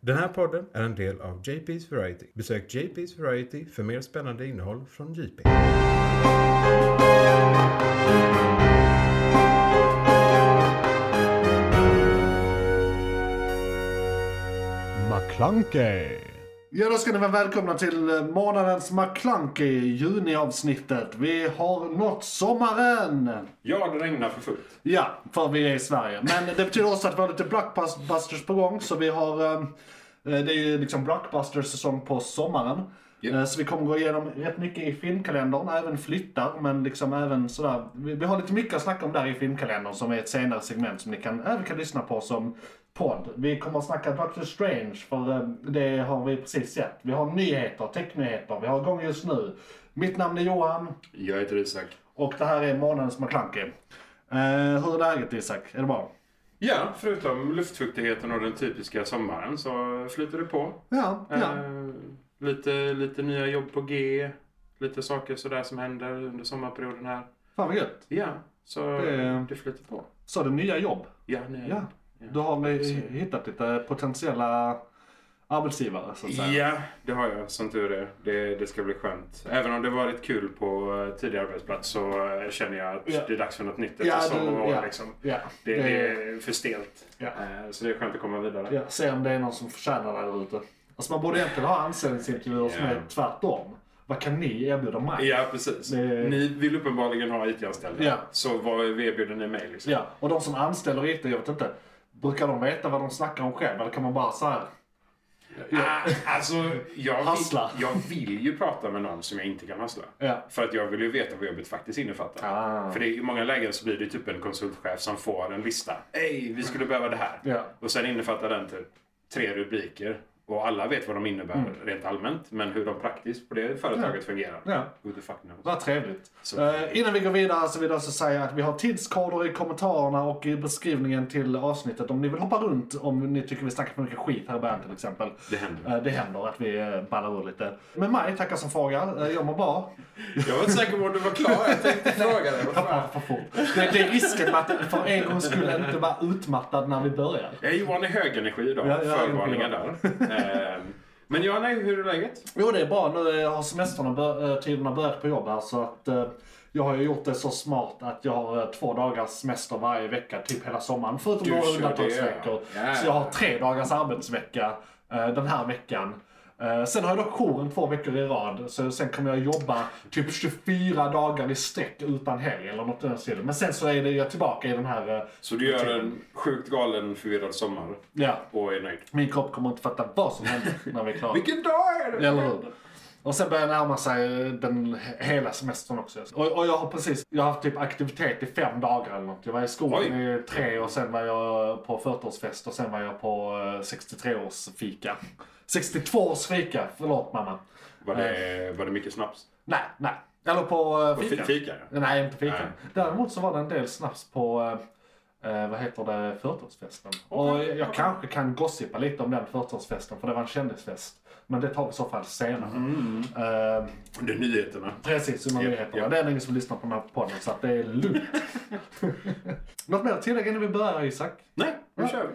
Den här podden är en del av JP's Variety. Besök JP's Variety för mer spännande innehåll från JP. McClunkey. Ja, då ska ni vara välkomna till eh, månadens McKlunky juniavsnittet. Vi har nått sommaren! Ja, det regnar för fullt. Ja, för vi är i Sverige. Men det betyder också att vi har lite blockbusters på gång. Så vi har, eh, det är ju liksom blockbusters-säsong på sommaren. Ja. Eh, Så vi kommer gå igenom rätt mycket i filmkalendern, även flyttar. Men liksom även sådär, vi vi har lite mycket att snacka om där i filmkalendern som är ett senare segment som ni kan, även kan lyssna på som podd. Vi kommer att snacka Doctor Strange för eh, det har vi precis sett. Vi har nyheter, technyheter, vi har igång just nu. Mitt namn är Johan. Jag heter Isak. Och det här är månadens McKlunky. Eh, hur är läget Isak? Är det bra? Ja, förutom luftfuktigheten och den typiska sommaren så flyter det på. Ja, Eh, lite, lite nya jobb på G. Lite saker sådär som händer under sommarperioden här. Fan vad gött. Ja, så Det- det, flyter på. Så det nya jobb. Ja, nej. Ja. Då har vi hittat lite potentiella arbetsgivare så att säga. Ja, det har jag som tur är. Det, det ska bli skönt. Även om det varit kul på eh, tidigare arbetsplats så eh, känner jag att Ja. det är dags för något nytt Ja, efter du- sommarår. ja. Liksom. Ja, Det, det- det är för stelt. Ja. Eh, Så det är skönt att komma vidare. Ja, se om det är någon som förtjänar det där ute. Alltså man borde egentligen ha anställningsintervjuer som Ja. är tvärtom. Vad kan ni erbjuda mig? Ja, precis. Det- Ni vill uppenbarligen ha IT-anställda. Ja. Så vad erbjuder ni mig? Liksom? Ja, och de som anställer IT, jag vet inte. Brukar de veta vad de snackar om själv? Eller kan man bara såhär... Ah, alltså, jag vill, Hassla. jag vill ju prata med någon som jag inte kan hassla. Ja. För att jag vill ju veta vad jobbet faktiskt innefattar. Ah. För det, i många lägen så blir det typ en konsultchef som får en lista. Hej, vi skulle behöva det här. Ja. Och sen innefattar den typ tre rubriker. Och alla vet vad de innebär rent allmänt. Men hur de praktiskt på det företaget fungerar. Mm. Ja. Who the fuck knows. Vad trevligt. Så- Eh, innan vi går vidare så vill jag också säga att vi har tidskoder i kommentarerna och i beskrivningen till avsnittet om ni vill hoppa runt om ni tycker vi snackar för mycket skit här i början till exempel. Det händer. Eh, det händer att vi eh, ballar ur lite. Men Maj, tackar som frågar. Eh, jag mår bra. Jag var inte säker på om du var klar. Jag tänkte fråga dig. Vad Jag fan? pratar för fort. Det, det är risken med att för en gångs skull inte vara utmattad när vi börjar. Ja, Johan är högenergi idag. Ja, ja, Förvarningar där. Ehm, Men Johan, nej, hur är läget? Jo, det är bra. Nu eh, har semestrarna bör- eh, tiderna börjat på jobb här så att eh, jag har ju gjort det så smart att jag har eh, två dagars semester varje vecka, typ hela sommaren. Förutom Du några kör det, undantagsveckor. ja. Ja. Så jag har tre dagars arbetsvecka eh, den här veckan. Eh, Sen har jag dock jouren två veckor i rad, så sen kommer jag jobba typ 24 dagar i sträck utan helg eller något i den stilen. Men sen så är det jag tillbaka i den här... eh, Så du gör en sjukt galen, förvirrad sommar Ja, och är nöjd. min kropp kommer inte fatta vad som händer när vi är klara. Vilken dag är det? Eller hur? Och sen börjar närma sig eh, den he- hela semestern också. Och, och jag har precis, jag har haft typ aktivitet i fem dagar eller något. Jag var i skolan Oj. i tre och sen var jag på 40-årsfest och sen var jag på eh, 63-årsfika. 62-årsfika, förlåt mamma. Var det, var det mycket snaps? Nej, nej. Eller på eh, Och fika. fika, ja. Nej, inte fika. Nej. Däremot så var det en del snaps på, eh, eh, vad heter det, 40-årsfesten. och jag kanske kan gossipa lite om den 40-årsfesten för det var en kändisfest. Men det tar vi i så fall senare. Mm. Eh, Det är nyheterna. Precis, under Japp, nyheterna. japp. Det är ingen som lyssnar på den här podden så att det är lugnt. Något mer att tillägga innan vi börjar Isak? Nej, nu kör vi.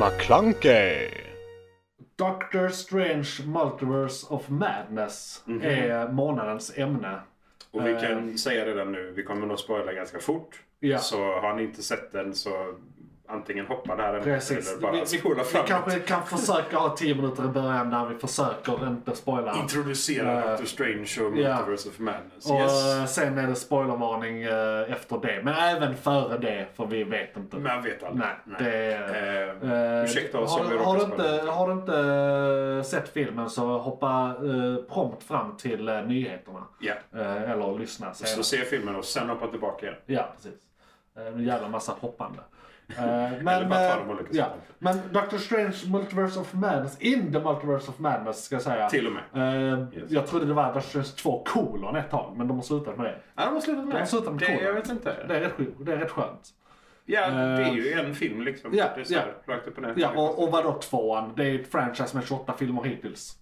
McClunkey. Doctor Strange Multiverse of Madness Mhm. är månadens ämne. Och vi kan säga redan nu, vi kommer nog spoila ganska fort. Ehm. Ja. Så har ni inte sett den så antingen hoppa där Precis. eller bara spola vi framåt. kanske kan försöka ha 10 minuter i början där vi försöker inte spoila. Introducera Eh, Doctor Strange och Multiverse of Madness. Och Yes. eh, sen är det spoilervarning eh, efter det. Men även före det, för vi vet inte. Man vet aldrig. Nej, det Eh, ursäkta oss har, om vi du- har, du råkar inte, spela. har du inte eh, sett filmen så hoppa eh, prompt fram till eh, nyheterna. Ja. Eh, eller lyssna Så senare. se filmen och sen hoppa tillbaka igen. Ja, precis. Eh, En jävla massa hoppande. Eh, Eller Men, bara ta eh, dem olika ja. saker. men Doctor Strange Multiverse of Madness, in the Multiverse of Madness ska jag säga. Till och med. Eh, Yes. Jag trodde det var Doctor Strange 2 kolon ett tag, men de har slutat med det. Ja, de har slutat med De har slutat med det. kolon. Jag vet inte. Det är rätt, skönt- det är rätt skönt. Ja, det är ju en film liksom. ja, det är så ja. här, rakt upp och ner. Ja, och, och vadå tvåan? Det är ett franchise med 28 filmer hittills.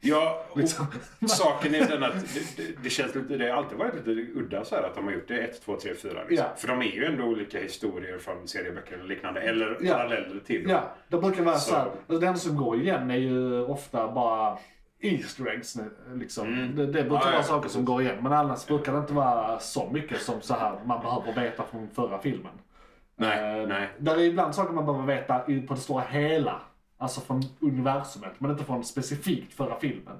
Ja, och Liksom. saken är den att det, det, det känns lite, det har alltid varit lite udda så här att de har gjort det 1, 2, 3, 4. Liksom. Ja. För de är ju ändå olika historier från serieböcker eller liknande. Eller Ja. paralleller till dem. Ja, det brukar vara Så. så här, Alltså, den som går igen är ju ofta bara Easter eggs. nu, Liksom. Mm. Det, det brukar Ja, ja, vara saker precis. som går igen. Men annars brukar det inte vara så mycket som så här man behöver veta från förra filmen. Nej, Eh, nej. Där är ibland saker man behöver veta i- på det stora hela. Alltså från universumet, men inte från specifikt förra filmen.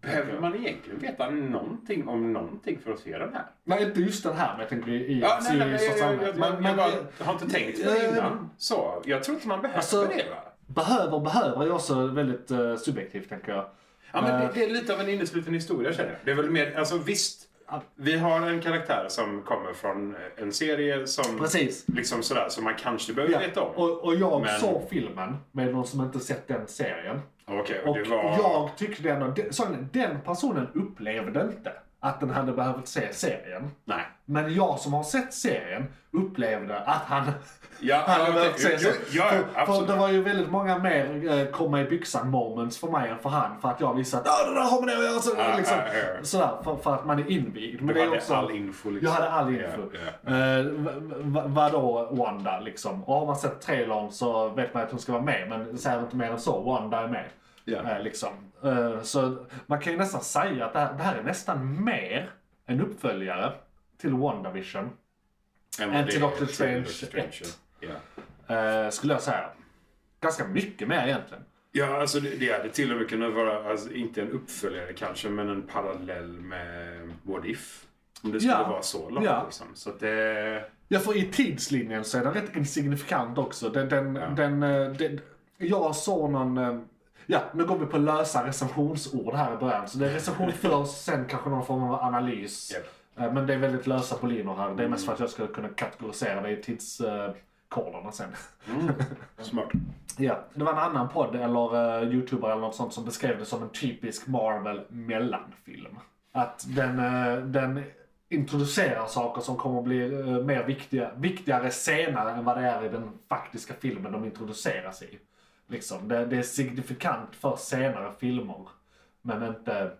Behöver man egentligen veta någonting om någonting för att se den här? Nej, inte just den här, men jag tänker i Ja, nej, nej, serier men i största jag, jag, allmänhet. jag, Men- jag, men- bara har inte tänkt på det innan. Så, jag tror inte man behöver Alltså- det va? Behöver, behöver är också väldigt eh, subjektivt, tänker jag. Ja, men det, det är lite av en innesluten historia känner jag. Det är väl mer, alltså visst. Vi har en karaktär som kommer från en serie som Precis. liksom sådär som man kanske behöver Ja, veta om. Och, och jag Men- såg filmen med någon som inte sett den serien. Okej, och Och det var... jag tyckte ändå, den, så den personen upplevde inte att den hade behövt se serien. Nej. Men jag som har sett serien upplevde att han Ja, hade ja, behövt okej. se Jo, serien. jo, ja, för, för absolut. det var ju väldigt många mer eh, komma i byxan moments för mig än för han. För att jag visste att "Ja, det där har med det att göra. Så, Ja, liksom, ja, ja. Sådär, för, för att man är invigd. Men Du det är hade också, all info liksom. jag hade all info. Ja, ja. Eh, v- v- vadå Wanda liksom? Och har man sett trailern så vet man att hon ska vara med, men säger inte mer än så. Wanda är med. Ja. Eh, liksom. Eh, så man kan ju nästan säga att det här, det här är nästan mer en uppföljare till WandaVision. Än vad Än det till är Doctor Strange ett. Ja. eh, skulle jag säga. Ganska mycket mer egentligen. Ja, alltså det, det hade till och med kunnat vara, alltså, inte en uppföljare kanske, men en parallell med What If. Om det skulle Ja. vara så långt Ja. liksom. Så att det... Ja, för i tidslinjen så är den rätt insignifikant också. Den, den, den, eh, den, jag såg någon... eh, Ja, nu går vi på lösa recensionsord här i början. Så det är recension först, sen kanske någon form av analys. Japp. Eh, Men det är väldigt lösa på linor här. Det är mest för att jag ska kunna kategorisera det i tidskoderna sen. Mm. Smart. Ja, det var en annan podd eller eh, youtuber eller något sånt som beskrev det som en typisk Marvel mellanfilm. Att den, eh, den introducerar saker som kommer att bli eh, mer viktiga, viktigare senare än vad det är i den faktiska filmen de introduceras i. Liksom, det, det är signifikant för senare filmer. Men inte,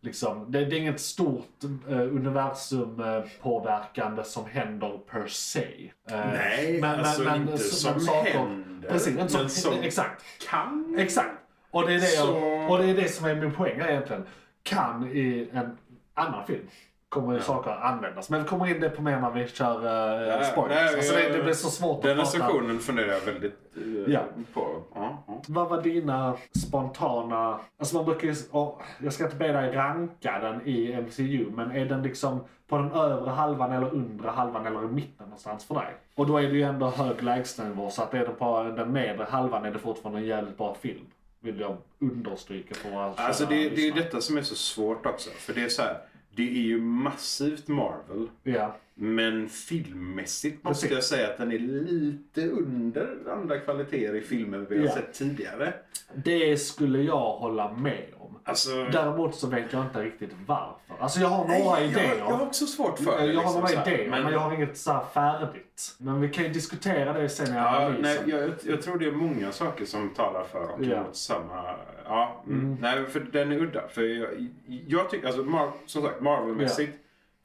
liksom, det, det är inget stort eh, universum eh, påverkande som händer per se. Eh, Nej, alltså inte som händer, Precis, inte som, men som- exakt. Kan... Exakt. Och det, är det Så- jag, och det är det som är min poäng här egentligen. Kan i en annan film kommer ju saker att användas. Men vi kommer in det på mer när vi kör eh, Ja, spoilers. nej, alltså, jag- det, det blir så svårt Den att prata. recensionen funderar jag väldigt eh, Ja. på. Ja, ja. Vad var dina spontana... Alltså man brukar ju... och Jag ska inte be dig ranka den i MCU, men är den liksom på den övre halvan eller undre halvan eller i mitten någonstans för dig? Och då är det ju ändå hög lägstanivå, så att är det på den nedre halvan är det fortfarande en jävligt bra film. Vill jag understryka för våra kära Alltså det, det är lyssnare. detta som är så svårt också. För det är så här, det är ju massivt Marvel. Ja, Men filmmässigt måste Precis. jag säga att den är lite under andra kvaliteter i filmer vi har Ja. sett tidigare. det skulle jag hålla med om. Alltså, Däremot så vet jag inte riktigt varför. Alltså jag har några jag, idéer. jag har också svårt för det. liksom, Jag har några så här. idéer, men... jag har inget så här färdigt. Men vi kan ju diskutera det sen i liksom. Ja, analysen. nej, jag, jag tror det är många saker som talar för och Ja. emot samma... Ja, mm. Nej, för den är udda. För jag, jag tycker, alltså, Mar- som sagt, Marvel-mässigt,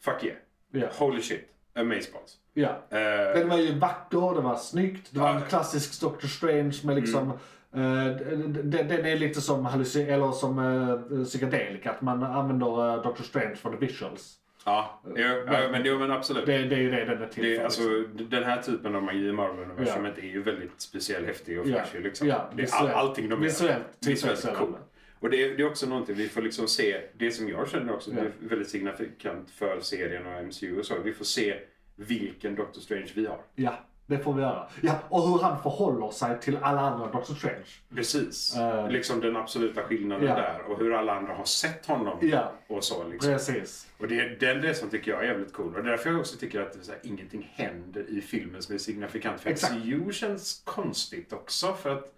fuck yeah. Ja. Holy shit, amazeballs. ja. Eh, Den var ju vacker, den var snyggt. Det var en Ja. Mm. klassisk Doctor Strange med liksom... eh, d- d- den är lite som, halluci- eller som uh, psykedelik, att man använder eh, Doctor Strange för the visuals. ja, jo, ja, men, jo, men absolut. Det, det är ju det den är till Det, för. är- alltså, liksom. d- den här typen av magi i Marvel-universumet är ju väldigt speciell, häftig och Ja. flashig. Liksom. Ja, det är all, visuellt. allting de Visuellt typ gör. Visuellt tillfredsställande. cool. Och det, är- det är också någonting vi får liksom se, det som jag känner också, Ja. det är väldigt signifikant för serien och MCU och så. Vi får se vilken Doctor Strange vi har. Ja, det får vi göra. Ja, och hur han förhåller sig till alla andra Doctor Strange. Precis. Eh. Liksom den absoluta skillnaden Ja. där och hur alla andra har sett honom. Ja. Och så liksom. Precis. Och det är den resan tycker jag är jävligt cool. Och därför jag också tycker att så här, ingenting händer i filmen som är signifikant. För Exakt. MCU känns konstigt också för att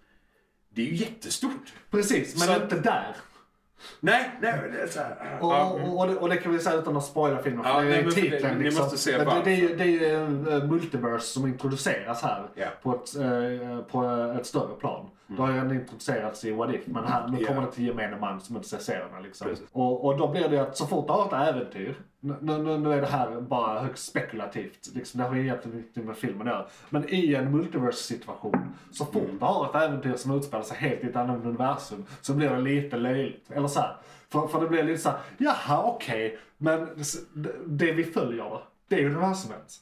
det är ju jättestort. Precis, men Så- inte där. Nej, nej, det är så här. Och, Ja, mm. och, och, det, och det kan vi säga utan att spoila filmen, för Ja, det nej, är men för det- titeln. ni liksom. måste se Men det, varför. det är ju, det är ju eh, multiverse som introduceras här Ja. Mm. på, ett, eh, på ett större plan. Det har ju ändå introducerats i What If, men här, nu Ja. kommer det till gemene man som inte ser serierna. Liksom. Precis. Och, och då blir det ju att så fort du har ett äventyr, nu, nu, nu är det här bara högst spekulativt, liksom, det har ju egentligen inte med filmen att göra. Men i en multiverse-situation, så fort Mm. du har ett äventyr som utspelar sig helt i ett annat universum, så blir det lite löjligt. Eller så här, för, för det blir lite så här, jaha okej, men s- det, det vi följer då, det är ju universumet.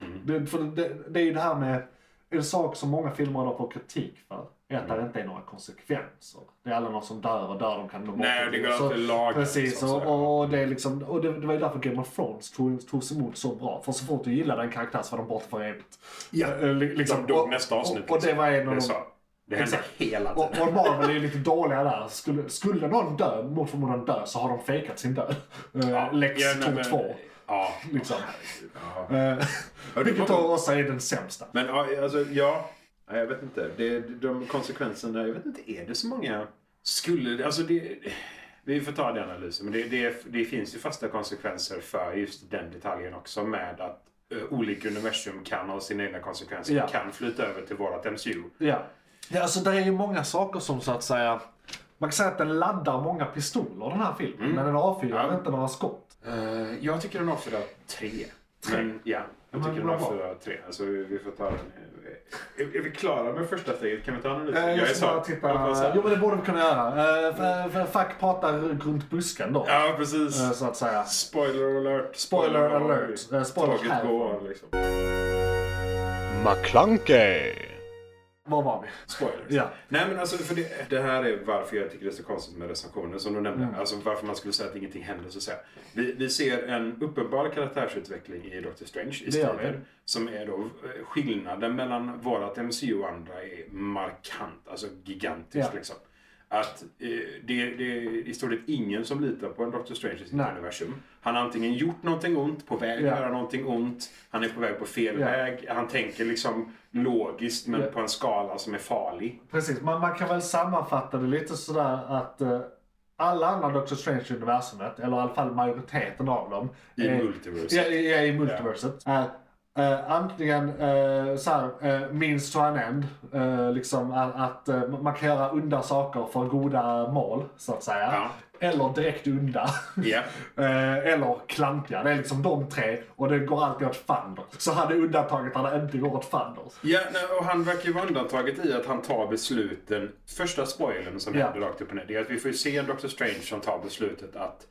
Mm. Det, för det, det är ju det här med, en sak som många filmer idag får kritik för, är att det Mm. inte är några konsekvenser. Det är alla någon som dör och dör, de kan nå bort Nej, och det går Så- alltid lag. Precis, Så- så- och, och, det, är liksom, och det, det var ju därför Game of Thrones tog- togs emot så bra. För så fort du gillade en karaktär så var de borta för evigt. Ja, Eh, li- liksom, de dog och- nästa avsnitt. Och, och det var en av de... Det, sa. det hände Exakt. hela Och, tiden. och Marvel är ju lite dåliga där. Skulle, skulle någon dö, mot förmodan dö, så har de fejkat sin död. Eh, Lex Ja, nej, tog men- två. Ja. Liksom. ja. Eh, det Vilket var- av oss är den sämsta. Men ja, alltså, ja. Nej, jag vet inte. Det, de konsekvenserna, jag vet inte, är det så många? Skulle det- alltså det... Vi får ta den analysen, men det, det, det finns ju fasta konsekvenser för just den detaljen också med att eh, olika universum kan ha sina egna konsekvenser, Ja. kan flytta över till vårat MCU. Ja. ja, alltså det är ju många saker som så att säga... Man kan säga att den laddar många pistoler den här filmen, Mm. men den avfyrar inte några skott. Eh, jag tycker den avfyrar tre. Men ja, jag Mm. Men tycker den vad bra. avfyrar tre. Alltså, vi vi får ta den. eh, Är, är vi klara med första steget? Kan vi ta analysen? Eh, Jag ska bara Jag är titta. så- Jo men det borde vi kunna göra. Eh, f- f- Fuck pratar runt busken då. Ja, precis. eh, Så att säga. Spoiler alert. Spoiler alert. Eh, spoiler Tåget här. går liksom. McClunkey. Var var vi? Spoilers. Ja. Nej men alltså, för det, det här är varför jag tycker det är så konstigt med recensionen som du nämnde. Mm. Alltså varför man skulle säga att ingenting händer. Så att säga. Vi, vi ser en uppenbar karaktärsutveckling i Doctor Strange i Det gör vi. storyn. Som är då eh, skillnaden mellan vårat MCU och andra är markant. Alltså gigantisk Ja. liksom. Att eh, det, det är i stort sett ingen som litar på en Doctor Strange i sitt Nej. universum. Han har antingen gjort någonting ont, på väg att Ja. göra någonting ont, han är på väg på fel Ja. väg, han tänker liksom logiskt men Ja. på en skala som är farlig. Precis, man, man kan väl sammanfatta det lite sådär att eh, alla andra Doctor Strange i universumet, eller i alla fall majoriteten av dem. I är- multiverset. Ja, i, ja, i multiverset. Är, eh, antingen uh, såhär, uh, means to an end. eh, liksom att, att eh, man kan göra onda saker för goda mål, så att säga. Ja. Eller direkt onda. Ja. Eh, eller klantiga. Det är liksom de tre och det går alltid åt fanders. Så hade undantaget hade inte går åt fanders. Ja, nej, och han verkar ju vara undantaget i att han tar besluten. Första spoilern som Ja. händer rakt upp och ner, det är att vi får ju se en Doctor Strange som tar beslutet att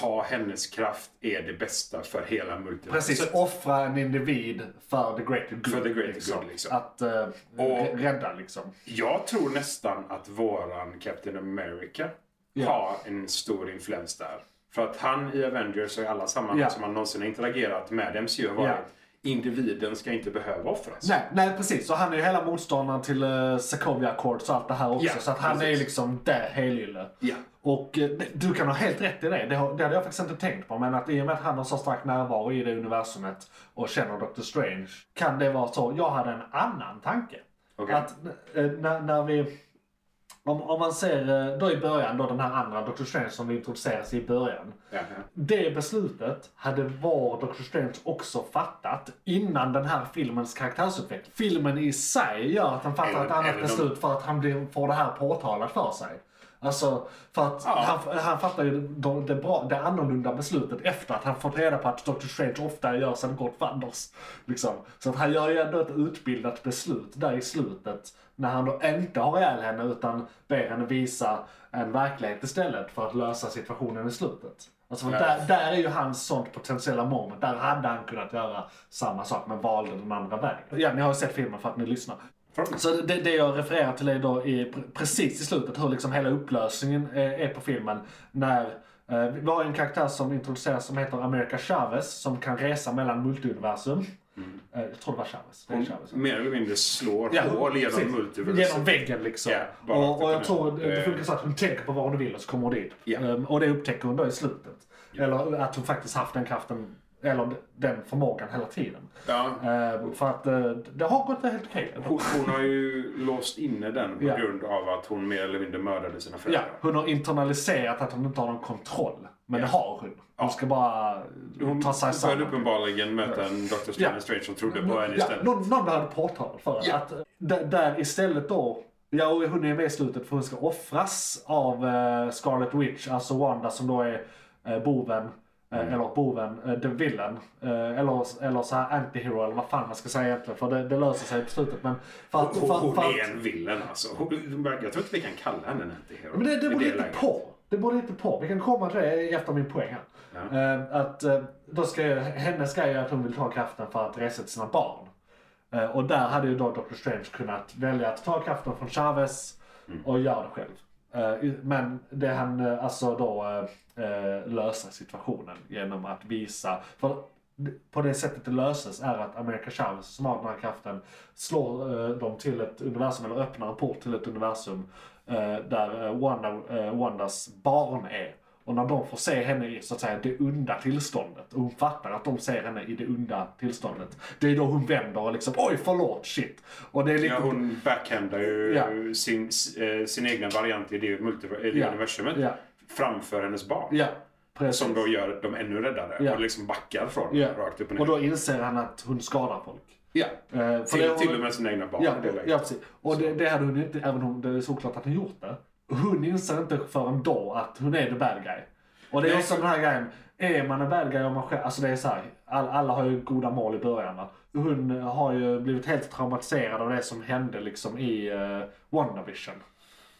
ta hennes kraft är det bästa för hela multiverset. Precis, offra en individ för the greater good. För the greater liksom. good, liksom. Att eh, r- rädda liksom. Jag tror nästan att våran Captain America har en stor influens där. För att han i Avengers och i alla sammanhang Ja. som han någonsin har interagerat med MCU har varit Ja. individen ska inte behöva offras. Nej, nej precis. Och han är ju hela motståndaren till uh, Sokovia Accords och allt det här också. Ja, så att han är precis. ju liksom det helylle. Ja. Och eh, det- du kan ha helt rätt i det. Det, har, det hade jag faktiskt inte tänkt på. Men att i och med att han har så stark närvaro i det universumet och känner Doctor Strange. Kan det vara så? Jag hade en annan tanke. Okej. Att eh, när, när vi... Om, om man ser eh, då i början, då den här andra Doctor Strange som vi introduceras i början. Ja, Det beslutet hade var Dr. Strange också fattat innan den här filmens karaktärsutveckling. Filmen i sig gör att han fattar Även- ett annat även om- beslut för att han blir, får det här påtalat för sig. Alltså, för att Ja. han, han fattar ju det, det, bra, det annorlunda beslutet efter att han fått reda på att Dr. Strange ofta gör sen gott vanders. Liksom. Så att han gör ju ändå ett utbildat beslut där i slutet. När han då inte har ihjäl henne utan ber henne visa en verklighet istället för att lösa situationen i slutet. Alltså för Ja. där, där är ju hans sånt potentiella moment. Där hade han kunnat göra samma sak men valde den andra vägen. Ja, ni har ju sett filmen för att ni lyssnar. ja. Så det, det jag refererar till är då i, pre- precis i slutet hur liksom hela upplösningen eh, är, är på filmen. När eh, vi har en karaktär som introduceras som heter America Chavez som kan resa mellan multiuniversum. Mm. Eh, jag tror det var Chavez. Det är Chavez. Mer eller mindre slår Ja, hål genom precis. multiverset. Genom väggen liksom. Ja, bara och, och jag rakt tror upp och ner. det funkar så att hon tänker på vad hon vill och så kommer hon dit. Ja. Ehm, och det upptäcker hon då i slutet. Eller att hon faktiskt haft den kraften eller den förmågan hela tiden. Ja. Eh, för att eh, det har gått helt okej. Hon, hon har ju låst inne den på Ja. grund av att hon mer eller mindre mördade sina Ja, föräldrar. hon har internaliserat att hon inte har någon kontroll. Men det har hon. Hon ska bara eh, Hon ta sig började samman. uppenbarligen möta en Dr. Stephen Ja. Strange som trodde på Nå- henne ja, istället. någon, någon hade påtalat för henne. Ja. Att d- där istället då, ja och hon är med i slutet för hon ska offras av eh, Scarlet Witch, alltså Wanda som då är eh, boven. eh, Mm. Eller boven, eh, the villain. eh, Eller, eller så här antihero eller vad fan man ska säga egentligen. För det, det löser sig på slutet. Men för att, Hon, för, hon för att, är en villen alltså. Hon, hon, verkar- jag tror inte vi kan kalla henne en antihero. Men det, det i beror lite läget. på. Det beror lite på. Vi kan komma till det efter min poäng här. Eh, att eh, då ska ju, hennes grej är att hon vill ta kraften för att resa till sina barn. Eh, och där hade ju då Dr. Strange kunnat välja att ta kraften från Chavez och göra det själv. Eh, i- men det han eh, alltså då eh, eh, löser situationen genom att visa. För på det sättet det löses är att America Chavez som har den här kraften slår eh, dem till ett universum eller öppnar en port till ett universum eh, där eh, Wanda, eh, Wandas barn är. Och när de får se henne i så att säga, det onda tillståndet och hon fattar att de ser henne i det onda tillståndet. Det är då hon vänder och liksom oj förlåt shit. Och det är liksom- lite Ja, hon backhandar ju Ja. sin, s- eh, sin egna variant i det, multiv- i det Ja. universumet Ja. framför hennes barn. Ja, precis. Som då gör dem ännu räddare Ja. och liksom backar från ja. rakt upp och och ner. då inser han att hon skadar folk. ja. Eh, för det Till, har- till och med sina egna barn Ja, i det läget. ja precis. Och det, det hade hon ju inte, även om det är såklart att hon gjort det. Hon inser inte förrän då att hon är the bad guy. Och det är Nej. också den här grejen, är man en bad guy om man själv, alltså det är så här, all, alla har ju goda mål i början va. Hon har ju blivit helt traumatiserad av det som hände liksom i uh, WandaVision.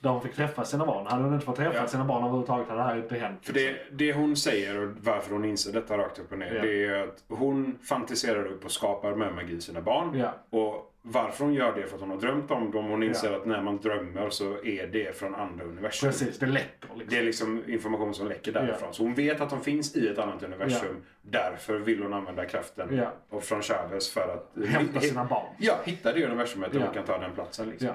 Där hon fick träffa sina barn. Hade hon inte fått träffa Ja. sina barn överhuvudtaget hade det här inte hänt. liksom. För det, det hon säger och varför hon inser detta rakt upp och ner. Ja. Det är att hon fantiserar upp och skapar med magi sina barn. Ja. Och varför hon gör det är för att hon har drömt om dem. Hon inser Ja. att när man drömmer så är det från andra universum. Precis, det läcker liksom. Det är liksom information som läcker därifrån. Så hon vet att de finns i ett annat universum. Därför vill hon använda kraften Ja. och från Chavez för att Hämta hi- sina barn. Ja, hitta det universumet där Ja. hon kan ta den platsen. Liksom. Ja.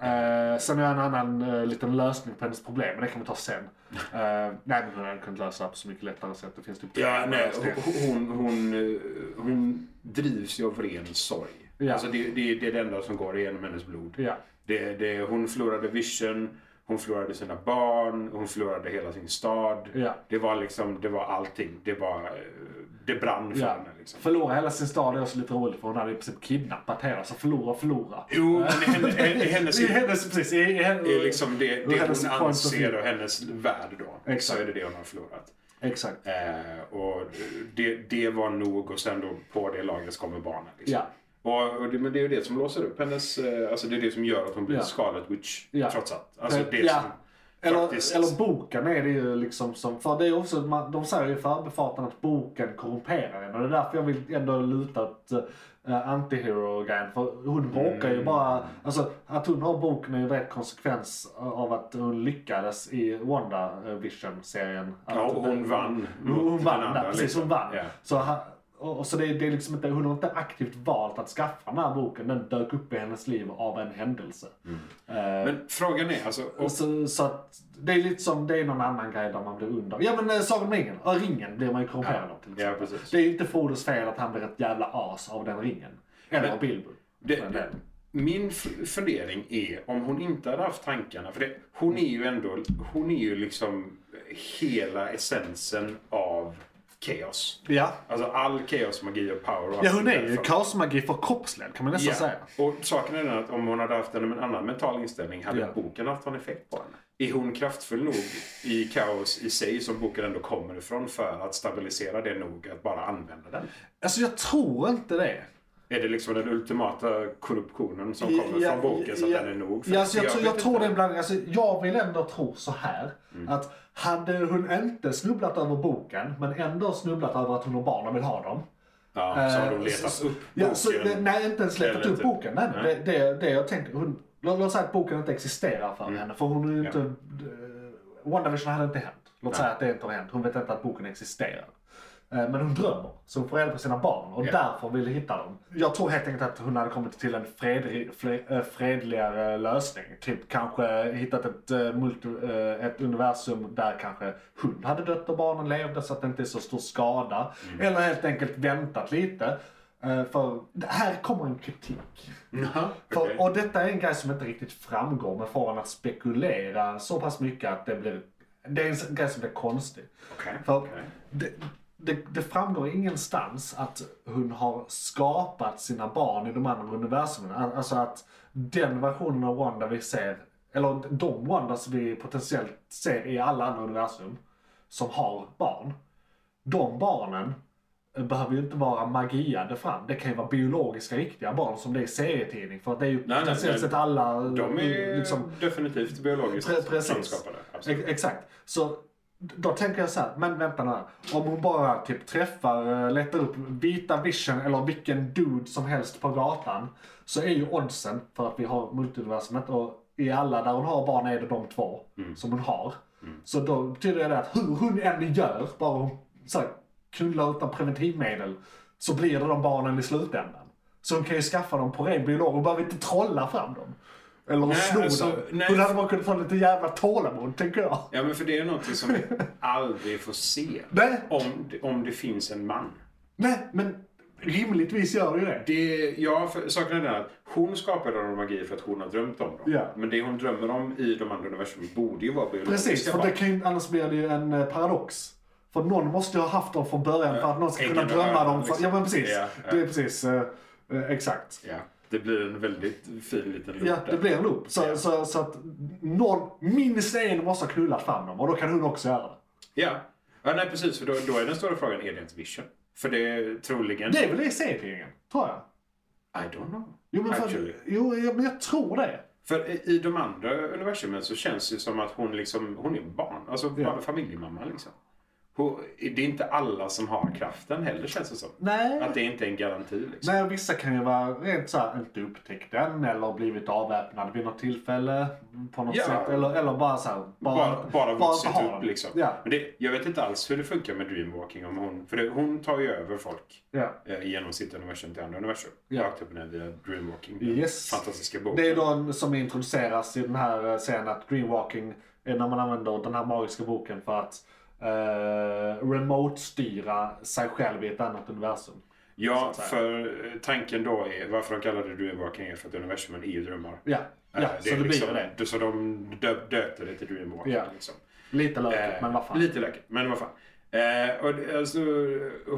Eh, sen har jag en annan eh, liten lösning på hennes problem, men det kan vi ta sen. Eh, nej, men hon hade kunnat lösa det på så mycket lättare sätt. Det finns typ Ja, nej, lösningar. hon, hon, eh, hon drivs ju av ren sorg. Ja. Alltså det, det, det är det enda som går igenom hennes blod. Ja. Det, det, hon förlorade vision, hon förlorade sina barn, hon förlorade hela sin stad. Ja. Det var liksom, det var allting. Det, var, eh, det brann för Ja. henne. Liksom. Förlora hela sin stad är också lite roligt, för hon hade i princip kidnappat hela, så förlora, förlora. Jo, men hennes, hennes, I hennes, precis, i, i, det är liksom det, ur det hennes hon point of anser view. och hennes värld då. Exakt. Så är det det hon har förlorat. Exakt. Eh, och det, det var nog och sen då på det laget kommer barnen. Liksom. Ja. Och, och det, men det är ju det som låser upp hennes, eh, alltså det är det som gör att hon blir Ja. Scarlet Witch Ja. trots allt. Alltså det ja. som eller, faktiskt- eller boken är det ju liksom som, för det är också, man, de säger ju i förbifarten att boken korrumperar en och det är därför jag vill ändå luta åt uh, antihero-grejen. För hon råkar Mm. ju bara, alltså att hon har boken är ju en direkt konsekvens av att hon lyckades i WandaVision-serien. Ja, Att- och hon vann Hon, hon mot vann den där, andra, precis liksom. hon vann. Ja. Så, ha- och, och så det, är- det är liksom inte, hon har inte aktivt valt att skaffa den här boken, den dök upp i hennes liv av en händelse. Eh, Men frågan är alltså, och, och så, så att det är lite som, det är någon annan grej där man blir under. Ja men eh, Sagan om ringen, Ja, ringen blir man ju korrumperad av till ja exempel. precis. Det är ju inte Frodos fel att han blir ett jävla as av den ringen. Eller Men- Bilbo. Det, för en det, del. min f- fundering är om hon inte hade haft tankarna, för det, hon är ju ändå, hon är ju liksom hela essensen av kaos. Ja. Alltså all kaosmagi och power. och ja, allt hon är ju därifrån. kaosmagi förkroppsligad kan man nästan Ja, säga. och saken är den att om hon hade haft en annan mental inställning hade Ja. boken haft någon effekt på henne. Är hon kraftfull nog i kaos i sig som boken ändå kommer ifrån för att stabilisera det nog att bara använda den? Alltså jag tror inte det. Är det liksom den ultimata korruptionen som kommer Ja, från boken så att ja, den är nog? Ja, alltså, jag, tror- jag vet tror inte. Mm. det är en blandning. Alltså, jag vill ändå tro så här. Att hade hon inte snubblat över boken, men ändå snubblat över att hon har barn och vill ha dem. Ja, så har de Eh, letat så- upp Ja, så, boken. nej, inte ens letat Eller upp typ- boken. Nej, nej. Det, det, det jag tänker, hon, låt, låt säga att boken inte existerar för Mm. henne. För hon är ju inte... eh, Ja. WandaVision hade inte hänt. Låt säga att det inte har hänt. Hon vet inte att boken existerar. Eh, Men hon drömmer, så hon får reda på sina barn och därför vill hitta dem. Jag tror helt enkelt att hon hade kommit till en fredri- fle- eh, fredligare lösning. Typ kanske hittat ett, eh, multi, eh, ett universum där kanske hon hade dött och barnen levde så att det inte är så stor skada. Eller helt enkelt väntat lite. Eh, För här kommer en kritik. Jaha, För, okej. Och detta är en grej som inte riktigt framgår, men får en att spekulera så pass mycket att det blir... Det är en grej som blir konstig. Okej, För okej. det, det, det framgår ingenstans att hon har skapat sina barn i de andra universumen. Al- Alltså att den versionen av Wanda vi ser, eller de Wandas vi potentiellt ser i alla andra universum som har barn. De barnen behöver ju inte vara magiade fram. Det kan ju vara biologiska riktiga barn som det är i serietidning. För att det är ju nej, potentiellt nej. sett alla... De är liksom- definitivt biologiskt Pre- precis. samskapade. Absolut. Ex- Exakt. Så då tänker jag så här, men vänta nu här. Om hon bara typ träffar, eh, letar upp vita vision eller vilken dude som helst på gatan. Så är ju oddsen för att vi har multiversumet och i alla där hon har barn är det de två Mm. som hon har. Så då betyder det att hur hon än gör, bara hon så här, knullar utan preventivmedel, så blir det de barnen i slutändan. Så hon kan ju skaffa dem på ren biolog, hon behöver inte trolla fram dem. Eller Nej, sno alltså, dem. nej. Hon hade bara kunnat ha lite jävla tålamod, tänker jag. Ja, men för det är någonting som vi aldrig får se. Nej. Om, om det finns en man. Nej, men rimligtvis gör det ju det. Det, ja, för, saken är den att hon skapade dem magi för att hon har drömt om dem. Ja. Men det hon drömmer om i de andra universum borde ju vara biologiska Precis, för barn. det kan ju, annars blir det ju en eh, paradox. För någon måste ju ha haft dem från början för att någon ska äggen kunna och drömma hönan, dem. För, liksom. ja, men precis. Ja, ja. Det är precis, eh, eh, exakt. Ja, det blir en väldigt fin liten loop Ja, det där. blir en loop. Så, Ja. så, så att någon, minst en måste ha knullat fram dem och då kan hon också göra det. Ja. ja, nej precis. För då, då är den stora frågan, är det ens vision? För det är troligen... Det är väl det i serietidningen, tror jag. I don't know. Jo, men, för, Actually. jo, ja, men jag tror det. För i- i de andra universumen så känns det ju som att hon, liksom, hon är barn. Alltså Ja. bara familjemamma liksom. Hon, det är inte alla som har kraften heller känns det som. Nej. Att det inte är en garanti liksom. Nej, vissa kan ju vara rent såhär, inte upptäckt den eller blivit avväpnad vid något tillfälle på något Ja. sätt. Eller, eller bara såhär, Bara, bara vuxit ha upp den. liksom. Ja, Men det, jag vet inte alls hur det funkar med dreamwalking. Om hon, för det, hon tar ju över folk ja. eh, genom sitt universum till andra universum. Ja. Rakt upp och ner via dreamwalking. den Yes. Fantastiska boken. Det är då en, som introduceras i den här eh, scenen att greenwalking är när man använder den här magiska boken för att eh, remote-styra sig själv i ett annat universum. Ja, så att för eh, tanken då är varför de kallar det dreamwalking är för att universumen är ju drömmar. Ja, ja Eh, så det blir liksom, ju det. Så de döp, döpte det till dreamwalking. Ja. Liksom. Lite lökigt, Eh, men vad fan. Lite lökigt, men vad fan. Eh, och det, alltså,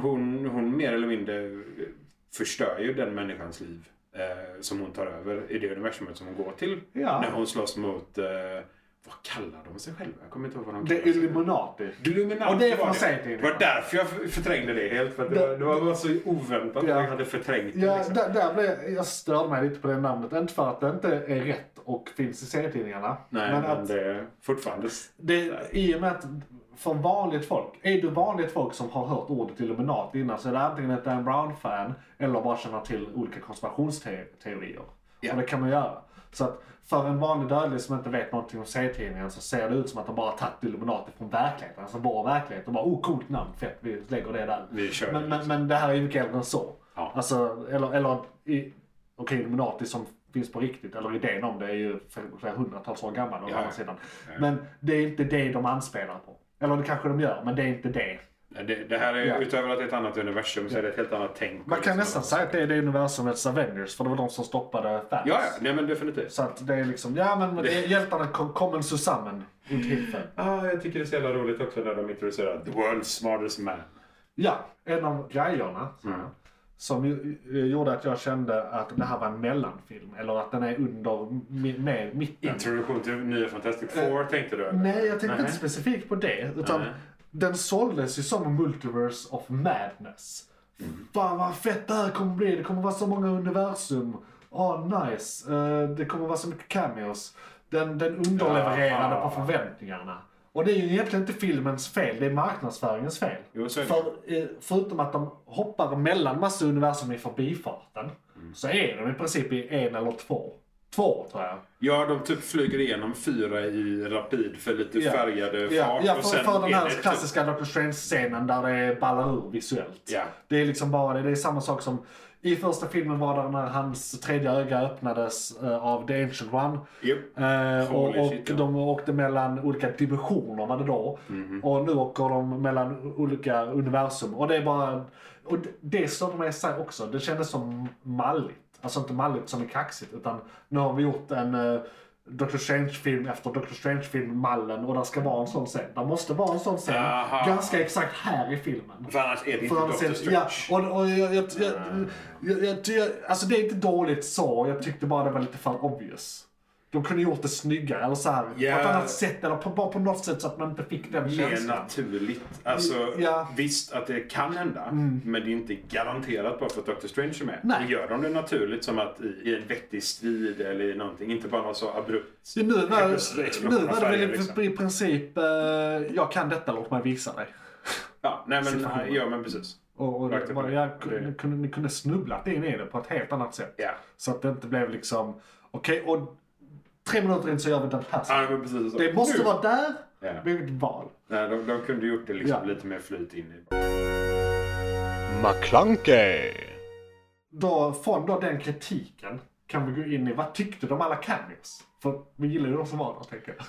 hon, hon mer eller mindre förstör ju den människans liv eh, som hon tar över i det universumet som hon går till. Ja. När hon slåss mot, eh, vad kallar de sig själva? Jag kommer inte ihåg vad de Det är kallar sig. Illuminati. Illuminati Och det är var från serietidningen. Det var därför jag förträngde det helt. För att det, Det- var, det var bara så oväntat Ja. att jag hade förträngt det. Ja, liksom. där, där blev, jag störde mig lite på det namnet. Inte för att det inte är rätt och finns i serietidningarna. Nej, men men, att det är fortfarande... det, i och med att för vanligt folk, är du vanligt folk som har hört ordet Illuminat innan så är det antingen ett Dan Brown-fan eller bara känner till olika konspirationsteorier. Ja. Och det kan man göra. Så att för en vanlig dödlig som inte vet någonting om serietidningen så ser det ut som att de bara har tagit Illuminati från verkligheten, alltså vår verklighet. Och bara, oh coolt namn, fett, vi lägger det där. Vi kör men, det, men, men det här är ju mycket äldre än så. Ja. Alltså, eller, eller i, okej, Illuminati som finns på riktigt, eller idén om det är ju flera hundratals år gammal å Ja. andra sidan. Men det är inte det de anspelar på. Eller det kanske de gör, men det är inte det. Det, det här är, Ja. utöver att det är ett annat universum, så är det ett helt annat tänk. och Man kan liksom- nästan säga att det är det universumets Avengers, för det var de som stoppade fans. Ja, ja. Nej, men definitivt. Så att det är liksom, ja men det... hjältarna kom, kommer samman i ett tillfälle. Ah, jag tycker det är så jävla roligt också när de introducerar The World's Smartest Man. Ja, en av grejerna så Mm. här, som ju, eh, gjorde att jag kände att det här var en mellanfilm, eller att den är under, mi- mer mitten. Introduktion till nya Fantastic Four tänkte du? eller? Eh, Nej, jag tänkte Nej. inte specifikt på det. Utan Nej. den såldes ju som Multiverse of Madness. Mm. Fan vad fett det här kommer bli. Det kommer vara så många universum. Ah, nice. Eh, det kommer vara så mycket cameos. Den, den underlevererade Ja. på förväntningarna. Och det är ju egentligen inte filmens fel, det är marknadsföringens fel. Jo, så är det. För, eh, förutom att de Mm. hoppar mellan massa universum i förbifarten, så är de i princip i en eller två. två tror jag. Ja, de typ flyger igenom fyra i rapid för lite Ja. färgade eh, fart. Ja, ja för, och sen för den är här det typ- klassiska Doctor Strange-scenen där det ballar ur visuellt. Ja. Det är liksom bara det. Det är samma sak som i första filmen var det när hans tredje öga öppnades eh, av The Ancient One. Japp. Eh, och Holy och shit, ja. de åkte mellan olika dimensioner var det då. Mhm. Och nu åker de mellan olika universum. Och det är bara... Och det- det störde mig i sig också. Det kändes som malligt. Alltså inte malligt som är kaxigt. Utan nu har vi gjort en eh, Doctor Strange-film efter Doctor Strange-film-mallen. Och där ska vara en sån scen. Det måste vara en sån scen. Aha. Ganska exakt här i filmen. För annars är det inte För han Doctor sen, Strange. ja, och, och jag, jag, jag, jag, jag, jag, alltså det är inte dåligt så, jag tyckte bara det var lite för obvious. De kunde gjort det snyggare, eller så här, Ja. på ett annat sätt, eller på, bara på något sätt så att man inte fick den Mer känslan. naturligt. Alltså, Ja. Mm. Visst att det kan hända, men det är inte garanterat bara för att Doctor Strange är med. Nej. Och gör de det naturligt som att i, i en vettig strid eller i någonting, inte bara något så abrupt. Så nu var, Explosion av nu var det väl färger, i, liksom. i princip, eh, jag kan detta, låt mig visa dig. Ja, nej men, Situationer. ja, men precis. Och, och Rakt det, upp bara, och jag, ner. kunde, kunde, ni kunde snubblat in i det på ett helt annat sätt. Ja. Så att det inte blev liksom, okej, och tre minuter in så gör vi den här. Ja, men precis så. Det måste Nu. vara där, Ah, Ja. vi har ett val. Nej, de, de kunde gjort det liksom Ja. lite mer flyt in i. McClunkey. då, från då den kritiken kan vi gå in i vad tyckte de alla cameos? För vi gillar ju de som var där tänker jag.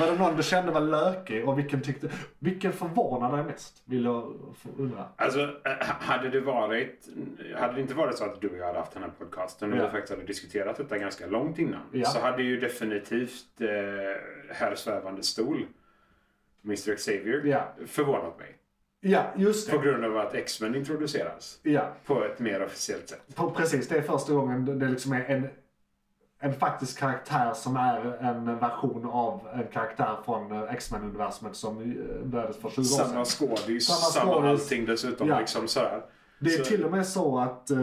Var det någon du kände var lökig och vilken tyckte... Vilken förvånade dig mest? Vill jag få undra. Alltså, eh, hade det varit... Hade det inte varit så att du och jag hade haft den här podcasten och Ja. vi faktiskt hade diskuterat detta ganska långt innan Ja. så hade ju definitivt eh, Herr Svävande Stol, Mr Xavier, Ja. förvånat mig. Ja, just På det. grund av att X-Men introduceras Ja, på ett mer officiellt sätt. på- precis. Det är första gången det- det liksom är en, en faktisk karaktär som är en version av en karaktär från eh, X-Men-universumet som eh, började för 20 år sedan. Samma skådis, Samma samma, skådis. allting dessutom. Ja. Liksom sådär. Det är Så- till och med så att... eh,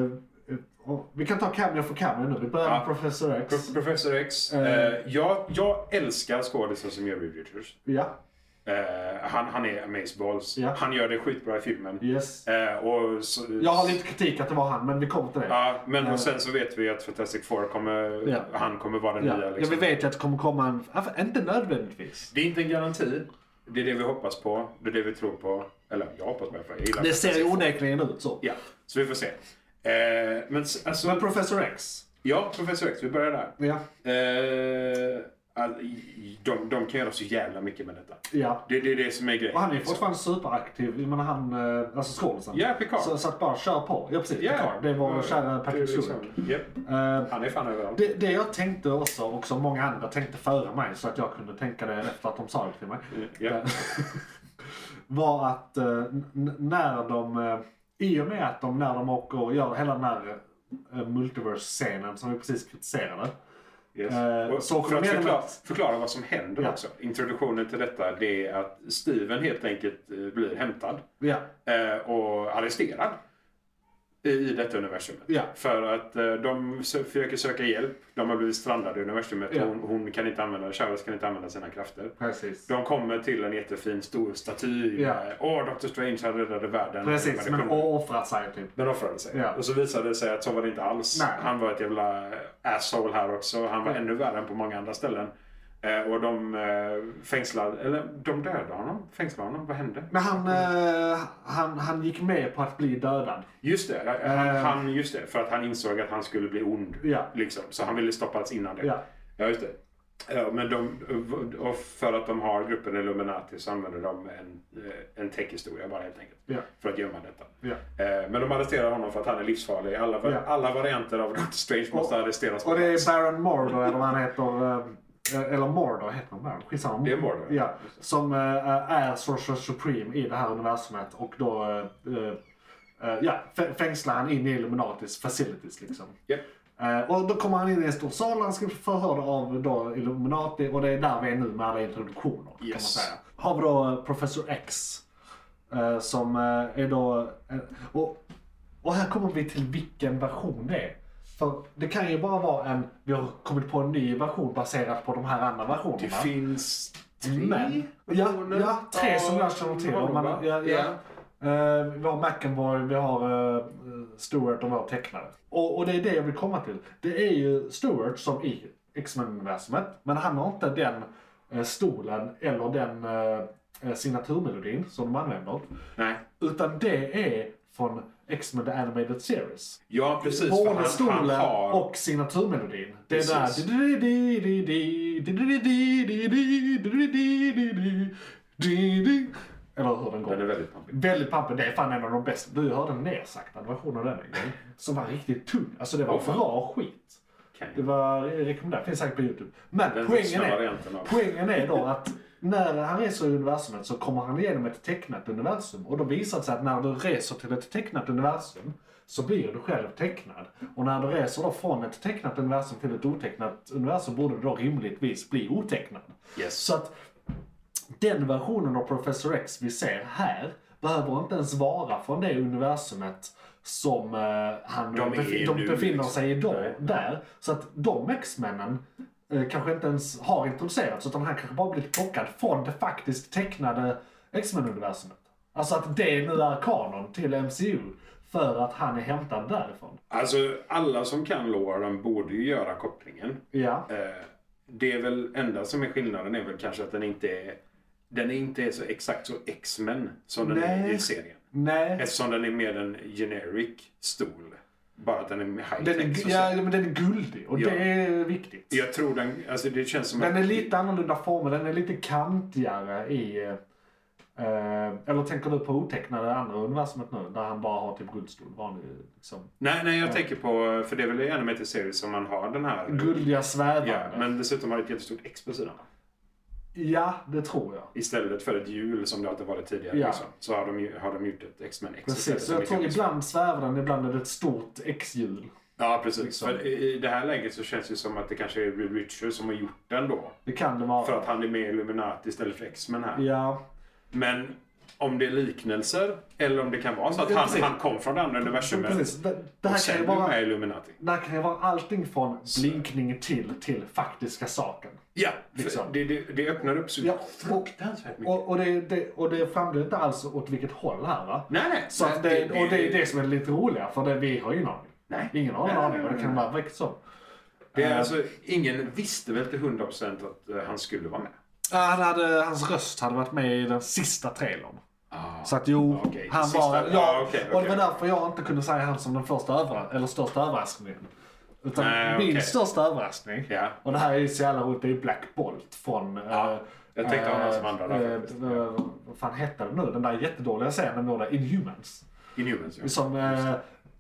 och vi kan ta cameo för cameo nu. Vi börjar med Ja. Professor X. Pro- Professor X. Eh, jag, jag älskar skådisen som gör Reed Richards. Ja, Eh, han, han är amazeballs. Ja. Han gör det skitbra i filmen. yes. Eh, och så, Jag har lite kritik att det var han, men vi kommer till det. Ja, men och sen så vet vi att Fantastic Four kommer, Ja. han kommer vara den Ja. nya. ja, Liksom. vi vet ju att det kommer komma en... Ja, för- Inte nödvändigtvis. Det är inte en garanti. Det är det vi hoppas på. Det är det vi tror på. Eller jag hoppas på det för jag gillar Det ser Fantastic ju Four. onekligen ut så. Ja, så vi får se. Eh, men s- alltså, Men Professor X. ja, Professor X, vi börjar där. Ja. Eh, all, i- de, de kan göra så jävla mycket med detta. ja. Det, det är det som är grejen. Och han är ju liksom. fortfarande superaktiv. Jag menar han... eh, Alltså skådisen. Ja, Picard. Så, så att bara kör på. Ja, precis. Ja, Picard. Det var ja, kära det är Patrick liksom- Stewart. Japp. Eh, Han är fan överallt. Det, det jag tänkte också, och som många andra tänkte före mig, så att jag kunde tänka det efter att de sa det till mig. Mm, eh, Ja. var att eh, n- n- när de, eh, i och med att de när de åker och gör hela den här eh, multiverse-scenen som vi precis kritiserade. Yes. Eh, och så för kom att igen med- förklara, förklara vad som händer Ja. också. Introduktionen till detta det är att Steven helt enkelt eh, blir hämtad Ja, eh, och arresterad i- i detta universumet. Ja. För att eh, de sö- försöker söka hjälp. De har blivit strandade i universumet. Ja. Hon, hon kan inte använda, Charles kan inte använda sina krafter. precis. De kommer till en jättefin stor staty. Ja. med, Åh, Dr. Strange han räddade världen. Precis, Det men kunde- offrat sig typ. men offrade sig. Ja. Och så visade det sig att så var det inte alls. Nej. Mm. Han var ett jävla asshole här också. Han var Ja. ännu värre än på många andra ställen. Eh, och de eh, fängslade, eller de dödade honom. Fängslade honom. Vad hände? Men han, eh, han, han gick med på att bli dödad. Just det, eh, han, Eh. han, just det. För att han insåg att han skulle bli ond. Ja. Liksom. Så han ville stoppas innan det. Ja. Ja, just det. Ja, men de, och för att de har gruppen Illuminati så använder de en, eh, en täckhistoria bara helt enkelt. Ja. För att gömma detta. Ja. Eh, Men de arresterar honom för att han är livsfarlig. Alla, Ja. alla varianter av Doctor Strange måste Och- arresteras. på Och det plats. är Baron Mordor, eller vad han heter. eh, Eller Mordor heter han Baron, skitsamma. Det är Mordor. Ja, som eh, är Sorcerer Supreme i det här universumet. Och då eh, eh, ja, fä- fängslar han in i Illuminatis facilities liksom. Japp. Eh, och då kommer han in i en stor sal, han ska bli förhörd av då Illuminati och det är där vi är nu med alla introduktioner. Kan man Yes. säga. Har vi då eh, Professor X. eh, som eh, är då... eh, och, och här kommer vi till vilken version det är. För det kan ju bara vara en, vi har kommit på en ny version baserat på de här andra versionerna. Det finns tre Men, ja, versioner ja, tre som av jag känner till. Om man, honom, va? ja, ja. Ja. Eh, vi har McEnroy, vi har eh, Stewart och vi har tecknare. Och, och det är det jag vill komma till. Det är ju Stewart som i X-Men-universumet, men han har inte den eh, stolen eller den eh, signaturmelodin som de använder. Nej. Utan det är från X-Men The Animated Series. Ja, precis. för Både han, stolen han har... och signaturmelodin. Det är Precis. där... Eller hur den går. Den är väldigt pampig. Väldigt pampig. Det är fan en av de bästa. Du hörde en nersaktad version av den en gång. Som var riktigt tung. Alltså det var Åh, fan. bra skit. Okej. Det var rekommenderat. Finns säkert på YouTube. Men Den poängen vuxna är, varianten av- poängen är då att när han reser i universumet så kommer han igenom ett tecknat universum. Och då visar det sig att när du reser till ett tecknat universum så blir du själv tecknad. Och när du reser då från ett tecknat universum till ett otecknat universum borde du då rimligtvis bli otecknad. Yes. Så att den versionen av Professor X vi ser här behöver inte ens vara från det universumet som eh, han De är befi- de nu, befinner liksom. sig idag Nej. där. Så att de X-männen eh, kanske inte ens har introducerats utan han kanske bara blivit plockad från det faktiskt tecknade X-Men-universumet. Alltså att det nu är kanon till MCU för att han är hämtad därifrån. Alltså, alla som kan Lauren borde ju göra kopplingen. Ja, Eh, det är väl enda som är skillnaden är väl kanske att den inte är, den är inte så exakt så X-Men som den är Nej. i serien. nej. Eftersom den är mer en generic stol. Bara att den är high Den är, tech. gu- ja, men den är guldig och Ja. det är viktigt. Jag tror den, alltså det känns som Den är lite annorlunda form, den är lite kantigare i... Eh, eller tänker du på otecknade andra universumet nu? Där han bara har typ guldstol, vanlig liksom. Nej, nej jag tänker på, för det är väl i animated series som man har den här. Guldiga svävande. Ja, Ja, men dessutom har det ett jättestort X på sidan. det tror jag. Istället för ett hjul som det alltid varit tidigare. Ja. Liksom, så har de, ju- har de gjort ett X-Men X istället Precis, så som jag det tror kallas. ibland svävar den, ibland är det ett stort X-hjul. Ja, precis. Liksom. För i i det här läget så känns det som att det kanske är Reed Richards som har gjort den då. Det kan det vara. För att han är med i Illuminati istället för X-Men här. Ja, Men om det är liknelser eller om det kan vara så att Ja, han, precis. han kom från det andra universumet precis. Det, det här och kan ju sen blev vara... med i Illuminati. Det här kan ju vara allting från blinkning till, till faktiska saken. Ja, för Liksom. det, det, det öppnar upp så Ja, fruktansvärt mycket. Och, och, det, det, och det framgår inte alls åt vilket håll här va? nej, nej. Så att det, och det är det som är lite roliga, för det, vi har ingen aning. Nej. Ingen har en Nej, aning nej, vad det nej, kan nej. vara vilket som. Det eh, är alltså, ingen visste väl till 100% att eh, han skulle vara med. Ja, Han hade, hans röst hade varit med i den sista trailern. Så att jo, Okej, han sista- var... ja, okej, och det var okej. därför jag inte kunde säga han som den första övra, eller största överraskningen. Utan Nej, min okej. största överraskning, Ja. och det här är ju så jävla roligt, det är ju Black Bolt från... eh, jag tänkte ha honom som andra där eh, faktiskt. eh, Vad fan hette den nu? Den där jättedåliga serien med båda Inhumans. Inhumans, ja. Som eh,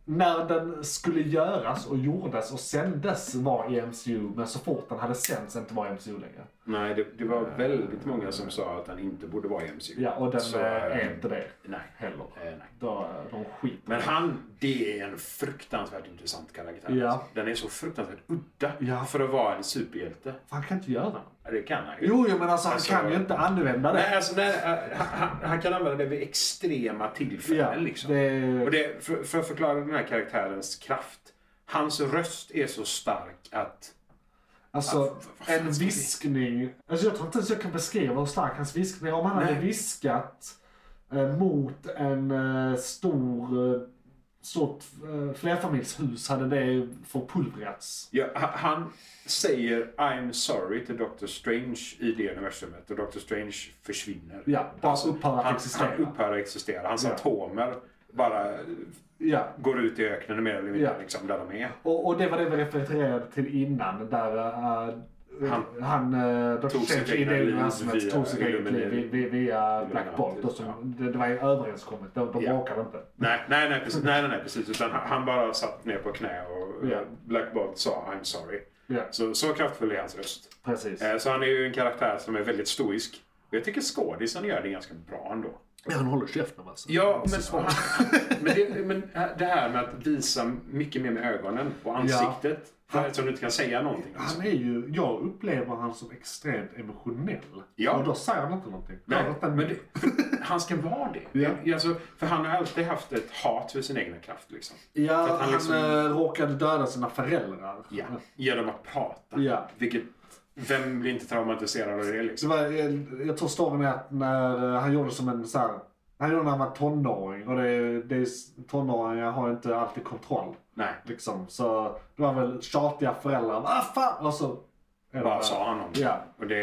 när den skulle göras och gjordes och sändes var i MCU, men så fort den hade sänts inte var i MCU längre. Nej, det, det var väldigt många som sa att han inte borde vara i MCU. Ja, och den Så, eh, eh, är inte det Nej. heller. Eh, nej. Då, eh, de skiter Men han, det är en fruktansvärt intressant karaktär. Ja. alltså. Den är så fruktansvärt udda Ja. för att vara en superhjälte. För han kan inte göra det. Ja, Det kan han ju. Jo, jo men alltså, Alltså, han kan ju inte använda det. Nej, alltså, nej, eh, han- han, han kan använda det vid extrema tillfällen. ja, liksom. det, Och det, för, för att förklara den här karaktärens kraft. Hans röst är så stark att... alltså, Ah, vad fan en ska vi- viskning. Alltså, jag tror inte ens jag kan beskriva hur stark hans viskning Om han hade Nej. viskat eh, mot en eh, stor, eh, stort eh, flerfamiljshus hade det förpulvrats. Ja, ha- han säger I'm sorry till Doctor Strange i det universumet och Doctor Strange försvinner. Ja, bara upphör att Alltså, han, existera. Han upphör att existera. Hans Ja. atomer bara Ja, går ut i öknen mer eller mindre Ja. liksom, där de är. och, och det var det vi refererade till innan där eh, Han- han eh, Dr. tog sitt Strange i egna det liv universumet via tog sitt eget liv Illuminati. vi- vi- via Black Illuminati, Bolt. Och så, ja. det, det var ju överenskommet, de, de Ja. bråkade inte. Nej, nej, nej, precis. Nej, nej, nej, precis. Utan han han bara satt ner på knä och Ja. eh, Black Bolt sa I'm sorry. Ja, Så, så kraftfull är hans röst. precis. Eh, Så han är ju en karaktär som är väldigt stoisk. Och jag tycker skådisen gör det ganska bra ändå. Ja, han håller käften alltså. Ja, men, men, det, men det här med att visa mycket mer med ögonen och ansiktet. Han- Eftersom du inte kan säga någonting. Alltså. Han är ju, jag upplever han som extremt emotionell. Ja. Och då säger han inte någonting. Nej, Jag vet inte. men det, för han ska vara det. Ja. Ja. Alltså, för han har alltid haft ett hat för sin egna kraft. Liksom. ja, för han, att han liksom- eh, råkade döda sina föräldrar. Ja. Genom att prata. Ja. Vilket, vem blir inte traumatiserad av det? Så Liksom? var, jag, jag tror storyn är att när eh, han gjorde eh, som en så här Nej, det var när han var tonåring och det, är- det, är- tonåringar har inte alltid kontroll. Nej, Liksom. Så det var väl tjatiga föräldrar. Vad fan! Och så... bara sa han om det. Ja. Och det,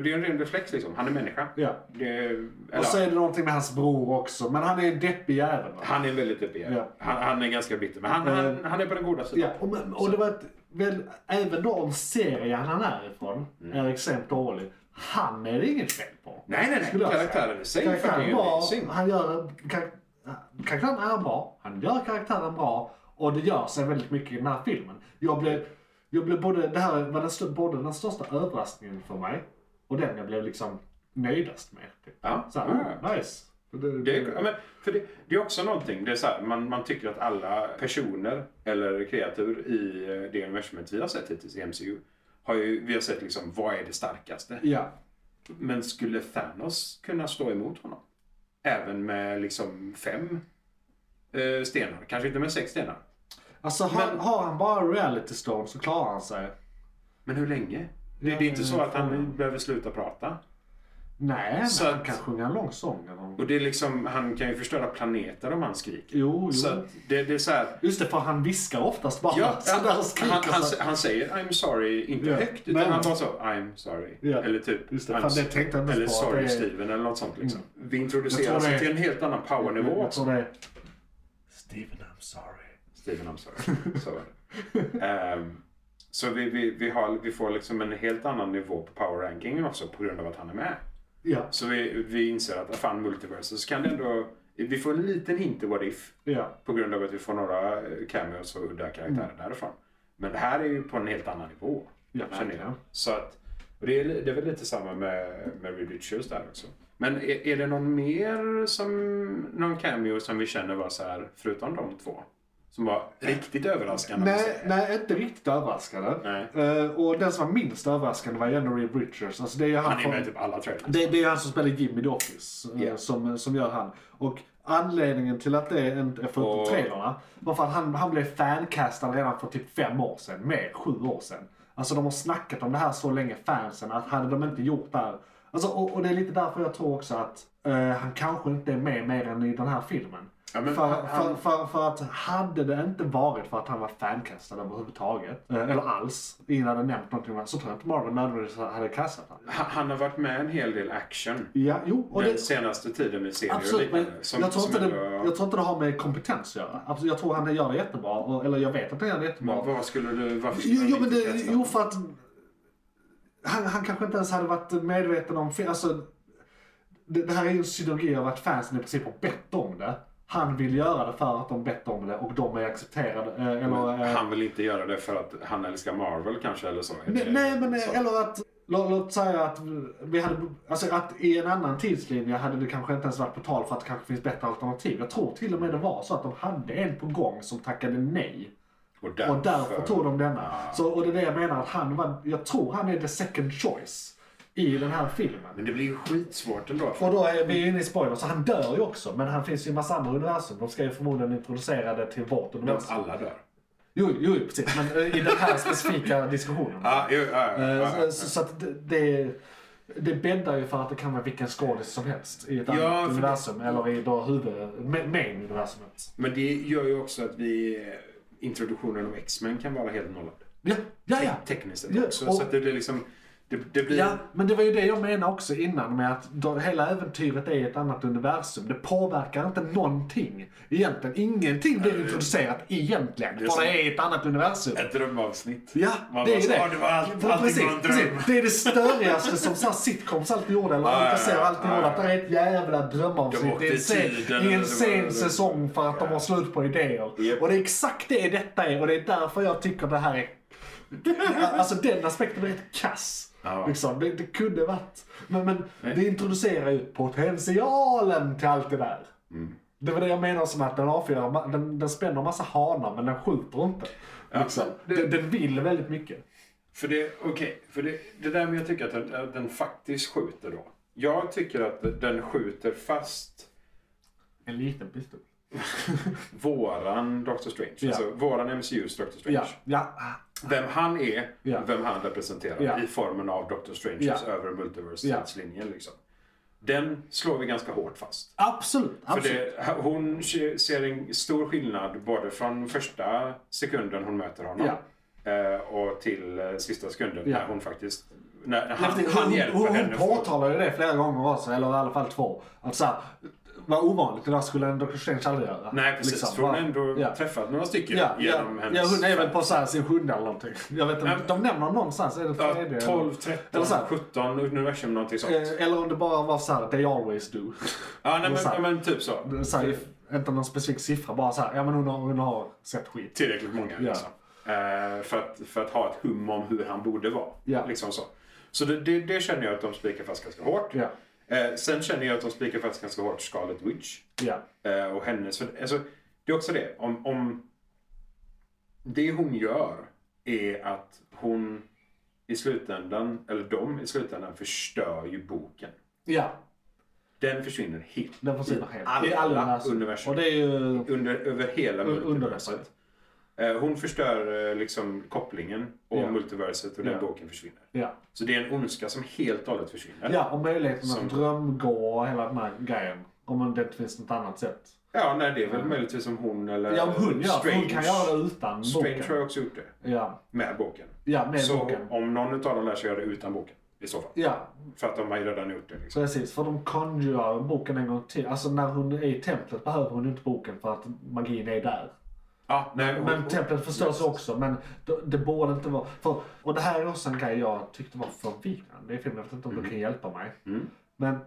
det är en ren reflex liksom. Han är människa. Ja. Det, eller, Och så är det någonting med hans bror också. Men han är en deppig jävel. va? Han är väldigt uppe Ja. Eh, han, han är ganska bitter. Men han, han, han är på den goda sidan. Ja, och, men- och det var ett, väl, även då om serien han är ifrån är extremt dålig. Han är det inget fel på. Mm. Nej, nej, nej. Skulle jag säga. Karaktären i sig fucking Karaktären bra, amazing. han gör, kar- karaktären är bra, han gör karaktären bra och det gör sig väldigt mycket i den här filmen. Jag blev, jag blev både, det här var den, stö- både den största överraskningen för mig och den jag blev liksom nöjdast med. Typ. Ja. Så här, Ja. oh, nice. Det, Det är, ja, men, för det, det är också någonting, det är så här, man, man tycker att alla personer eller kreatur i eh, det universumet vi har sett hittills i MCU, har ju, vi har sett liksom, vad är det starkaste? ja. Men skulle Thanos kunna stå emot honom? Även med liksom fem eh, stenar, kanske inte med sex stenar. Alltså har, Men- har han bara reality stone så klarar han sig. Men hur länge? Det, det är inte så att han behöver sluta prata. Nej, men Så han att- kan sjunga en lång sång. Eller... något. Och det är liksom, han kan ju förstöra planeter om han skriker. Jo, jo. Så att det, det är så här, Just det, för han viskar oftast bara Ja, han, sådär och skriker. han, han, så- han säger I'm sorry, inte Ja, högt, utan men- han bara så I'm sorry. Ja, Eller typ just det. I'm Fan, det s- tänkte jag inte Eller på, sorry det är- Mm. Steven eller något sånt. Liksom. Vi Jag introduceras tror det är- Mm. till en helt annan powernivå Jag också. tror det är... Steven, I'm sorry. Steven I'm sorry. så var det. Ehm, så vi, vi, vi, har, vi får liksom en helt annan nivå på power rankingen också på grund av att han är med. Ja, Så vi, vi inser att fan multiversus kan det ändå... Vi får en liten hint till what if. ja. På grund av att vi får några eh, cameos och udda karaktärer därifrån. Men det här är ju på en helt annan nivå. Mm. Ja, känner jag. verkligen. Så att, och det, är, li- det är väl lite samma med, med Reed Richards där också. Men är, är det någon mer som någon cameo som vi känner var så här, förutom de två? Som var riktigt överraskande? om man Nej, säger? nej, inte riktigt överraskande. Nej. Eh, och den som var minst överraskande var ju ändå Reed Richards. Alltså, det är ju han, Han är från- med i typ alla trailers. det, det är ju han som spelar Jim i The Office eh, Ja. som, som gör han. Och anledningen till att det inte är förutom Och- trailrarna var för att han, han blev fancastad redan för typ fem år sedan. Mer, sju år sedan. Alltså de har snackat om det här så länge, fansen, att hade de inte gjort det här. Alltså, och, och det är lite därför jag tror också att eh, han kanske inte är med mer än i den här filmen. Ja, men för, han- för, för, för att hade det inte varit för att han var fancastad överhuvudtaget, eh, eller alls, ingen hade nämnt någonting om det, så tror jag inte Marvel nödvändigtvis hade kastat honom. Han, han har varit med en hel del action. Ja, jo. Och den det, senaste tiden med serier och Absolut, men liknande. Som, jag, tror som inte det, ändå- jag tror inte det har med kompetens att göra. Absolut, jag tror han gör det jättebra, och, eller jag vet att han gör det jättebra. vad, vad skulle du... Varför skulle Jo, du jo, men inte det, testa? jo för att han, han kanske inte ens hade varit medveten om... fe- Alltså, det, det här är ju en synergi av att fansen i princip har bett om det. Han vill göra det för att de bett om det och de är accepterade. eh, Eller, eh, Han vill inte göra det för att han älskar Marvel kanske eller så. Är Nej, det- nej men så. eh, eller att, lå, låt säga att vi hade, alltså att i en annan tidslinje hade det kanske inte ens varit på tal för att det kanske finns bättre alternativ. Jag tror till och med det var så att de hade en på gång som tackade nej. Och därför, Och därför tog de denna. Så, och det är det jag menar att han var, jag tror han är the second choice i den här filmen. Men det blir ju skitsvårt ändå. Och då är vi inne i spoilers, så han dör ju också. Men han finns ju i en massa andra universum. De ska ju förmodligen introducera det till vårt De universum. alla dör. Jo, jo, precis. Men eh, i den här specifika diskussionen. Ja, jo, ja, ja, ja, Eh, ja. Så, så att det, det, det bäddar ju för att det kan vara vilken skådis som helst i ett Ja, för annat det- universum. Eller i då huvud... ma- Main-universumet. Men det gör ju också att vi... eh, Introduktionen av X-Men kan vara helt nollad. Ja, ja, ja. Tekniskt sett Ja, också. och- Så att det blir liksom... Det, det blir... Ja, men det var ju det jag menade också innan med att då, hela äventyret är ett annat universum. Det påverkar inte någonting egentligen. Ingenting blir introducerat egentligen. är för som- det är ett annat universum. Ett drömavsnitt. Ja, Man det är bara ju så, det. "Ah, det var allt- Ja, allting precis, var en dröm." precis. Det är det störigaste som så här sitcoms alltid gjorde. Eller Ja, man ja, ser ja, alltid ja, gjorde. ja. Att det är ett jävla drömavsnitt. åkte Det är i en sen, tiden, det är en eller det var- sen säsong för att de har slut på idéer. Japp. Och det är exakt det detta är. Och det är därför jag tycker det här är... alltså den aspekten är rätt kass. Ja. Liksom, det, det kunde varit. Men, men det introducerar ju potentialen till allt det där. Det var det jag menar som att den avfyrar, ma- den, den spänner massa hanar men den skjuter inte. Liksom. det- Den, den vill väldigt mycket. För det, okej, för det, det där med jag tycker att den, att den faktiskt skjuter då. Jag tycker att den skjuter fast En liten pistol. våran Doctor Strange. Ja. Alltså våran MCUs Doctor Strange. Ja, ja, Vem han är, Ja. vem han representerar Ja. i formen av Doctor Stranges Ja. över multiverse Ja. tidslinjen liksom. Den slår vi ganska hårt fast. Absolut, För absolut. det, hon ser en stor skillnad både från första sekunden hon möter honom eh, och till eh, sista sekunden Ja. när hon faktiskt... När han, Efter- han hon, hjälper hon, henne. hon påtalar ju det flera gånger också, eller i alla fall två. Att så här, vad ovanligt, det där skulle en Dr. Strange aldrig göra. Nej, precis. Liksom, för hon har bara- ändå ja. träffat några stycken Ja, ja, genom ja, hennes... hon är väl på så här sin sjunde eller någonting. Jag vet inte, Nej, men- de nämner någonstans, är det Ja, tredje? 12, Eller 13, så här. 17 universum någonting sånt. Eh, Eller om det bara var så här, they always do. ja, nej, eller men, så här. ja, men typ så. Så här, inte någon specifik siffra, bara så här, ja men hon har, hon har sett skit. tillräckligt många. Ja. Liksom. Eh, för, att, för att ha ett hum om hur han borde vara. Ja. Liksom så så det, det, det känner jag att de spikar fast ganska hårt. Ja. Eh, sen känner jag att de spikar fast ganska hårt Scarlet Witch. Ja, Eh, och hennes... För, alltså, det är också det. Om, om det hon gör är att hon i slutändan, eller de i slutändan, förstör ju boken. ja Den försvinner helt. den försvinner helt. alla I universum. universum. Och det är ju... Under, över hela under- multiverset. Eh, Hon förstör eh, liksom kopplingen och Ja. multiverset och den Ja. boken försvinner. Ja. Så det är en ondska som helt och hållet försvinner. Ja, och möjligheten Som- att drömgå och hela den här grejen. Om det inte finns något annat sätt. Ja, nej, det är väl möjligtvis som hon eller Ja, om hon gör för hon kan Strange. göra det utan Strange har boken. ju också gjort det. Ja, Med boken. ja med så boken. om någon utav dem lär sig göra det utan boken. I så fall. Ja, För att de har ju redan gjort det. Liksom. precis. För de conjurar boken en gång till. Alltså när hon är i templet behöver hon inte boken för att magin är där. Ja, nej, hon, Eh, Men templet förstörs också, men det, det borde inte vara... För, och det här är också en grej jag tyckte var förvirrande i filmen. Jag vet inte om du kan hjälpa mig. Mm. Men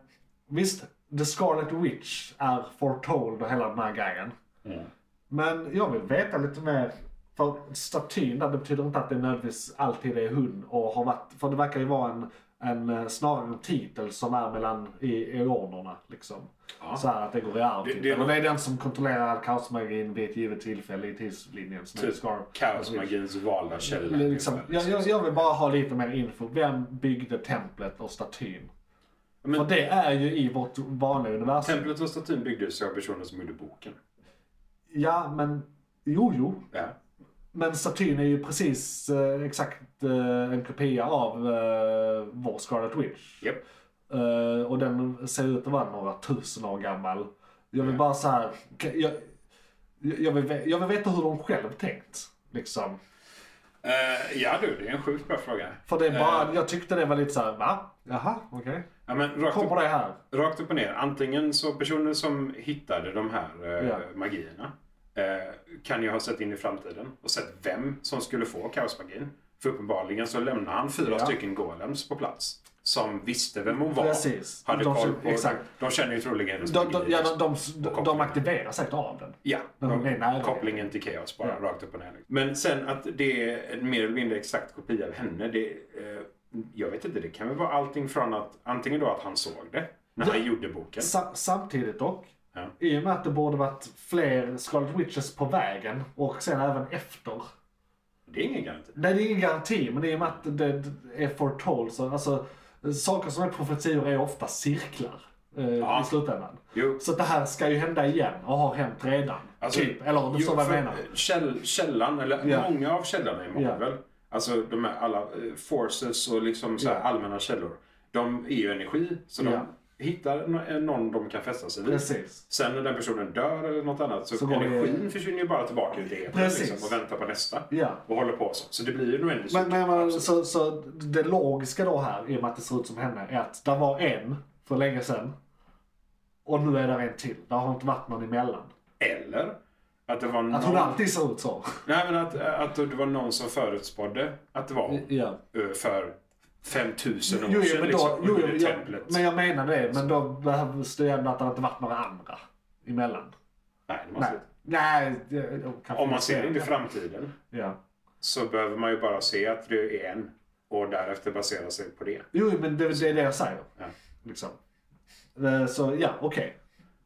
visst, The Scarlet Witch är foretold och hela den här grejen. Mm. Men jag vill veta lite mer. För statyn där, det betyder inte att det nödvändigtvis alltid är hon och har varit. För det verkar ju vara en, en eh, snarare en titel som är mellan i eonerna liksom. Ja. Så här att det går i arv. Det- typ. det- Eller det är den som kontrollerar all kaosmagin vid ett givet tillfälle i tidslinjen. Som är Typ Scar- Kaosmagins valda källa. Liksom, ungefär, jag, jag, jag vill bara ha lite mer info. Vem byggde templet och statyn? Men- För det är ju i vårt vanliga universum. Templet och statyn byggdes av personer som gjorde boken. Ja, men jo, jo. Ja. Men statyn är ju precis eh, exakt eh, en kopia av eh, vår Scarlet Witch. Japp. Eh, och den ser ut att vara några tusen år gammal. Jag vill bara så här, kan- jag, jag, jag, vill, ve- jag vill veta hur de själv tänkt. Liksom. Eh, ja du, det är en sjukt bra fråga. För det är bara, jag tyckte det var lite så här, va? Eh. Jaha, okej. Ja, men rakt upp Kommer det här? Rakt upp och ner. Antingen så personer som hittade de här eh, Ja. magierna eh, kan ju ha sett in i framtiden och sett vem som skulle få kaosmagin. För uppenbarligen så lämnar han fyra Ja. stycken golems på plats. Som visste vem hon var. Precis. Hade De koll känner- på, exakt. De känner ju troligen hennes De, de, magi. ja, de, de, de, de kopplingen. aktiverar säkert av den. Ja, Men hon är nära. kopplingen till kaos bara, Ja. rakt upp och ner. Men sen att det är en mer eller mindre exakt kopia av henne, det, eh, jag vet inte, det kan väl vara allting från att antingen då att han såg det när han gjorde boken. Sa, samtidigt dock, Ja. i och med att det borde varit fler Scarlet Witches på vägen och sen även efter. Det är ingen garanti. Nej, det är ingen garanti, men i och med att det är foretold så alltså, saker som är profetior är ofta cirklar eh, Ja. i slutändan. Jo. Så det här ska ju hända igen och har hänt redan. Alltså, typ, eller om du jo, förstår vad jag för- menar. Käll, källan, eller Ja. många av källorna i Marvel, alltså de här alla eh, forces och liksom så här Ja. allmänna källor, de är ju energi. Så Ja. de hittar nå- någon de kan fästa sig vid. Precis. Sen när den personen dör eller något annat så, Så går det- energin försvinner ju bara tillbaka ut i etern Precis. liksom, och väntar på nästa. Ja. Och håller på så. Så det blir ju nog ändå Men, men men, Absolut. så, så det logiska då här, i och med att det ser ut som henne, är att det var en för länge sedan. Och nu är det en till. Det har inte varit någon emellan. Eller att det var någon... Att hon alltid ser ut så. Nej, men att, att det var någon som förutspådde att det var hon. Ja. eh, för 5000 år Jo, jo, sedan. men, då, liksom, jo, jo, under jag, templet. men jag menar det. Men då behövs det ju ändå att det inte varit några andra emellan. Nej, det måste Nej. Nej, det, det, kanske Alltså. Om man ser inte. in i framtiden Ja. så behöver man ju bara se att det är en och därefter basera sig på det. Jo, jo, men det, det är det jag säger. Ja. Liksom. Eh, Så ja, okej.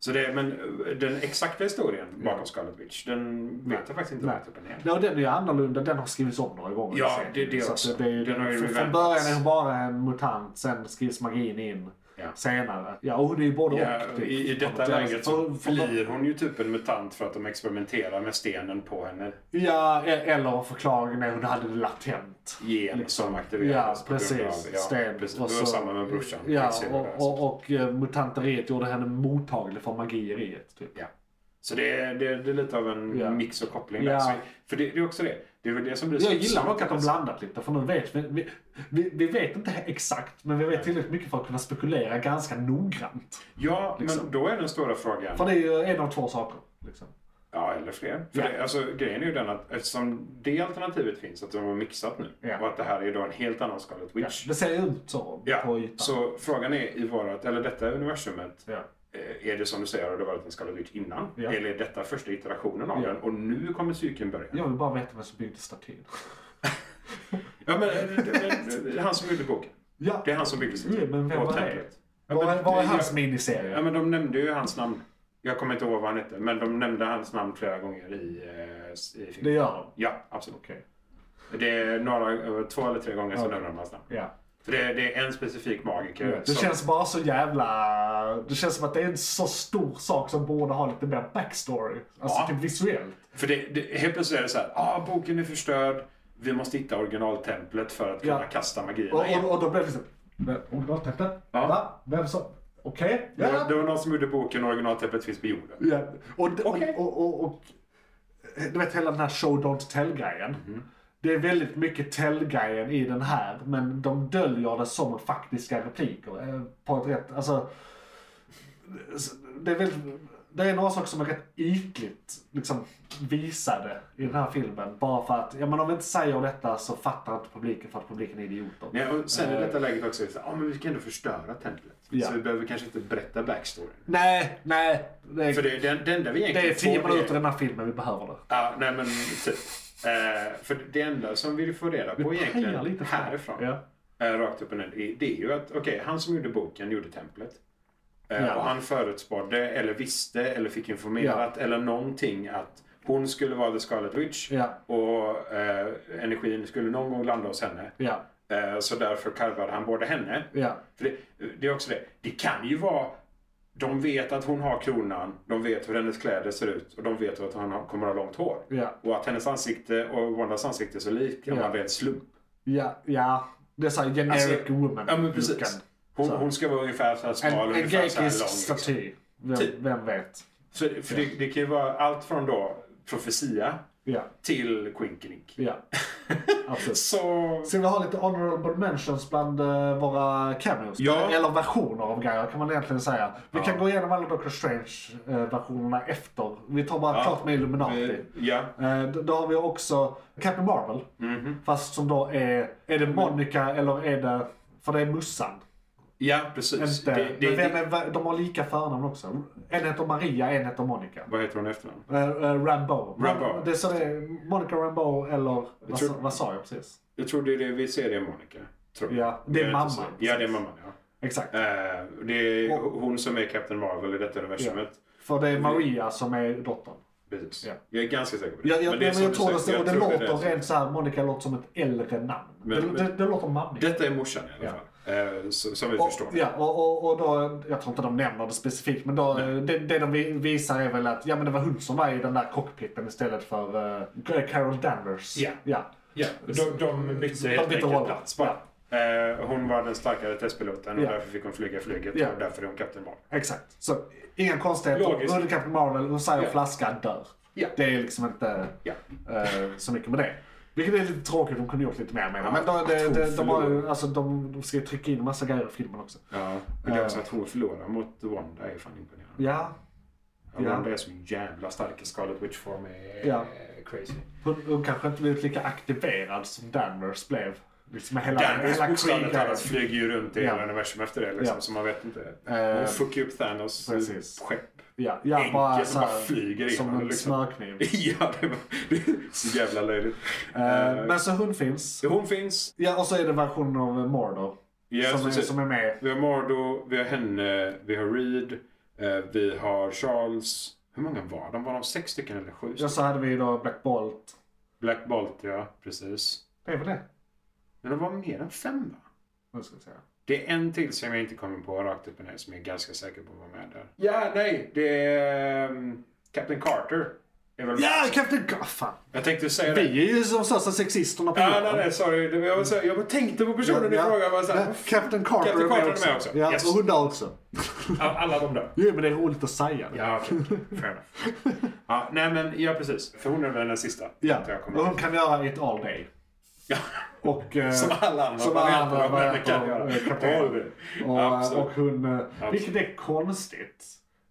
Så det, men eh, den exakta historien bakom Scarlet Witch, den vet jag faktiskt inte Nej. rätt upp och ner. Okay. Den är ju annorlunda. Den har skrivits om några gånger. i Ja, serien. det- det Så att också. Det, det, är ju- Den har ju från- från revampats. början är hon bara en mutant. Sen skrivs magin in. Ja. senare. Ja, och det är ju både Ja, och. typ. i, I detta För- läget så för- för- blir hon ju typ en mutant för att de experimenterar med stenen på henne. Ja, e- eller förklaringen är hon hade det latent. Gen som Ja, aktiveras på grund precis. av- ja, Sten. precis. Det Och var så- samma med brorsan. Ja, Exil och det här. och, och, och eh, mutanteriet gjorde henne mottaglig för mageriet. Typ. Ja. Så det är, det, är, det är lite av en Ja. mix och koppling där. Ja. Så, för det, det är också det. Det är väl det som blir Jag så gillar svårt dock att de blandat lite, för nu vet vi, vi, vi, vi vet inte exakt, men vi vet tillräckligt mycket för att kunna spekulera ganska noggrant. Ja, liksom. men då är den stora frågan. För det är ju en av två saker. Liksom. Ja, eller fler. För Ja. det, alltså, grejen är ju den att eftersom det alternativet finns, att de har mixat nu, Ja. och att det här är då en helt annan Scarlet Ja, Witch. det ser ut så Ja. på ytan. Så frågan är i vårat, eller detta universumet, Ja. eh, är det som du säger, har det varit en Scarlet Witch innan? Ja. Eller är detta första iterationen av Ja. den och nu kommer cykeln börja? Jag vill bara veta vem som byggde statyn. Ja, men eh, det- det- det- det är han som gjorde boken. Ja, Det är han som byggde Ja, men vem och var det? templet. Ja, vad men är- vad är det- hans Ja, miniserie? men de nämnde ju hans namn. Jag kommer inte ihåg vad han hette, men de nämnde hans namn flera gånger i, eh, s- i Det filmen. gör de. Ja, absolut. Okej. Det är några, eh, två eller tre gånger som Okej. nämner de hans namn. Ja. För det, det är en specifik magiker. Det som, känns bara så jävla... Det känns som att det är en så stor sak som borde ha lite mer backstory. Alltså Ja. typ visuellt. För det, det, helt plötsligt är det så här, ah, boken är förstörd. Vi måste hitta originaltemplet för att kunna Ja. kasta magierna Och, igen. och, och då blev det liksom... "Men Originaltexten? Ja. Va? Vem som... Okej? Det, Ja. var, det var någon som gjorde boken och originaltemplet finns på jorden. Ja. Och, och, Okej. och, och, och, eh, du vet hela den här show don't tell-grejen. Mhm. Det är väldigt mycket tell-grejen i den här, men de döljer det som faktiska repliker. eh, På ett rätt, alltså, det, är väldigt, det är några saker som är rätt ytligt liksom, visade i den här filmen. Bara för att, ja men om vi inte säger detta så fattar inte publiken för att publiken är idioter. Nej, och sen i detta läget också, är det så här, ah, men vi kan ändå förstöra templet. Ja. Så vi behöver kanske inte berätta backstoryn. Nej, nej. Det För är, det, det, det enda vi egentligen det är tio får minuter i den här filmen vi behöver det. Ja, nej men typ. Eh, för det enda som vi får reda på egentligen pajar lite för- härifrån, Ja. eh, rakt upp och ner, det- det är ju att okej, han som gjorde boken gjorde templet. Eh, Ja. Och han förutspådde, eller visste, eller fick informerat, eller någonting att hon skulle vara The Scarlet Witch Ja. och eh, energin skulle någon gång landa hos henne. Ja, Eh, så därför karvade han både henne ja. för det, det är också det. Det kan ju vara... De vet att hon har kronan, de vet hur hennes kläder ser ut och de vet att hon har, kommer att ha långt hår. Ja. Och att hennes ansikte och Wandas ansikte är så lika Ja. av en slump. Ja, ja. Det är såhär generic Alltså, woman. Ja men Lukan. precis. Hon, Så. hon ska vara ungefär så här smal och En, en ungefär så här lång. grekisk Liksom. staty. Vem, Typ. vem vet? Så, det- för det, det kan ju vara allt från då profetia Ja, till Quinkelink. ja. Absolut. Så... eh, Ska vi ha lite honorable mentions bland eh, våra cameos? Ja. Eller versioner av grejer kan man egentligen säga. Vi kan gå igenom alla Doctor Strange-versionerna efter. Vi tar bara Ja. klart med Illuminati. Ja. Eh, d- Då har vi också Captain Marvel. Mhm. Fast som då är... Är Mm. det Monica eller är det... För det är Mussan. Ja, precis. Inte. Det, det, men vem det, är, de har lika förnamn också. En heter Maria, en heter Monica. vad heter hon i efternamn? Eh, eh, Rambo. Rambeau. Det är så det är Monica Rambo eller... Vad, tror- sa- vad sa jag precis? Jag tror det är det vi ser det i Monica. Tror jag. Ja, det är Jag inte så- mamman. Ja, det är mamman. Ja. Exakt. Eh, det är hon som är Captain Marvel i detta universumet. För det är Maria som är dottern. Precis. Ja. Jag är ganska säker på det. Jag, jag, men det är som jag du tror det, säger, så, och jag det tror är låter det. rent såhär, Monica låter som ett äldre namn. Men- det, men- det, det låter mammigt. Detta är morsan i alla Ja. fall. Eh, så, som vi förstår. Och, ja, och, och, och då, jag tror inte de nämner det specifikt, men då, det, det de vi- visar är väl att ja, men det var hon som var i den där cockpiten istället för eh, Carol Danvers. Ja. ja. Ja, de, de bytte helt bytte enkelt roller. plats bara. Eh, hon var den starkare testpiloten och Ja. därför fick hon flyga flyget Ja. och därför är hon Captain Marvel. Exakt. Så inga konstigheter. Logiskt. Under Captain Marvel, hon säger Ja. flaska, dör. Ja. Det är liksom inte Ja. eh, så mycket med det. Vilket är lite tråkigt, de kunde gjort lite mer med det. Men då, det, hon det, de, har, ju- förlorar. alltså, de, de ska ju trycka in massa grejer i filmen också. Ja, men det är också att hon förlorar mot Wanda är fan imponerande. Ja, Ja. Ja. Wanda är så jävla stark i Scarlet Witch-form. är Ja. eh, crazy. hon, hon kanske inte blivit lika aktiverad som Danvers blev. Liksom med hela, Danvers hela bokstavligt kriget. talat flyger ju runt i Ja. hela universum efter det liksom, Ja. så man vet inte. Eh, Hon fuckar upp Thanos precis. skepp. Ja, ja Enkelt, bara bara så här, flyger in Som honom, en liksom. smörkniv. ja, det var det är så jävla löjligt. Eh, Eh, men så hon finns. hon finns. Ja, och så är det versionen av Mordor. Ja, som, är, precis. som är med. Vi har Mardo, vi har henne, vi har Reed, eh, vi har Charles. Hur många var de? Var de sex stycken eller sju? Ja, stycken? så hade vi då Black Bolt. Black Bolt, ja. Precis. Det är väl det. Men de var mer än fem, va? Nu ska vi se. Det är en till som jag inte kommer på rakt upp och ner som jag är ganska säker på var med där. Ja, nej, det är ehm, Captain Carter. Är väl Ja, med. Captain Gar- fan. Jag tänkte säga det. Vi är ju de största sexisterna på ah, Ja, nej, jorden. nej, sorry. Det var- Jag, var så, jag bara tänkte på personen i fråga. Jag var så här, Ja, Captain Carter, Captain är Carter med också. Ja, Yes. och hundar också. Av alla de där. Jo, men det är roligt att säga det. Ja, okej. Fair enough. Ja, nej, men ja, precis. För hon är väl den sista. Ja, tror Jag och kommer. de kan göra ett all day. Ja. Och, eh, Som alla andra Som alla andra eh, varianter kan göra. varianter av kapten. Och, eh, Absolut. och hon, eh, vilket är konstigt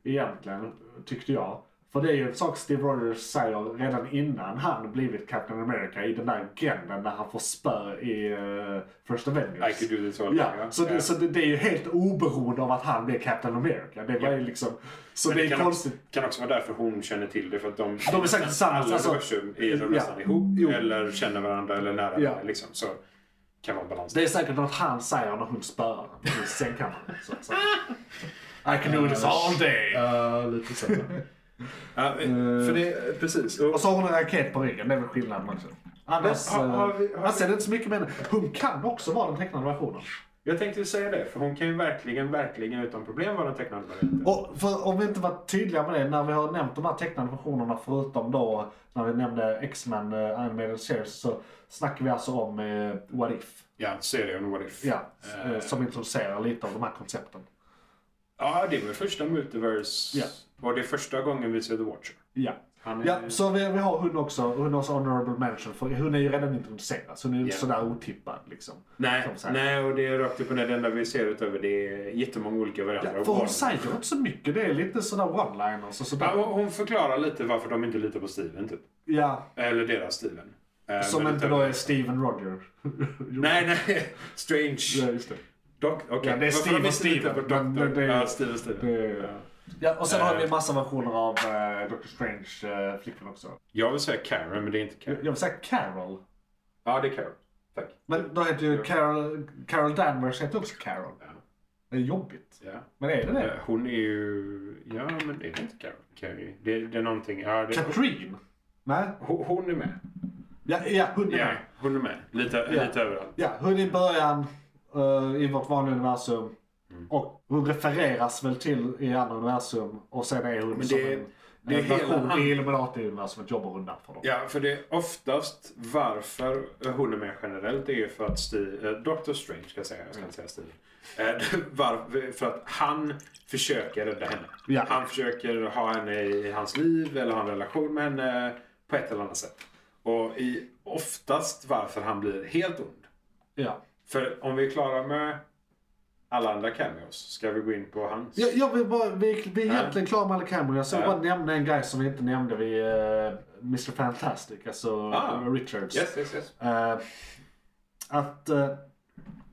egentligen, tyckte jag. För det är ju en sak Steve Rogers säger redan innan han blivit Captain America i den där agenden när han får spö i eh, First Avengers. I could do this all Ja, day, ja. så, Ja. det, så det, det är ju helt oberoende av att han blir Captain America. Det var ju liksom, så det, Det är kan också, konstigt. kan också vara därför hon känner till det. För att de, De är säkert tillsammans, Alla alltså. universum är de Ja. nästan ihop. Jo. Eller känner varandra eller nära Ja. varandra. Liksom. Så kan vara balans. Det är säkert något han säger när hon spöar honom i sängkammaren. Så, så. I can do this all day! lite så. Ja, eh, Eh, för det, precis. Och, Och så har hon en raket på ryggen, det är väl skillnaden också. Annars, Men, har- har vi- har eh, annars vi- är det inte så mycket med henne. Hon kan också vara den tecknade versionen. jag tänkte ju säga det. För hon kan ju verkligen, verkligen utan problem vara den tecknade varianten. Och för, om vi inte var tydliga med det, när vi har nämnt de här tecknade versionerna förutom då när vi nämnde X-Men eh, Animated Series så snackar vi alltså om eh, What If. Ja, serien What If. Ja, eh, som introducerar lite av de här koncepten. Ja, det var första Multiverse. Ja. Var det första gången vi ser The Watcher? Ja. Han är- Ja, så vi, vi har hon också, hon har också honorable mention, för hon är ju redan introducerad, så hon är ju inte Ja. sådär otippad liksom. Nej, Som sagt. nej, och det är rakt upp och ner. Det enda vi ser utöver det är jättemånga olika varianter. Ja, av för hon Warner. säger ju inte så mycket, det är lite sådär one-liners och Ja, sådär. hon- hon förklarar lite varför de inte litar på Steven, typ. Ja, Eller deras Steven. Eh, som men inte utöver- då är Steven Roger. Nej, nej. Strange. Ja, just det. Doc, okej. Ja, det är Varför Steve de och inte litar på Steven, men Doktor? det- det- Ja, Steve och Steven. det- Ja. Ja, och sen har vi Eh. en massa versioner av eh, Doctor Strange eh, flickvän också. Jag vill säga Karen, men det är inte Jag Karen. jag vill säga Carol. Ja, det är Karen. Tack. Men då heter ju Carol, Carol Danvers heter också Carol. Ja. Det är jobbigt. Ja. Men är det det? Eh, Hon är ju... Ja, men är det inte Karen? Carrie. Det, det är någonting... Ja, det... Katrine? Nej? Hon hon är med. Ja, ja hon är Ja, med. hon är med. Lite, Ja. lite överallt. Ja, hon är i början eh, i vårt vanliga universum. Mm. Och hon refereras väl till i andra universum. Och sen är hon Men som det- en, det är en hela version han- i Illuminati-universumet jobbar hon därför. Då. Ja, för det är oftast varför hon är med generellt det är ju för att Steve, eh, Dr. Strange ska jag säga, jag ska inte säga Steve. Eh, var, för att han försöker rädda henne. Ja. Han försöker ha henne i hans liv eller ha en relation med henne på ett eller annat sätt. Och i oftast varför han blir helt ond. Ja. För om vi är klara med alla andra cameos, ska vi gå in på hans? Jag, jag vill bara, vi, vi är Ja. egentligen klara med alla kameror. Jag ska Ja. bara nämna en grej som vi inte nämnde vid eh, Mr Fantastic, alltså Ah. Richards. Yes, yes, yes. Eh, att eh,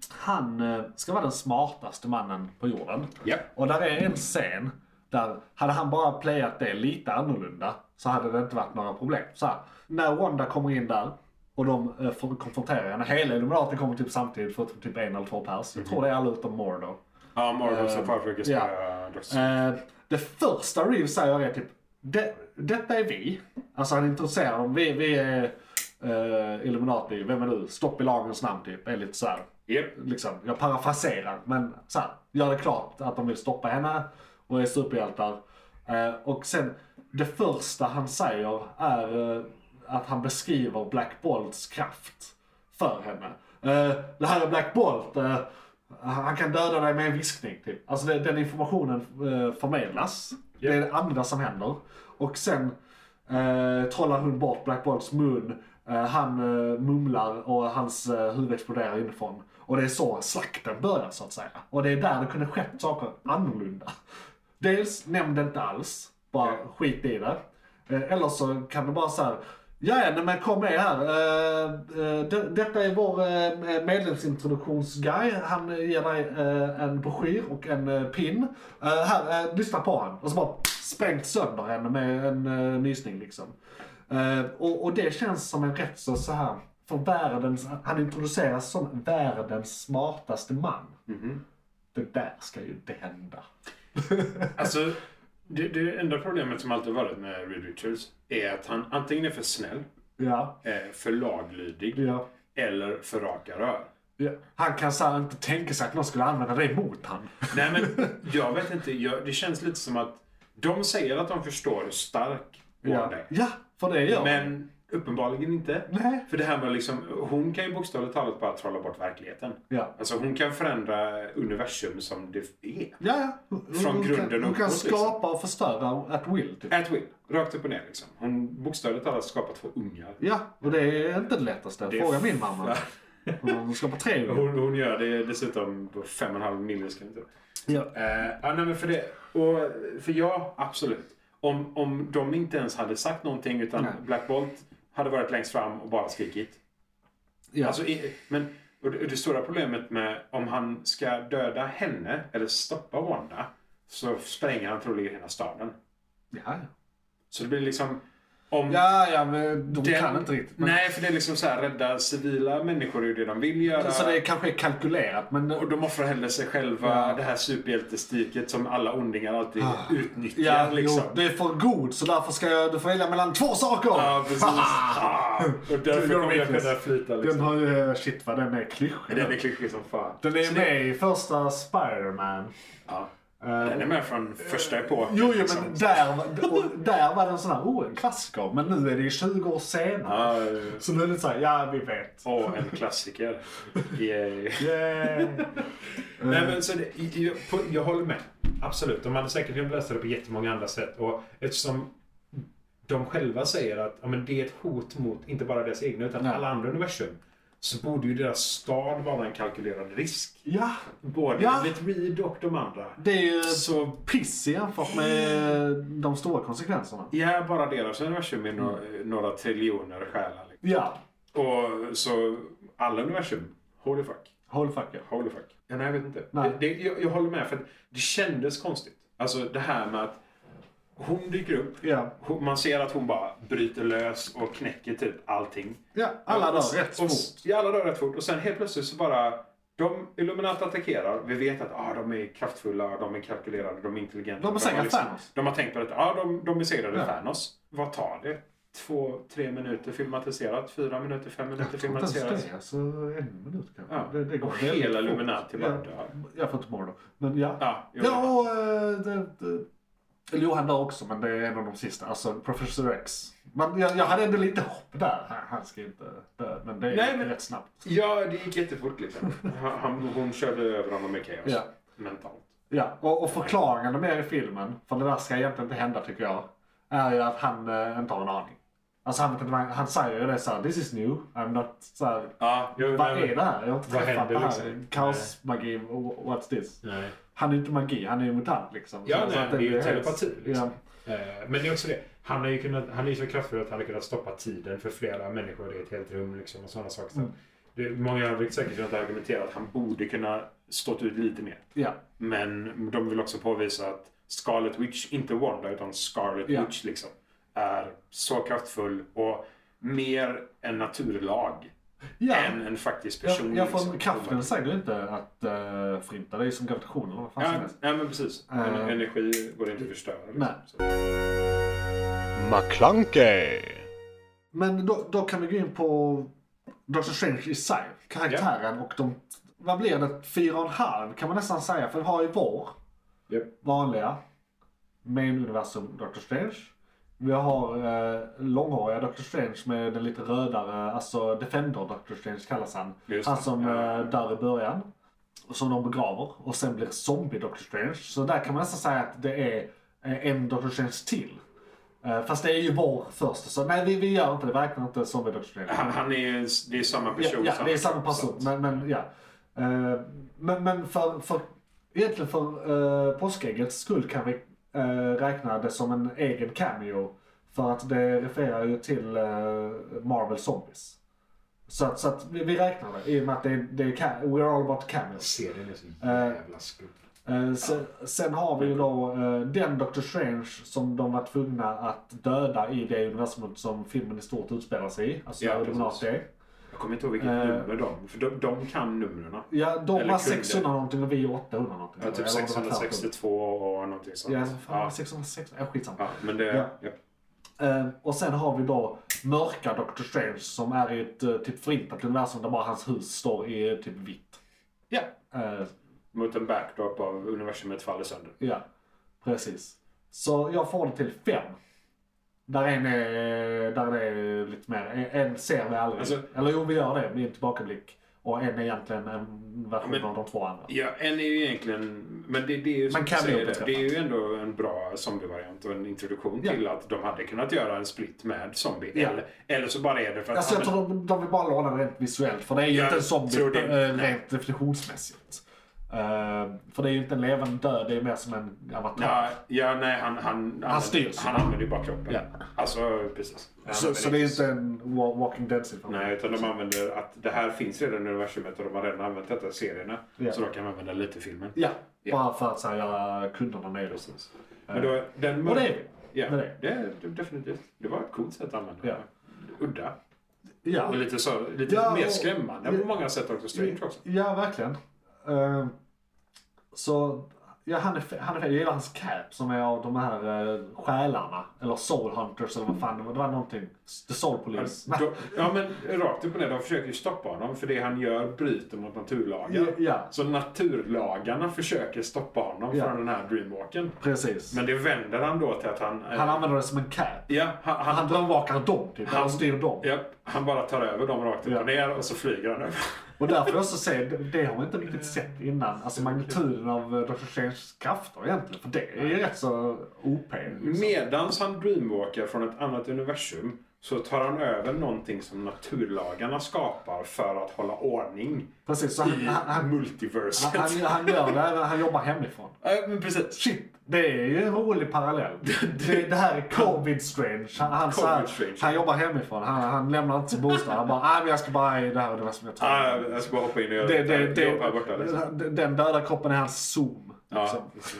han eh, ska vara den smartaste mannen på jorden. Ja. Och där är en scen där hade han bara playat det lite annorlunda så hade det inte varit några problem. Så här, när Wanda kommer in där och de eh, får- konfronterar henne. Hela Illuminaten kommer typ samtidigt förutom typ en eller två pers. Jag tror det är alla utom Mordor. Eh, Ja, Marvel som försöker spöa ja. Dr. Strange. Eh, det första Reeves säger är typ det, Detta är vi. Alltså han introducerar dem. Vi, vi är eh, Illuminati. Vem är du? Stopp i lagens namn typ. Är lite så här Japp. liksom, jag parafraserar, men så här, gör det klart att de vill stoppa henne och är superhjältar. Eh, och sen, det första han säger är eh, att han beskriver Black Bolts kraft för henne. Eh, det här är Black Bolt, eh, han kan döda dig med en viskning. Typ. Alltså det, den informationen eh, förmedlas, det är det andra som händer. Och sen eh, trollar hon bort Black Bolts mun. Eh, han eh, mumlar och hans eh, huvud exploderar inifrån. Och det är så slakten börjar så att säga. Och det är där det kunde skett saker annorlunda. Dels nämnde inte alls, bara skit i det. Eh, eller så kan det bara så här. Ja, ja, nej, men kom med här. Eh, eh, de, detta är vår eh, medlemsintroduktionsguy. Han eh, ger dig eh, en broschyr och en eh, pin. Eh, här, eh, lyssna på han. Och så bara sprängt sönder henne med en eh, nysning liksom. Eh, och, och det känns som en rätt så, så här, för världens, han introduceras som världens smartaste man. Mhm. Det där ska ju inte hända. Alltså, det, det enda problemet som alltid varit med Reed Richards är att han antingen är för snäll, Ja, eh, för laglydig ja, eller för raka rör. Ja, Han kan så här, inte tänka sig att någon skulle använda det mot han. Nej, men jag vet inte. Jag, det känns lite som att de säger att de förstår hur stark Ja, Ward är. ja för det gör han. Men uppenbarligen inte. Nej. För det här med liksom, hon kan ju bokstavligt talat bara trolla bort verkligheten. Ja. Alltså hon kan förändra universum som det är. Ja, ja. Hon- Från hon grunden kan, Hon kan uppåt, liksom. skapa och förstöra at will. Typ. At will. Rakt upp och ner liksom. Hon bokstavligt talat skapar två ungar. Ja, och det är inte det lättaste. Det är Fråga f- min mamma. Hon skapar tre ungar. Hon, hon gör det dessutom på fem och en halv millisekund. Ja. Eh, ja, nej, men för det. Och, för ja, absolut. Om, om de inte ens hade sagt någonting utan Nej. Black Bolt hade varit längst fram och bara skrikit. Ja. Alltså, i, men, och det, det stora problemet med om han ska döda henne eller stoppa Wanda så spränger han troligen hela staden. ja, ja. Så det blir liksom... Om ja, ja, men de den- kan inte riktigt. Men, Nej, för det är liksom så här rädda civila människor är ju det de vill göra. så det kanske är kalkylerat, men... Och de offrar hellre sig själva, Ja. det här superhjältestiket som alla ondingar alltid Ah. utnyttjar. Ja, liksom. jo, det är för god så därför ska jag, du får välja mellan två saker! Ja, precis. Ah. Och därför Du, de kommer jag vet kunna det. flyta Den liksom. har ju... Shit vad den är klyschig. Den är klyschig som fan. Den Så är det- med i första Spider-Man. Ja. Eh, Den är med från första epoken. Jo, jo liksom. men där, var- och där var den sån här, oh en klassiker. Men nu är det ju 20 år senare. Ja, Så nu är det såhär, ja vi vet. och en klassiker. Yay. Yay. Mm. Nej, men så det, jag, på, jag håller med. Absolut. De hade säkert kunnat lösa det på jättemånga andra sätt. Och eftersom de själva säger att ja, men det är ett hot mot inte bara deras egna utan Nej. alla andra universum. Så borde ju deras stad vara en kalkylerad risk. Ja, Både Ja. Litt Reed och de andra. det är ju Så piss jämfört med de stora konsekvenserna. Ja, bara deras universum är några, Mm. några triljoner själar. liksom. Ja, Och så alla universum, holy fuck, håll fuck ja. holy fuck. Ja, nej, jag vet inte. Nej. Det, det, jag, jag håller med, för att det kändes konstigt. Alltså det här med att hon dyker upp, Ja, hon, man ser att hon bara bryter lös och knäcker typ allting. ja alla Och- dör rätt och- fort. Ja, alla dör rätt fort. Och sen helt plötsligt så bara, de Illuminati attackerar. Vi vet att ah, de är kraftfulla, de är kalkylerade, de är intelligenta. De har säkert har, liksom- Thanos. de har tänkt på detta. Ja, de, de besegrade Ja. Thanos. Vad tar det? Två, tre minuter filmatiserat? Fyra minuter, fem minuter Jag tror inte ens filmatiserat? det, alltså en minut kanske. Ja. Det, det går Och väldigt hela fort. Illuminati bara Ja. dör. Jag får inte morgon Men ja. Ja, jo. Ja, och... eh, det, det, eller jo, han dör också, men det är en av de sista. Alltså, Professor X. Men jag, jag hade ändå lite hopp där. Han, han ska inte dö, men det är Nej, men- rätt snabbt. ja, det gick jättefort liksom. Han, han- hon körde över honom med kaos. Ja. Mentalt. Ja, och, och förklaringen de ger i filmen, för det där ska egentligen inte hända tycker jag, är ju att han eh, inte har en aning. Alltså han, vet inte vad- han säger ju det såhär, this is new, I'm not såhär, Ja, jo, vad nej, men- är det här? Jag har inte Vad träffat händer, det här. liksom? Kaosmagi, wh- what's this? Nej. Han är ju inte magi, han är ju mutant liksom. Ja, Så- så nej, att det är ju helt- telepati. Liksom. Ja. Eh, Men det är också det. Han är ju kunnat, han är ju så kraftfull att han har kunnat stoppa tiden för flera människor i ett helt rum. Liksom, och sådana saker. Så Det, många har säkert kunnat argumentera att han borde kunna stått ut lite mer. ja. Men de vill också påvisa att Scarlet Witch, inte Wanda, utan Scarlet Ja. Witch liksom, är så kraftfull och mer en naturlag ja. än en faktisk Ja, person. ja, för liksom. kraften säger ju inte att uh, förinta, det är ju som gravitation eller vad fan som Ja, helst. ja, men precis. En- Eh. Energi går inte att förstöra. Liksom. Nej. Så. McClunkey. Men då, då kan vi gå in på Doctor Strange i sig, karaktären och de, vad blir det, fyra och en halv kan man nästan säga, för vi har ju vår Japp. vanliga main universum Doctor Strange. Vi har eh, långhåriga Doctor Strange med den lite rödare, alltså Defender Doctor Strange kallas han. Just han det, som ja. eh, där i början. Och som de begraver och sen blir zombie Doctor Strange. Så där kan man nästan säga att det är eh, en Doctor Strange till. Eh, Fast det är ju vår första, så nej vi, vi gör inte det, vi räknar inte zombie Doctor Strange. Han, han är, ju- det är samma person. Ja, ja det är samma person. person. Men, men, ja. Eh, men, men för, för, egentligen för uh, påskäggets skull kan vi eh, räkna det som en egen cameo. För att det refererar ju till eh, Marvel Zombies. Så, att- så att vi, vi räknar det i och med att det, det är ca- We're all about cameos. Serien är så jävla skum. Eh, sen, sen har vi ju då eh, den Doctor Strange som de var tvungna att döda i det universumet som filmen i stort utspelar sig i. Alltså Ja, ja, precis. Illuminati. Jag kommer inte ihåg vilket Eh. nummer de... För de, de kan numren. typ Ja, de Eller var kunde. 600 någonting och vi 800 någonting. Ja, typ Eller om det var 662 och någonting sånt. tvärtom. Ja, fan, ja. 660. Ja, skitsamma. ja, men det... Ja. Ja. Eh, och sen har vi då mörka Doctor Strange som är i ett eh, typ förintat universum där bara hans hus står i eh, typ vitt. Ja. Eh, Mot en backdrop av universumet faller sönder. Ja, precis. Så jag får det till fem. Där en är, där det är lite mer, en- en ser vi aldrig. Alltså- Eller jo, vi gör det med en tillbakablick. Och en är egentligen en version Men- av de två andra. Ja, en är ju egentligen... Men det, det är ju som Man kan du säger, bli det, det är ju ändå en bra zombievariant och en introduktion Ja. till att de hade kunnat göra en split med zombie. Ja. Eller, eller så bara är det för att... Alltså jag ja, tror de, de vill bara låna det rent visuellt. För det är ju Jag inte en zombie tror det. eh, rent definitionsmässigt. Eh, för det är ju inte en levande död, det är mer som en avatar. Ja, ja, nej, han, han, Han styrs. han använder ju bara kroppen. Ja. Alltså, precis. Han så, använder så det är ju inte en wa- Walking Dead situation. Nej, utan de använder att det här finns redan i universumet och de har redan använt detta i serierna. Ja. Så de kan använda lite i filmen. Ja, Ja. bara för att så här, göra kunderna nöjda. Men Eh, då, den mör- Och det är vi. Ja, med det. det är det definitivt. Det var ett coolt sätt att använda Ja. det. Udda. Ja. Och lite, så, lite Ja, mer och- skrämmande på många sätt också. Strange också. Ja, verkligen. Eh, så, ja, han är, fe- han är fe- Jag gillar hans cap som är av de här uh, själarna. Eller soul hunters eller vad fan det var. Det var någonting. The soul police. Då, ja men rakt upp och ner, de försöker ju stoppa honom för det han gör bryter mot naturlagar. Ja, ja. Så naturlagarna försöker stoppa honom Ja. från den här dreamwalken. Precis. Men det vänder han då till att han... eh, han använder det som en cap. ja, han, han, Han drömvakar dem typ. Han, Han- styr dem. ja, han bara tar över dem rakt upp Ja. och ner och så flyger han över. Och därför jag också säger, det, det har man inte riktigt sett innan. Alltså magnituden av eh, Dr. Stranges krafter egentligen. För det är ju rätt så OP. liksom. Medans han dreamwalkar från ett annat universum så tar han över någonting som naturlagarna skapar för att hålla ordning Precis, så han, i han, han, multiverset. han, han, han gör det även, han jobbar hemifrån. Ja, men precis. Shit, det är ju en rolig parallell. Det, det här är covid strange. Han, han, så här, Covid strange. han jobbar hemifrån. Han, han lämnar inte sin bostad. Han bara, nej men jag ska bara i det här universumet. jag Ja, tror." Ah, jag ska bara hoppa in och göra det, det, lite jobb här borta. Liksom. det, den döda kroppen är hans zoom. Liksom. Ja, precis.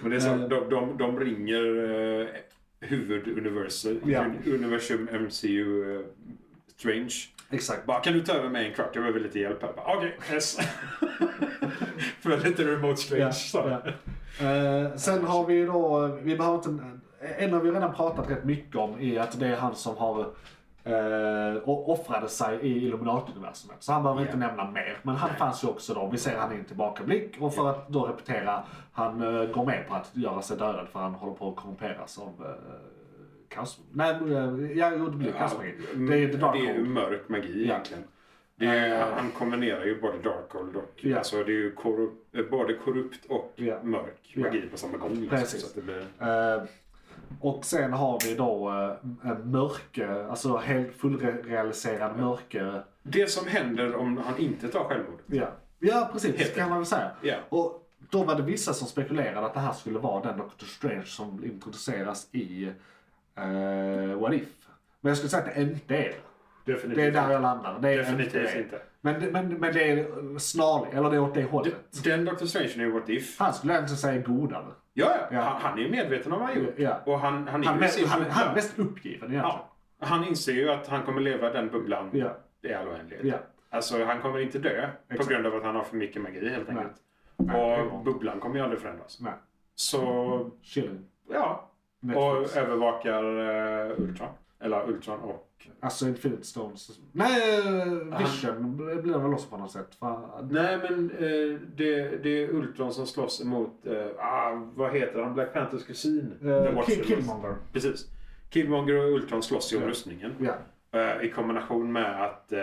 Men det är så, de, de, de ringer eh, huvuduniversum, Ja. universum MCU eh, Strange. Exakt. Bara, kan du ta över mig en kvart? Jag behöver lite hjälp här. Bara, Okej, yes. För lite remote strange. Ja, så. ja. Eh, sen har vi ju då, vi behöver inte, en har vi redan pratat rätt mycket om är att det är han som har eh, o- offrade sig i Illuminati-universumet. Så han behöver inte nämna mer. Men han fanns ju också då, vi ser han i en tillbakablick. Och för att då repetera, han eh, går med på att göra sig dödad för han håller på att korrumperas av eh, kaos... Nej, eh, ja, jo, det blir Ja, mm, kaosmagi. Det är ju The Dark det är ju Hold. mörk magi Ja. egentligen. Det är, han- Han kombinerar ju både Darkhold och... Ja. Alltså det är ju korrupt, både korrupt och Ja. mörk Ja. magi på samma gång. liksom. Precis. Så att det blir... Eh, och sen har vi då eh, en mörke, alltså helt fullrealiserad mörke. Det som händer om han inte tar självmord. Ja, ja precis, Helt kan man väl säga. Ja. Och då var det vissa som spekulerade att det här skulle vara den Doctor Strange som introduceras i eh, What If. Men jag skulle säga att det inte är det. Definitivt. Det är där jag landar. Det är Definitivt det. inte. Men, men, men det är snarligt, eller det är åt det hållet. Den Dr. Strange är ju What If. Han skulle egentligen säga godare. Ja, Ja. ja. Han, han är ju medveten om vad han gjort. Ja. Och han, han Han är är ju i mest, sin han, bubbla. han är mest uppgiven egentligen. ja. han inser ju att han kommer leva i den bubblan Ja. i all oändlighet. Ja. Alltså, han kommer inte dö Exakt. på grund av att han har för mycket magi helt Nej. enkelt. Nej, det är bra. Och bubblan kommer ju aldrig förändras. Nej, Så, chilling. ja. Netflix. Och övervakar eh, Ultron. Eller Ultron och... Alltså Infinite Stones. Nej, eh, Vision blir väl loss på något sätt. För... Nej, men eh, det, det är Ultron som slåss emot... Eh, ah, vad heter han? Black Panthers kusin? The Uh, Watcher. Killmonger. Precis. Killmonger och Ultron slåss ju om rustningen. Ja, Eh, I kombination med att eh,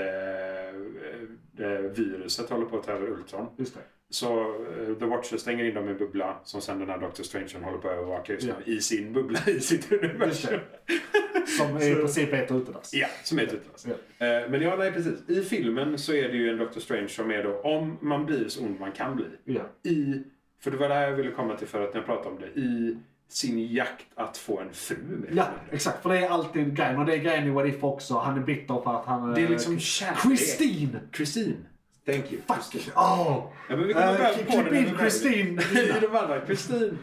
eh, viruset håller på att ta över Ultron. just det. Så eh, The Watcher stänger in dem i en bubbla som sen den här Doctor Strange håller på att övervaka just nu. Ja. I sin bubbla, i sitt universum. Som i princip är ett utedass. Ja, som är ett utlös. Ja. Eh, Men ja, nej precis. I filmen så är det ju en Doctor Strange som är då om man blir så ond man kan bli. Ja. I, för det var det här jag ville komma till förut när jag pratade om det. I sin jakt att få en fru med. ja, exakt. För det är alltid grejen. Och det är grejen i What If också. Han är bitter för att han... Det är eh, liksom kärlek. Christine! Christine. Thank you. Fuck! Oh. Ja, men vi kommer Eh, väl klipp- på klipp det in när vi- Christine. I de andra. Kristin.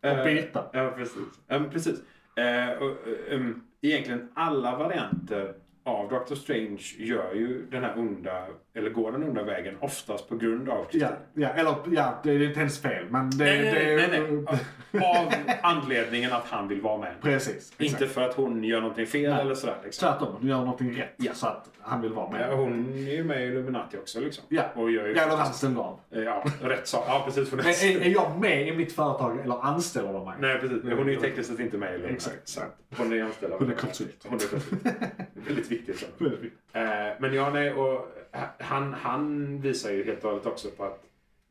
Och Birgitta. eh, Ja, precis. Ja, men precis. Eh, och, eh, em, egentligen alla um, varianter av Doctor Strange gör ju den här onda, eller går den onda vägen oftast på grund av Ja, ja, eller ja, det är inte hennes fel, men det... Nej, nej, det nej, nej, nej. Av anledningen att han vill vara med. Precis. exakt. Inte för att hon gör någonting fel Nej. eller sådär. Liksom. Tvärtom, hon gör någonting rätt Ja. så att han vill vara Eh, med. Hon är ju med i Illuminati också liksom. Ja, Och gör ju... ja eller anställd av. Eh, Ja, rätt sak. Ja, precis. Hon är... Men är, är jag med i mitt företag eller anställer de mig? Nej, precis. Hon är ju tekniskt sett inte med i Illuminati. Exakt, Så att Hon är anställd av... Hon är konsult. Hon är konsult. Väldigt viktigt. Så. Eh, Men ja, nej, och han, han visar ju helt och hållet också på att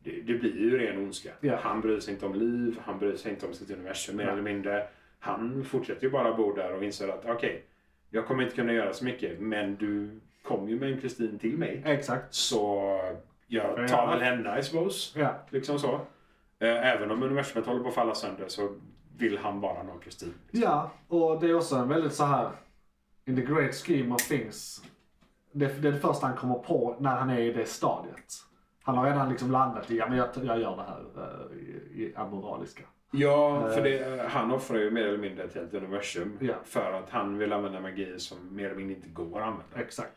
det, det blir ju ren ondska. Ja. Han bryr sig inte om liv, han bryr sig inte om sitt universum mer Nej. eller mindre. Han fortsätter ju bara bo där och inser att okej, jag kommer inte kunna göra så mycket, men du kom ju med en Kristin till mig. Exakt. Så jag Ja. tar väl henne, I suppose. Ja. Liksom så. Eh, Även om universumet håller på att falla sönder så vill han bara nå Kristin. ja, och det är också en väldigt så här in the great scheme of things. Det, det är det första han kommer på när han är i det stadiet. Han har redan liksom landat i, ja men jag, jag gör det här eh, i, i amoraliska. Ja, för det, eh, han offrar ju mer eller mindre ett helt universum Eh. Ja. för att han vill använda magi som mer eller mindre inte går att använda. Exakt.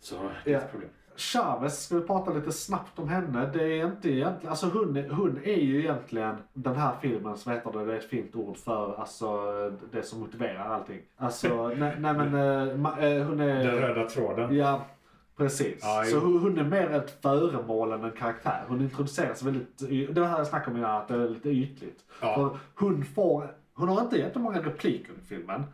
Så det är Ja. ett problem. Chavez, ska vi prata lite snabbt om henne? Det är inte egentligen, alltså hon, är- hon är ju egentligen den här filmen, som heter det, det är ett fint ord för alltså det som motiverar allting. Alltså, nej, nej men eh, ma- eh, hon är, röda tråden. ja precis. Ja, Så hon hon är mer ett föremål än en karaktär. Hon introduceras väldigt, y- det var här jag snackade om innan, att det är lite ytligt. Ja. För hon får, hon har inte jättemånga repliker i filmen.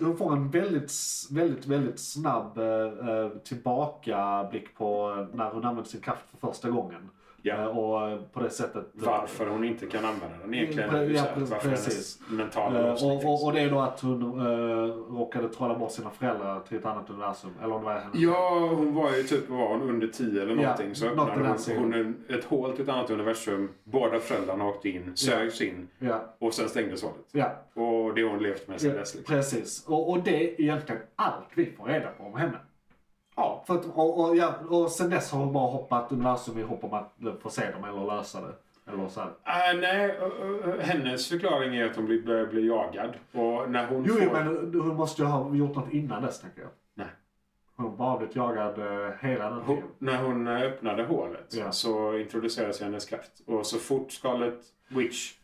Hon får en väldigt, väldigt, väldigt snabb eh, eh, tillbakablick på eh, när hon använder sin kraft för första gången. Ja. Eh, och eh, på det sättet. Varför hon inte kan använda den egentligen. Pre- ja, Så att pre- varför precis. hennes mentala Eh, låsning och, och, finns. och det är då att hon eh, råkade trolla bort sina föräldrar till ett annat universum. Eller om det var henne. Ja, hon var ju typ vad var hon, under 10 eller Ja, någonting. så något i den öppnade hon, stilen. hon en, ett hål till ett annat universum. Båda föräldrarna åkte in, sögs in Ja. och sen stängdes hålet. ja. Och det har hon levt med sen dess. Liksom. Precis, och, och det är egentligen allt vi får reda på om henne. Ja, för att, och, och, ja, och sen dess har hon bara hoppat universum i hopp om att få se dem eller lösa det. Eller så här. Ah, nej, ö- ö- ö, hennes förklaring är att hon blir, börjar bli jagad. Och när hon Jo, får... jo, men hon måste ju ha gjort något innan dess, tänker jag. Nej. Hon har bara blivit jagad eh, hela den Hon, tiden. när hon öppnade hålet Ja. så introducerades hennes kraft. Och så fort skalet Witch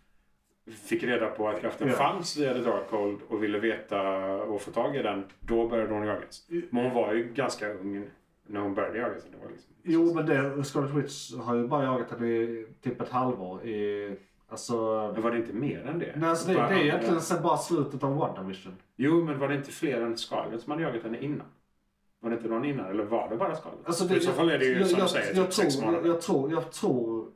fick reda på att kraften Ja. fanns via The Darkhold och ville veta och få tag i den, då började hon jagas. Mm. Men hon var ju ganska ung när hon började jagas. Det var liksom... Jo, men det, Scarlet Witch har ju bara jagat henne i typ ett halvår. I, alltså... Men var det inte mer än det? Nej, alltså det, det Bara är andra- egentligen sen bara slutet av WandaVision. Jo, men var det inte fler än skalet som hade jagat henne innan? Var det inte någon innan? Eller var det bara skalet? Alltså det, I så fall är det ju som du säger, typ jag, sex tror, jag, månader. jag tror, jag tror...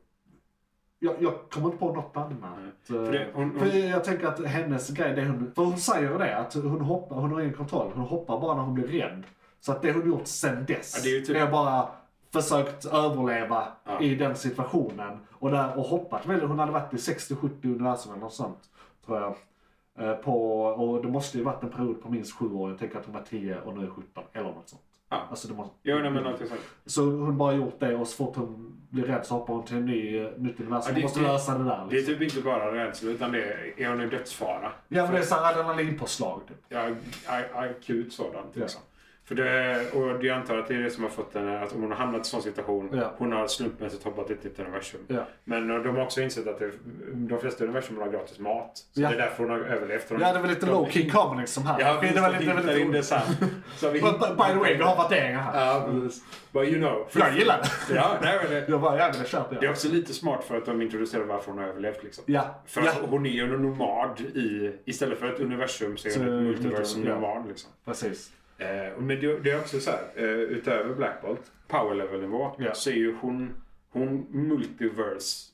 Jag, jag kommer inte på något annat. Nej. För För det- hon- för hon- jag tänker att hennes grej, det hon, för hon säger det, att hon hoppar, hon har ingen kontroll. Hon hoppar bara när hon blir rädd. Så att det hon gjort sen dess, Ja, det är ju typ- bara försökt överleva Ja. i den situationen. Och, där, och hoppat väldigt, hon hade varit i 60-70 universum eller något sånt. Tror jag. Eh, På, och det måste ju varit en period på minst sju år. Jag tänker att hon var 10 och nu är 17 eller något sånt. Ja. Alltså det måste, Jo, nej, men någonting sånt. så hon bara gjort det och så fort hon blir rädd så hoppar hon till en ny, eh, nytt universum. Ja, Hon det- måste det- lösa det där. Det är Liksom. typ inte bara rädsla, utan det är, är hon i dödsfara? Ja men det är såhär adrenalinpåslag. Typ. Ja, a- akut sådant. Ja. Liksom. För det, och jag antar att det är det som har fått henne, att om hon har hamnat i en sån situation, Ja. hon har slumpmässigt hoppat i ett nytt universum. Ja. Men de har också insett att det, de flesta universum har gratis mat. Så Ja. det är därför hon har överlevt. De, Ja det var lite de- low key comedy som här. Ja, det var lite, det var hittar lite in det roligt. sen. Så vi But, but, by the way, vi har värderingar här. Ja, precis. But you know. För jag gillar det. Ja, nej, men det. Jag bara, ja men det köper Det är jag. också lite smart för att de introducerar varför hon har överlevt. Liksom. Ja, För ja. att hon är ju en nomad i, istället för ett universum så är Så hon ett multiversum multiversum, ja. nomad. Liksom. precis. Eh, och men det, det är också så här, eh, utöver Black Bolt, power level nivå, Ja. så är ju hon, hon multiverse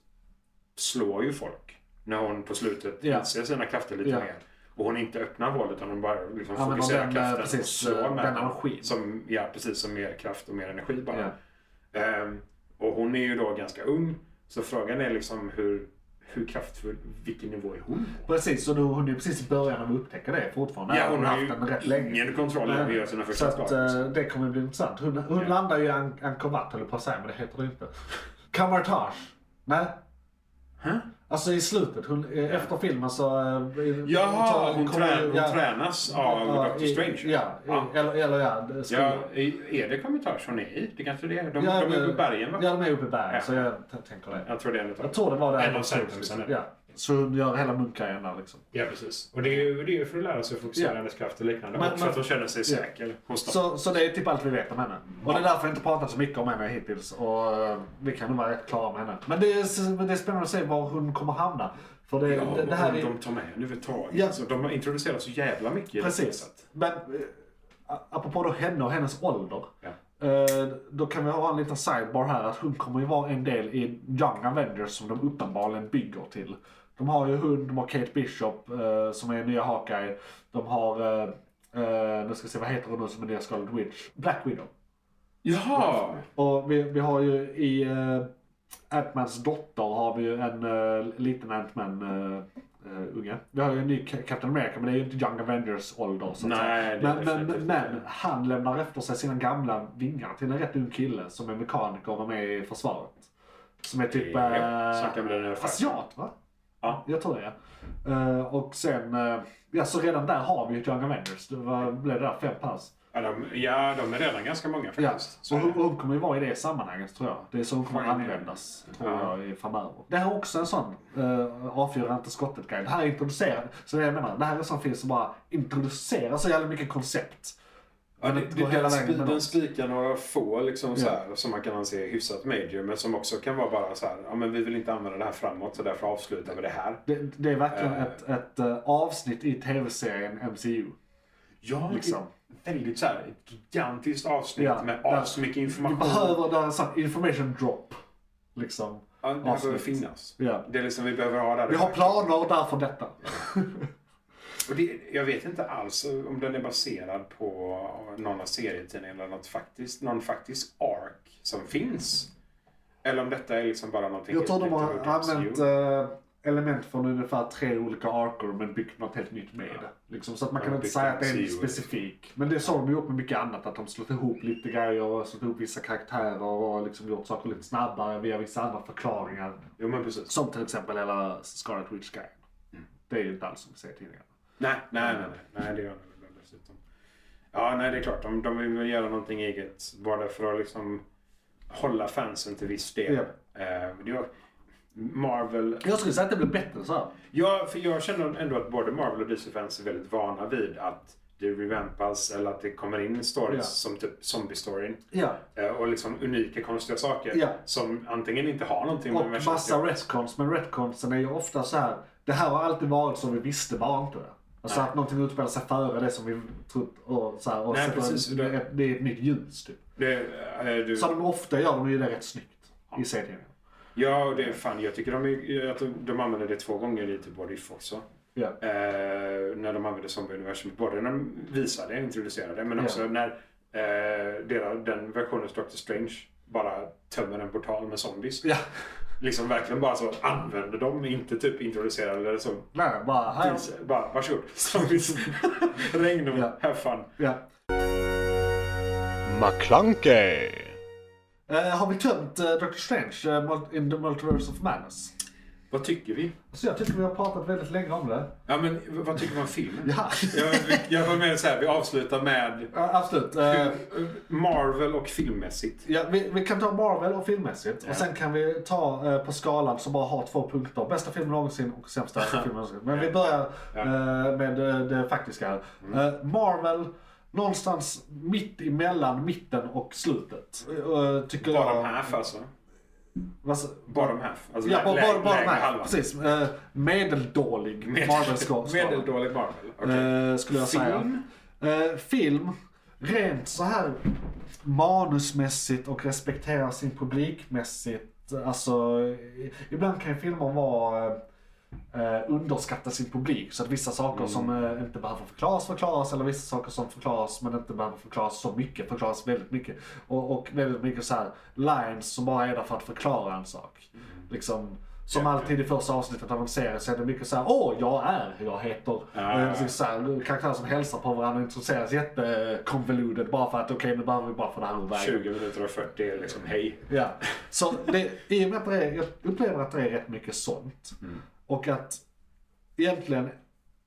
slår ju folk. När hon på slutet Ja. inser sina krafter lite Ja. mer. Och hon inte öppnar hålet utan hon bara liksom Använder fokuserar den, eh, kraften och precis, slår eh, med den energin. Som, ja, precis. Som mer kraft och mer energi bara. Ja. Ehm, och hon är ju då ganska ung. Så frågan är liksom hur, hur kraftfull, vilken nivå är hon på? Precis, så nu, hon är precis i början av att upptäcka det fortfarande. Ja, hon har haft den rätt ju länge. ingen kontroll över hur sina Så första att, slag. liksom. eh, det kommer bli intressant. Hon, hon Ja. landar ju i An- Angkor Wat höll jag på att säga, men det heter det inte. Kamartage. Nej. Hä? Alltså i slutet, hon, eh, efter filmen så... eh, Jaha, tar- hon, kommer- trä, hon ja. tränas av Ja, Dr. i- Strange. Ja, i- Eller, eller ja, det- skolan. ja, i- är det kommentarer hon är i? Det kanske det är. De, Ja, de är men- uppe i bergen va? Ja, de är uppe i bergen. Ja. Så jag t- tänker det. Jag tror det är en utav Jag tror det var där. En av sentenserna. Ja. Så hon gör hela munkarriären där liksom. Ja, precis. Och det är ju det är ju för att lära sig att fokusera Ja. hennes kraft och liknande. Men- Men, också men- att hon känner sig Ja. säker. Hon stoppar. Så, så det är typ allt vi vet om henne. Och det är därför jag inte pratat så mycket om henne hittills. Och eh, vi kan nog vara rätt klara med henne. Men det är, men det är spännande att se var hon kommer hamna. För det, Ja, det, det här och är... de tar med henne överhuvudtaget. Ja. Alltså, de har introducerat så jävla mycket. i det här Precis. sättet. Men eh, apropå då henne och hennes ålder. Ja. eh, Då kan vi ha en liten sidebar här att hon kommer ju vara en del i Young Avengers som de uppenbarligen bygger till. De har ju hund, de har Kate Bishop eh, som är nya Hawkeye. De har, eh, eh, nu ska vi se vad heter hon nu som är nya Scarlet Witch? Black Widow. Jaha! Och vi, vi har ju i eh, Ant-Mans dotter har vi ju en eh, liten Ant-Man eh, eh, unge. Vi har ju en ny Ca- Captain America men det är ju inte Young Avengers ålder så att Nej, säga. det är Men, men, definitivt men inte. han lämnar efter sig sina gamla vingar till en rätt ung kille som är mekaniker och var med i försvaret. Som är typ Ja, eh, snacka om den här faktorn. asiat va? Ja. Jag tror det ja. Eh, och sen, eh, ja så redan där har vi ju ett Young Avengers. Det var, blev det där fem pass. Ja, de, ja, de är redan ganska många Ja, faktiskt. Så och är det. hon, hon kommer ju vara i det sammanhanget tror jag. Det är så hon kommer att Ja, ja. användas tror Ja. jag i framöver. Det här är också en sån uh, avfyra inte skottet grej. Det här är introducerat. Så jag menar, det här är en sån film som bara introducerar så jävla mycket koncept. Ja, det, Men det, går hela den, vägen spi, med den oss. spikar några få liksom, så här, som man kan anse hyfsat major men som också kan vara bara så här, ja men vi vill inte använda det här framåt så därför avslutar vi det här. Det, det är verkligen Eh. ett, ett eh, avsnitt i tv-serien MCU. Ja, Liksom. det är väldigt så här, ett gigantiskt avsnitt Ja, med där- så mycket Du information. behöver det här, en sån information drop. Liksom. ja, det här behöver avsnitt. finnas. Ja. Det är liksom vi behöver ha där. Vi har planer därför detta. Och det, jag vet inte alls om den är baserad på någon av serietidningarna eller något faktiskt, någon faktisk ark som finns. Eller om detta är liksom bara någonting Jag tror de helt har nytt av använt MCU. eh, element från ungefär tre olika arker men byggt något helt nytt med det. Liksom, så att man Ja, kan inte byggt säga att det är MCU. en specifik. Men det såg de ju upp med mycket annat. Att de slått ihop lite grejer och slått ihop vissa karaktärer och liksom gjort saker lite snabbare via vissa andra förklaringar. Jo men precis. Som till exempel hela Scarlet Witch-grejen. Det är ju inte alls som vi ser tidigare. Nej, nej, nej, nej, nej det gör de väl dessutom. Ja, nej, det är klart. De, de vill väl göra någonting eget. Bara för att liksom hålla fansen till viss del. Ja. Eh, det var Marvel... Jag skulle säga att det blev bättre så här. Ja, för jag känner ändå att både Marvel och DC-fans är väldigt vana vid att det revampas eller att det kommer in stories Ja. som typ zombie-storyn. Ja. eh, Och liksom unika konstiga saker Ja. som antingen inte har någonting Och universum att massa göra. retcons, men retconsen är ju ofta så här. Det här har alltid varit som vi visste bara inte det. Alltså Nej. att någonting utspelar sig före det som vi trott och så här, och Nej, sätter precis, en- för det- det, det är ett nytt ljus typ. Det, eh, du... Så de ofta gör de ju det rätt snyggt i serien. Ja, och det är fan. Jag tycker de, är- att de, de använder det två gånger i typ både If också. Ja. eh, när de använde zombieuniversum. Både när de visade, introducerade, men Ja. också när eh, deras, den versionen av Doctor Strange bara tömmer en portal med zombies. ja. Liksom verkligen bara så använder dem, inte typ introducerar eller så. Nej, bara här. Vis- Bara, varsågod. Zombies. Regn och Ja. have fun. Ja. McClunkey. Eh, har vi tömt uh, Doctor Strange eh, mul- in the Multiverse of Madness? Vad tycker vi? Så jag tycker vi har pratat väldigt länge om det. Ja, men v- vad tycker man om filmen? Ja. Jag, jag var med så här, vi avslutar med Ja, absolut. Eh, Marvel och filmmässigt. Ja, vi, vi kan ta Marvel och filmmässigt och sen kan vi ta eh, på skalan som bara har två punkter. Bästa filmen någonsin och sämsta filmen någonsin. Men vi börjar eh, med eh, det faktiska. här. Mm. Eh, Marvel, någonstans mitt emellan mitten och slutet. Eh, tycker Bottom jag. half alltså. Vad sa- Bottom half. Alltså Ja, lä- bara, lä- bara, bara lägre här. halvan. Precis. Eh, medeldålig Marvel-skala. Medeldålig Marvel. Okej. Eh, skulle jag Film? säga. Eh, film. Rent så här manusmässigt och respektera sin publikmässigt. Alltså, i- ibland kan ju filmer vara eh, eh, underskatta sin publik. Så att vissa saker Mm. som eh, inte behöver förklaras förklaras eller vissa saker som förklaras men inte behöver förklaras så mycket förklaras väldigt mycket. Och, och väldigt mycket så här lines som bara är där för att förklara en sak. Liksom, Som alltid i första avsnittet av en serie så är det mycket så här, åh, jag är, jag heter. Ja. Eh, Så här, karaktärer som hälsar på varandra och introduceras jättekonvolutet bara för att okej, nu behöver vi bara få det här ur vägen. 20 minuter och 40 är liksom hej. Ja. Så det, i och med att det är, jag upplever att det är rätt mycket sånt. Och att egentligen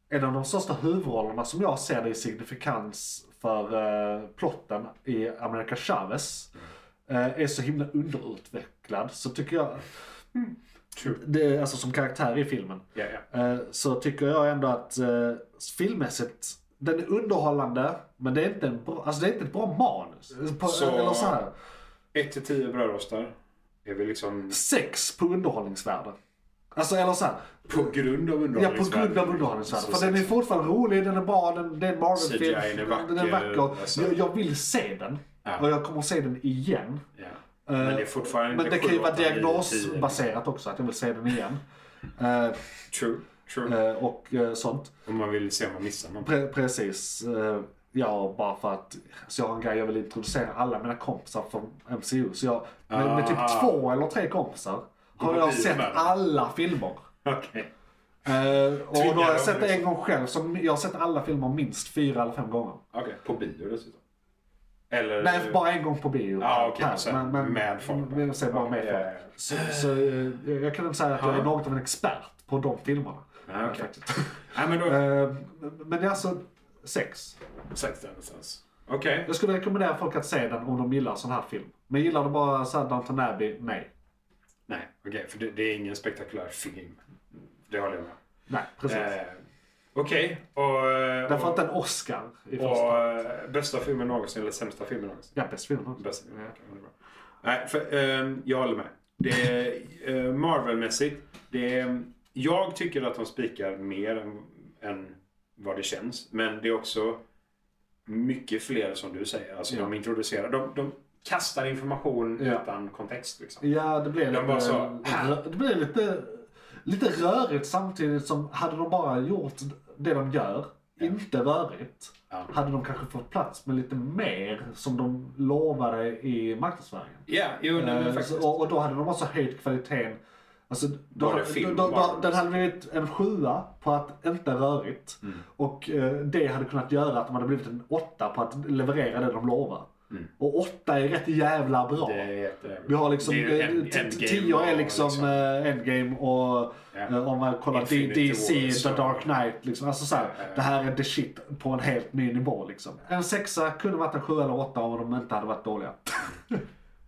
en av de största huvudrollerna som jag ser det i signifikans för eh, plotten i America Chavez eh, är så himla underutvecklad. Så tycker jag, True. det, är alltså som karaktär i filmen. Ja, ja. Eh, så tycker jag ändå att eh, filmmässigt, den är underhållande, men det är inte, en bra, alltså det är inte ett bra manus. På, Så- Eller så här, 1 till 10 brödrostar. Är vi liksom sex på underhållningsvärde. Alltså eller så här, på grund av ja på grund av Så underhållningsvärde. För sex. den är fortfarande rolig, den är bra, den, det är en Marvel-film. CGI är vacker, Den är vacker. alltså. Jag, jag vill se den. Ja. Och jag kommer se den igen. Ja. Men det är fortfarande Eh, Men det kan ju sju, vara åtta, nio, tio. diagnosbaserat också, att jag vill se den igen. Eh, True. True. eh, och eh, sånt. Om man vill se om man missar någon. Pre- precis. Eh, Ja, bara för att så jag har en grej jag vill introducera alla mina kompisar från MCU. Så jag, med, med typ Ah. två eller tre kompisar har går jag vi sett med. alla filmer. Okej. Eh, och då har Tvingar jag sett dem, det en liksom. gång själv. Så jag har sett alla filmer minst fyra eller fem gånger. Okej. På bio dessutom. Eller? Nej, bara en gång på bio. Ja, Ah, okej, så med folk. Men jag säger bara Ja, med ja, folk. ja, ja. Så, så eh, jag kan inte säga att jag är Ja. något av en expert på de filmerna. Ja, Ah. okej. Faktiskt. Nej, men då... Eh, men det är alltså sex. Sätt den någonstans. Okej. Jag skulle rekommendera folk att se den om de gillar sån här film. Men gillar de bara så här Downton Abbey? Nej. Nej, okej. för det, det är ingen spektakulär film. Det håller jag med. Nej, precis. Eh, Okej. Och... eh, Därför och- att den Oscar i första. Och eh, bästa filmen någonsin, eller sämsta filmen någonsin? Ja, bäst film också. Bästa filmen, okej, det är bra. Nej, för, ehm, jag håller med. Det är, eh, Marvel-mässigt, det är, jag tycker att de spikar mer än, än vad det känns. Men det är också mycket fler som du säger. Alltså Ja. de introducerar, de, de kastar information Ja. utan kontext liksom. Ja, alltså- det blev De bara lite, så, "Här." det blev lite, lite rörigt samtidigt som hade de bara gjort det de gör, inte rörigt, Ja. hade de kanske fått plats med lite mer som de lovade i marknadsföringen. Ja, jo, nej, men Eh, faktiskt. så- och, och då hade de också höjt kvaliteten. Alltså, då, Var det då, film då, då, bara? den hade blivit en sjua på att inte rörigt. Mm. Och eh, det hade kunnat göra att de hade blivit en åtta på att leverera det de lovar. Och åtta är rätt jävla bra. Mm. Det är jätte- Vi har liksom, det är ju en- eh, t- Endgame tio är och liksom, eh, endgame och Ja. eh, om man kollar D- Infinity DC, War, The så- Dark Knight. Liksom. Alltså så här, Ja, ja. Det här är the shit på en helt ny nivå. Liksom. En sexa kunde varit en sjua eller åtta om de inte hade varit dåliga.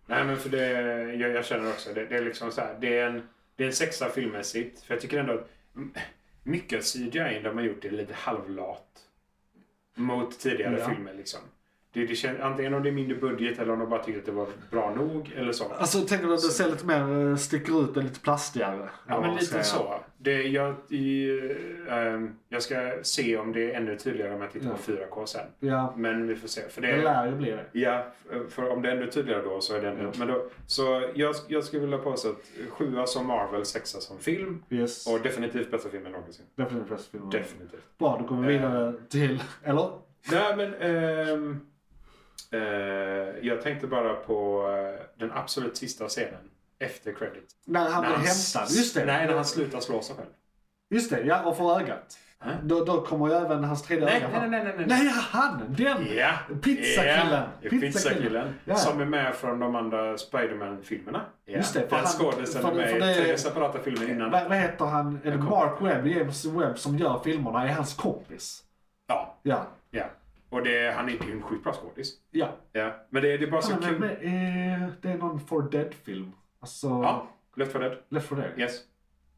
Nej, men för det, jag, jag känner också det. Det är liksom så här, det är en, det är en sexa filmmässigt. För jag tycker ändå att m- mycket av CGI de har gjort är lite halvlat. Mot tidigare Ja. filmer liksom. Det, det känns, antingen om det är mindre budget eller om de bara tycker att det var bra nog eller så. Alltså tänker du att det ser lite mer, eh, sticker ut och lite plastigare? Ja, Eller men vad ska lite jag göra? så. Det, jag, i, ehm, jag ska se om det är ännu tydligare om jag tittar på 4K sen. Ja, Men vi får se. För det, det lär ju bli det. Ja, för om det är ännu tydligare då så är det ännu... Men då, så jag, jag skulle vilja påstå att sjua som Marvel, sexa som film. Yes. Och definitivt bästa filmen någonsin. Definitivt bäst film. Definitivt. Eh. Bra, då går vi vidare till... Eller? Nej men... ehm, eh, jag tänkte bara på eh, den absolut sista scenen. Efter credit. När han När blir han hämtad. s- Just det. Nej, när han slutar slå sig själv. Just det, ja. Och får ögat. Hä? Då, då kommer ju även hans tredje Eh? Nej, öga nej, fram. nej, nej, nej. Nej, han! Den! Ja! Pizzakillen. Ja, Pizzakillen. Pizzakillen. Ja. Som är med från de andra Spiderman-filmerna. Ja. Just det, för Den han- skådisen för- är med för i det- tre separata filmer innan. Vad, vad heter han? Är det Mark Webb, James Webb, som gör filmerna? Är hans kompis? Ja, Ja. Ja. Och det, han är ju en sjukt bra skådis. Ja. Ja. Men det, det är bara så Han är Alltså, kul. med, eh, det är någon For Dead-film. Alltså, Ja, Left 4 Dead. Left for Dead. Yes.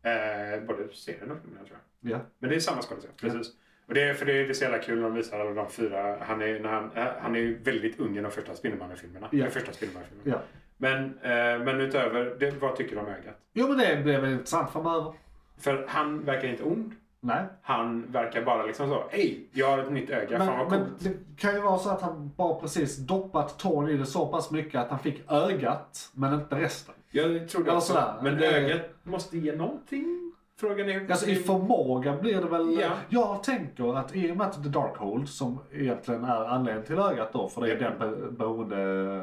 Eh, både serien och filmen tror jag. Ja. Men det är samma skådis, ja. precis. Och det, är- för det, är- det är så jävla kul när de visar alla de fyra. Han är, när han, eh, han är ju väldigt ung i de första Spindelmannen-filmerna. Ja. Den första Spindelmannen-filmen. ja. Men, eh, men utöver, det, vad tycker du om ögat? Jo men det blev väl intressant framöver. För han verkar inte ond. Nej. Han verkar bara liksom så. Hej, jag har ett nytt öga. Fan Men, vad men coolt. det kan ju vara så att han bara precis doppat tån i det så pass mycket att han fick ögat, men inte resten. Jag tror det Ja, också. sådär. Men Det- ögat måste ge någonting. Frågan är... Alltså i förmåga blir det väl... Ja. Jag tänker att i och med att The Darkhold, som egentligen är anledningen till ögat då, för det är den be- beroende...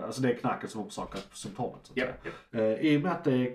Alltså det är knarket som orsakar symptomet. Så att Ja, säga. ja. Eh, I och med att det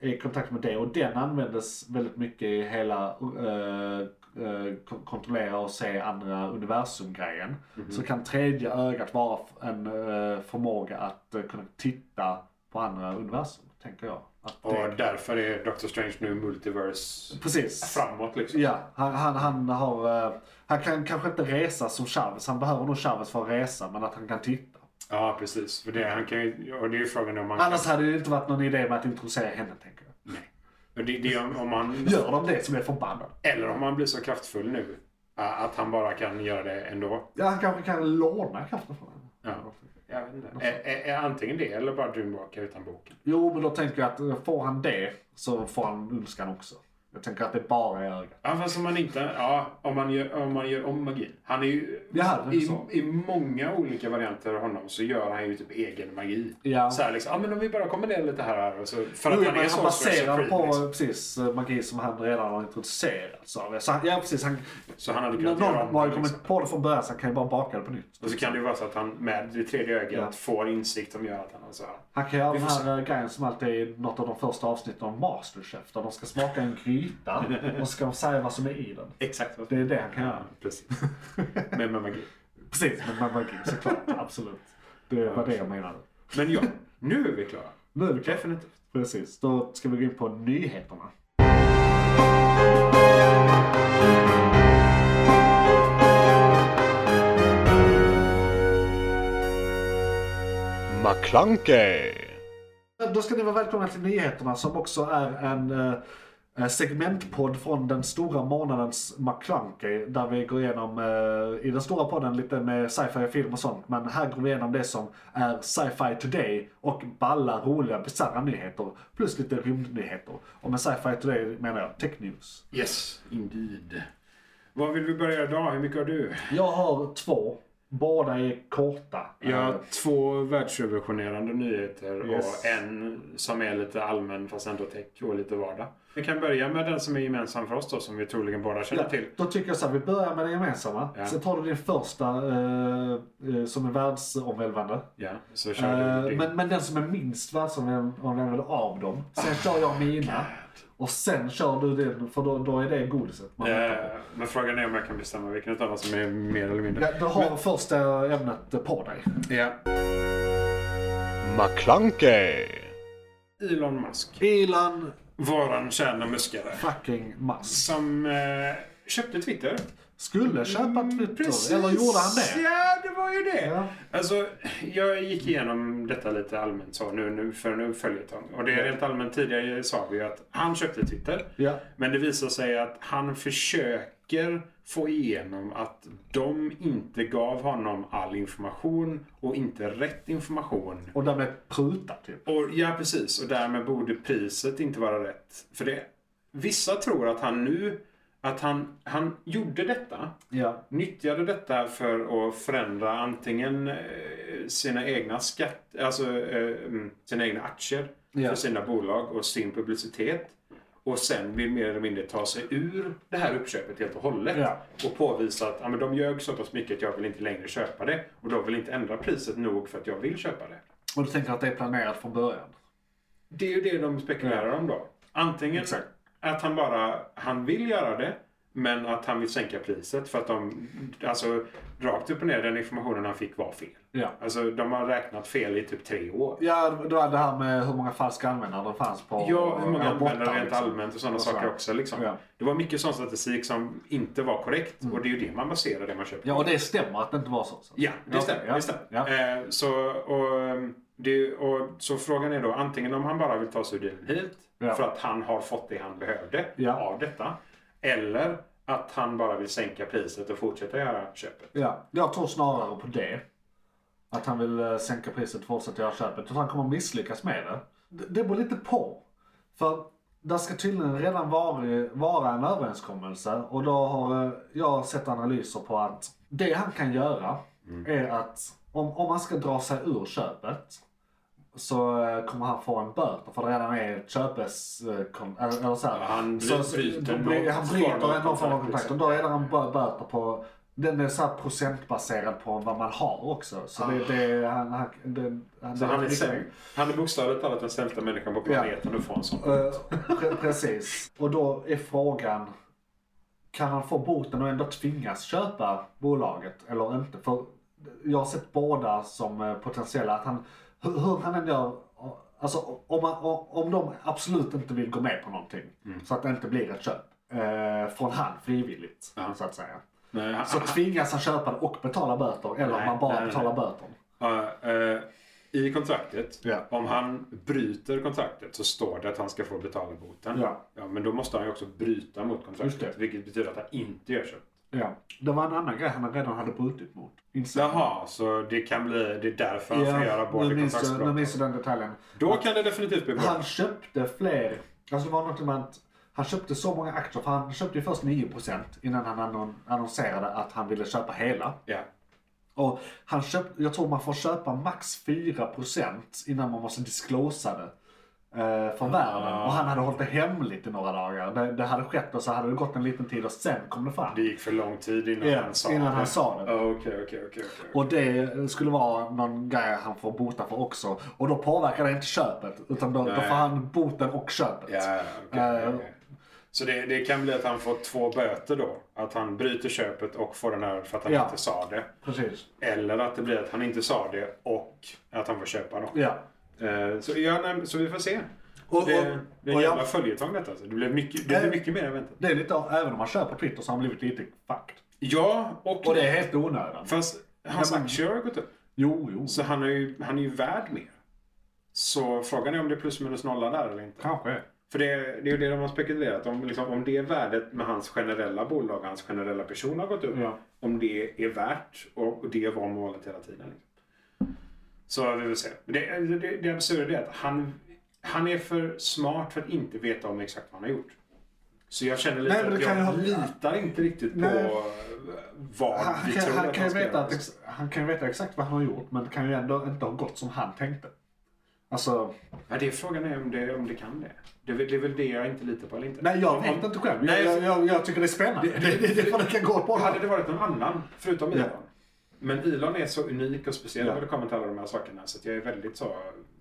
är i kontakt med det och den användes väldigt mycket i hela eh, eh, kon- kontrollera och se andra universum-grejen. Så kan tredje ögat vara f- en eh, förmåga att eh, kunna titta på andra universum, tänker jag. Att det, Och därför är Doctor Strange nu multiverse Precis. framåt liksom. Ja, han, han, han har... eh, han kan kanske inte resa som Chavez, han behöver nog Chavez för att resa, men att han kan titta. Ja, precis. För det, han kan ju, och det är ju frågan om man Annars hade det inte varit någon idé med att introducera henne, tänker jag. kan... Det, det är om, om man, Gör de det som är förbannad? eller om man blir så kraftfull nu ä, att han bara kan göra det ändå. Ja, han kanske kan låna kraften från henne. Ja. Jag vet inte. Ä, ä, ä, antingen det eller bara Dreamwalker utan boken. Jo, men då tänker jag att eh, får han det så får han ondskan också. Jag tänker att det bara är ögat. Ja, fast om man inte... Ja, om man gör om, man gör om magi. Han är ju... Ja, det är i, så. I många olika varianter av honom så gör han ju typ egen magi. Ja. Så här liksom, ja men om vi bara kombinerar lite här och här. Och så, för Jo, att men han är han så baserar sorcerer på liksom. precis eh, magi som han redan har introducerat. Så, så han, ja, precis. Han, Så han hade kunnat göra någon om bara det, liksom. kommit på det från början så han kan ju bara baka det på nytt. Och så kan det ju vara så att han med det tredje ögat Ja. får insikt som gör att han har så här. Han kan göra Vi den får här eh, grejen som alltid är något av de första avsnitten av Masterchef. Där de ska smaka en gryta och så ska de säga vad som är i den. Exakt vad Det är det han kan göra. Precis. Men med magi. Precis, men man magi såklart. Absolut. Det var det jag menade. Men ja, nu är vi klara. Nu är vi klara. Definitivt. Precis, då ska vi gå in på nyheterna. McClunkey! Då ska ni vara välkomna till nyheterna som också är en eh, segmentpodd från den stora månadens McClunky där vi går igenom, eh, i den stora podden lite med sci-fi film och sånt, men här går vi igenom det som är sci-fi today och balla, roliga, bisarra nyheter plus lite rymdnyheter. Och med sci-fi today menar jag tech news. Yes, indeed. Vad vill vi börja idag? Hur mycket har du? Jag har två, båda är korta. Jag Eh, har två världsrevolutionerande nyheter Yes. och en som är lite allmän fast ändå tech och lite vardag. Vi kan börja med den som är gemensam för oss då, som vi troligen båda känner Ja, till. Då tycker jag så här, vi börjar med den gemensamma. Ja. Sen tar du din första eh, eh, som är världsomvälvande. Ja, så kör Eh, du. men, men den som är minst världsomvälvande av dem. Sen kör jag mina. Och sen kör du din, för då, då är det godiset. Man väntar på. Eh, men frågan är om jag kan bestämma vilken av dem som är mer eller mindre. ja, du har första ämnet på dig. Ja. McClunkey! Elon Musk, Elon våran kära muskare, fucking Musk. som eh, köpte Twitter. Skulle köpa Mm, Twitter, eller gjorde han det? Ja, det var ju det. Ja. Alltså, jag gick igenom detta lite allmänt så nu, nu för en följetong. Och det är rent allmänt tidigare sa vi ju att han köpte Twitter. Ja. Men det visar sig att han försöker få igenom att de inte gav honom all information och inte rätt information. Och därmed pruta typ. Och, ja, precis. Och därmed borde priset inte vara rätt. För det, vissa tror att han nu, att han, han gjorde detta Ja. nyttjade detta för att förändra antingen eh, sina egna skatt, alltså eh, mm, sina egna aktier Ja. för sina bolag och sin publicitet. Och sen vill mer eller mindre ta sig ur det här uppköpet helt och hållet. Ja. Och påvisa att ja, men de ljög så pass mycket att jag vill inte längre köpa det. Och de vill inte ändra priset nog för att jag vill köpa det. Och du tänker att det är planerat från början? Det är ju det de spekulerar om då. Antingen Exakt. att han bara han vill göra det, men att han vill sänka priset för att de, alltså rakt upp och ner, den informationen han fick var fel. Ja. Alltså de har räknat fel i typ tre år. Ja, det var det här med hur många falska användare det fanns på Ja, hur många ja, användare bottar, rent liksom. allmänt och sådana så saker här. också. Liksom. Ja. Mm. Det var mycket sån statistik som inte var korrekt och det är ju det man baserar det man köper Ja, och det stämmer att det inte var så. så. Ja, det Ja, stämmer. ja, det stämmer. ja. Eh, så, och, ehm, det, och, så frågan är då antingen om han bara vill ta sig ur dealen helt Ja. för att han har fått det han behövde Ja. av detta. Eller att han bara vill sänka priset och fortsätta göra köpet. Ja, jag tror snarare på det. Att han vill eh, sänka priset och fortsätta göra köpet. Jag tror han kommer misslyckas med det. Det, det beror lite på. För där ska tydligen redan vara, vara en överenskommelse och då har eh, jag sett analyser på att det han kan göra Mm. är att om, om han ska dra sig ur köpet så eh, kommer han få en böter för det redan är ett köpes... eh, kon- Eller eller så här. Han så, bryter då blir- någon han form av bryter någon form av kontrakt, kontrakt och liksom. då är det en bö- böter på Den är så här procentbaserad på vad man har också. Så det, det, han, han, det, han, Så han är, sämst. han är bokstavligt talat den sämsta människan på planeten och får en sån. Eh, pre- precis. Och då är frågan, kan han få boten och ändå tvingas köpa bolaget eller inte? För jag har sett båda som eh, potentiella, att han, hur, hur han än gör, alltså om, man, om de absolut inte vill gå med på någonting, Mm. så att det inte blir ett köp. eh, Från han frivilligt, Ja. så att säga. Nej, han, Så tvingas han köpa det och betala böter, eller om Nej, man bara nej, nej. betalar böter. Ja, eh, I kontraktet, Ja. om han bryter kontraktet så står det att han ska få betala boten. Ja. men då måste han ju också bryta mot Just kontraktet, det. vilket betyder att han inte gör så. Ja. Det var en annan grej han redan hade brutit mot. Insåg jag. Jaha, så det kan bli, det är därför han får göra både nu minns jag- nu minns kontraktsbrott. jag den detaljen. Då kan det definitivt bli bra. Han köpte fler, alltså det var något med att han köpte så många aktier, för han köpte ju först 9% innan han annon- annonserade att han ville köpa hela. Ja. Och han köpte, jag tror man får köpa max 4% innan man måste disclosa det eh, för världen. Och han hade hållit det hemligt i några dagar. Det, det hade skett och så hade det gått en liten tid och sen kom det fram. Det gick för lång tid innan Ja, han sa innan det. han sa det. Ja, Okej, okej, okej. okej. Och det skulle vara någon grej han får bota för också. Och då påverkar det inte köpet. Utan då, då Nej. får han boten och köpet. Ja, ja, okej, Eh, okej, okej. Så det, det kan bli att han får två böter då? Att han bryter köpet och får den här för att han Ja. inte sa det. Precis. Eller att det blir att han inte sa det och att han får köpa dem. Ja. Eh, Så, ja, nej, så vi får se. Och- det, och- det är en och jag- Eh. jävla följetong detta. Alltså. Det blev mycket, det blev mycket mer än väntat. Det är lite, även om man kör på Twitter så har man blivit lite fucked. Ja, och, Och det är helt onödan. fast hans Ja, men- aktier har gått upp. Jo, jo. Så han är, ju, han är ju värd mer. Så frågan är om det är plus minus nolla där eller inte. Kanske. För det, det är ju det de har spekulerat om. Liksom, om det värdet med hans generella bolag, hans generella person har gått upp. Ja. Om det är värt och, och det var målet hela tiden. Liksom. Så vi vill se. Men Det, det, det absurda är att han, han är för smart för att inte veta om exakt vad han har gjort. Så jag känner lite Nej, men att det jag kan ju ha- litar inte riktigt på Nej. vad Han vi kan, tror han, att kan han ju ska veta göra. att, ex- han kan ju veta exakt vad han har gjort men det kan ju ändå inte ha gått som han tänkte. Alltså, Ja, det är frågan är om det, om det kan det. Det är, väl- det är väl det jag inte litar på eller inte. nej jag Om- vet inte själv. Nej, Jag, jag, jag, jag tycker det är spännande. Det, det, det, det kan gå på. Hade det varit någon annan, förutom Elon. Ja. Men Elon är så unik och speciell Ja. när det kommer till alla de här sakerna. Så att jag är väldigt så...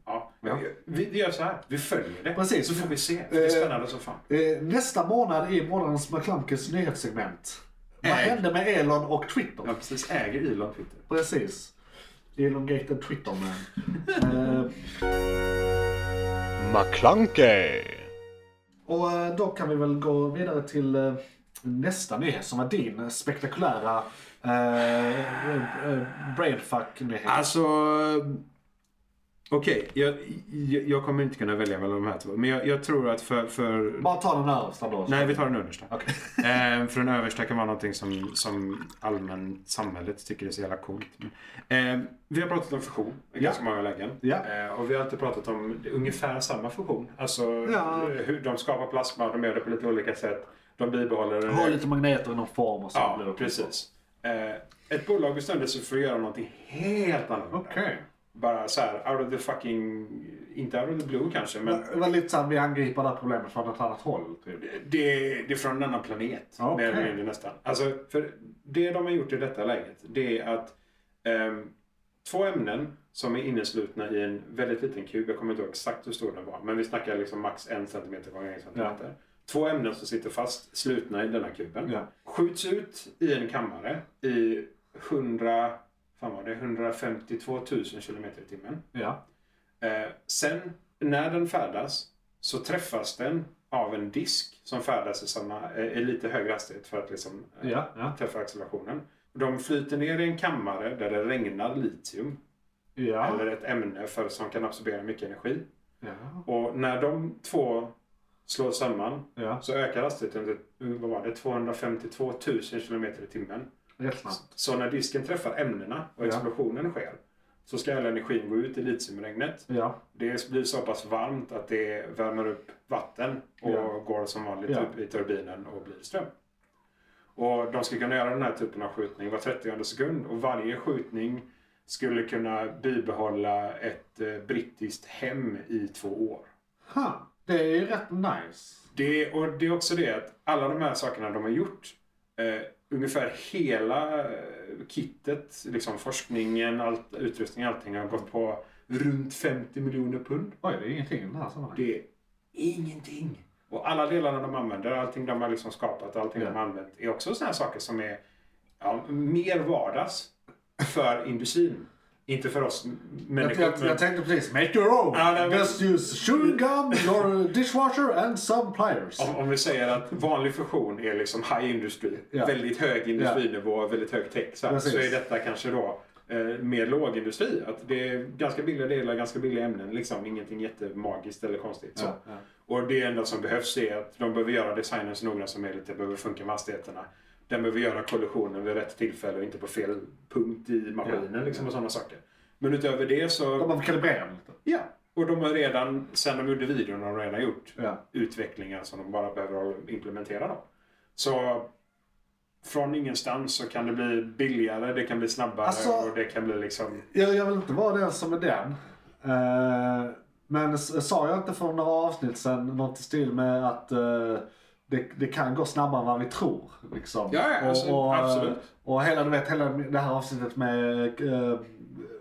Ja. Ja. Vi, vi gör så här. Vi följer det. Precis. Så får vi se. Det är Eh, spännande som fan. Eh, nästa månad i månadens McClunkes nyhetssegment. Vad hände med Elon och Twitter? Ja, precis. Äger Elon Twitter? Precis. Elongated Twitter man. eh, McClunkey. och eh, då kan vi väl gå vidare till eh, nästa nyhet som var din eh, spektakulära eh, eh, brainfuck-nyhet. Alltså... Okej, jag, jag, jag kommer inte kunna välja mellan de här två. Men jag, jag tror att för... för... Bara ta den översta då. Nej, vi tar den understa. Okej. Eh, för den översta kan vara någonting som, som allmänt samhället tycker är så jävla coolt. Men, eh, vi har pratat om fusion i ganska många lägen. Ja. Eh, och vi har alltid pratat om ungefär samma fusion. Alltså Ja. eh, hur de skapar plasma, de gör det på lite olika sätt. De bibehåller det. Ha lite magneter i någon form och så blir Ja, det- precis. Eh, ett bolag bestämde sig för att göra någonting helt annorlunda. Okej. Bara så här, out of the fucking... Inte out of the blue kanske, men Det var lite såhär, vi angriper det här problemet från ett annat håll. Typ. Det, det är från en annan planet. Okej. Mer eller mindre nästan. Alltså, för det de har gjort i detta läget, det är att ehm, två ämnen som är inneslutna i en väldigt liten kub, jag kommer inte ihåg exakt hur stor den var, men vi snackar liksom max en centimeter gånger en centimeter. Två ämnen som sitter fast, slutna i denna kuben, Ja. skjuts ut i en kammare i 100, fan var det, 152 000 kilometer i timmen. Ja. Eh, sen när den färdas så träffas den av en disk som färdas i, samma, eh, i lite högre hastighet för att liksom, eh, Ja, ja. träffa accelerationen. De flyter ner i en kammare där det regnar litium Ja. eller ett ämne för, som kan absorbera mycket energi. Ja. Och när de två slås samman Ja. så ökar hastigheten till eh, vad var det, 252 000 km i timmen. Rätt snabbt. Så när disken träffar ämnena och Ja. explosionen sker så ska all energin gå ut i litiumregnet. Ja. Det blir så pass varmt att det värmer upp vatten och Ja. går som vanligt Ja. upp i turbinen och blir ström. Och de skulle kunna göra den här typen av skjutning var 30 sekund och varje skjutning skulle kunna bibehålla ett eh, brittiskt hem i två år. Ha. Det är ju rätt nice. Det, och det är också det att alla de här sakerna de har gjort eh, ungefär hela eh, kittet, liksom forskningen, allt, utrustningen, allting har gått på runt 50 miljoner pund. Oj, det är ingenting i det här sammanhanget. Det är ingenting. Och alla delarna de använder, allting de har liksom skapat, allting Ja. de har använt är också sådana saker som är ja, mer vardags för industrin. Inte för oss Jag, människor. jag, jag men- tänkte precis, make your own! Ja, nej, men- Just use chewing gum, your dishwasher and some pliers. Om, om vi säger att vanlig fusion är liksom high industry, Ja. väldigt hög industrinivå, väldigt hög tech, så, här, Precis. så är detta kanske då eh, mer lågindustri. Att det är ganska billiga delar, ganska billiga ämnen, liksom, ingenting jättemagiskt eller konstigt. Så. Ja, ja. Och det enda som behövs är att de behöver göra designen så noga som möjligt, det behöver funka med hastigheterna. Den behöver göra kollisionen vid rätt tillfälle och inte på fel punkt i maskinen Ja, liksom, och sådana saker. Men utöver det så... De har kalibrerat lite. Ja, och de har redan, sen de gjorde videon, har de redan gjort Ja. utvecklingar som de bara behöver implementera då. Så från ingenstans så kan det bli billigare, det kan bli snabbare Alltså- och det kan bli liksom... Jag, jag vill inte vara den som är den. Eh, men s- sa jag inte för några avsnitt sedan något i stil med att eh, det, det kan gå snabbare än vad vi tror? Liksom. Ja, ja, alltså, absolut. Och hela, du vet, hela det här avsnittet med eh,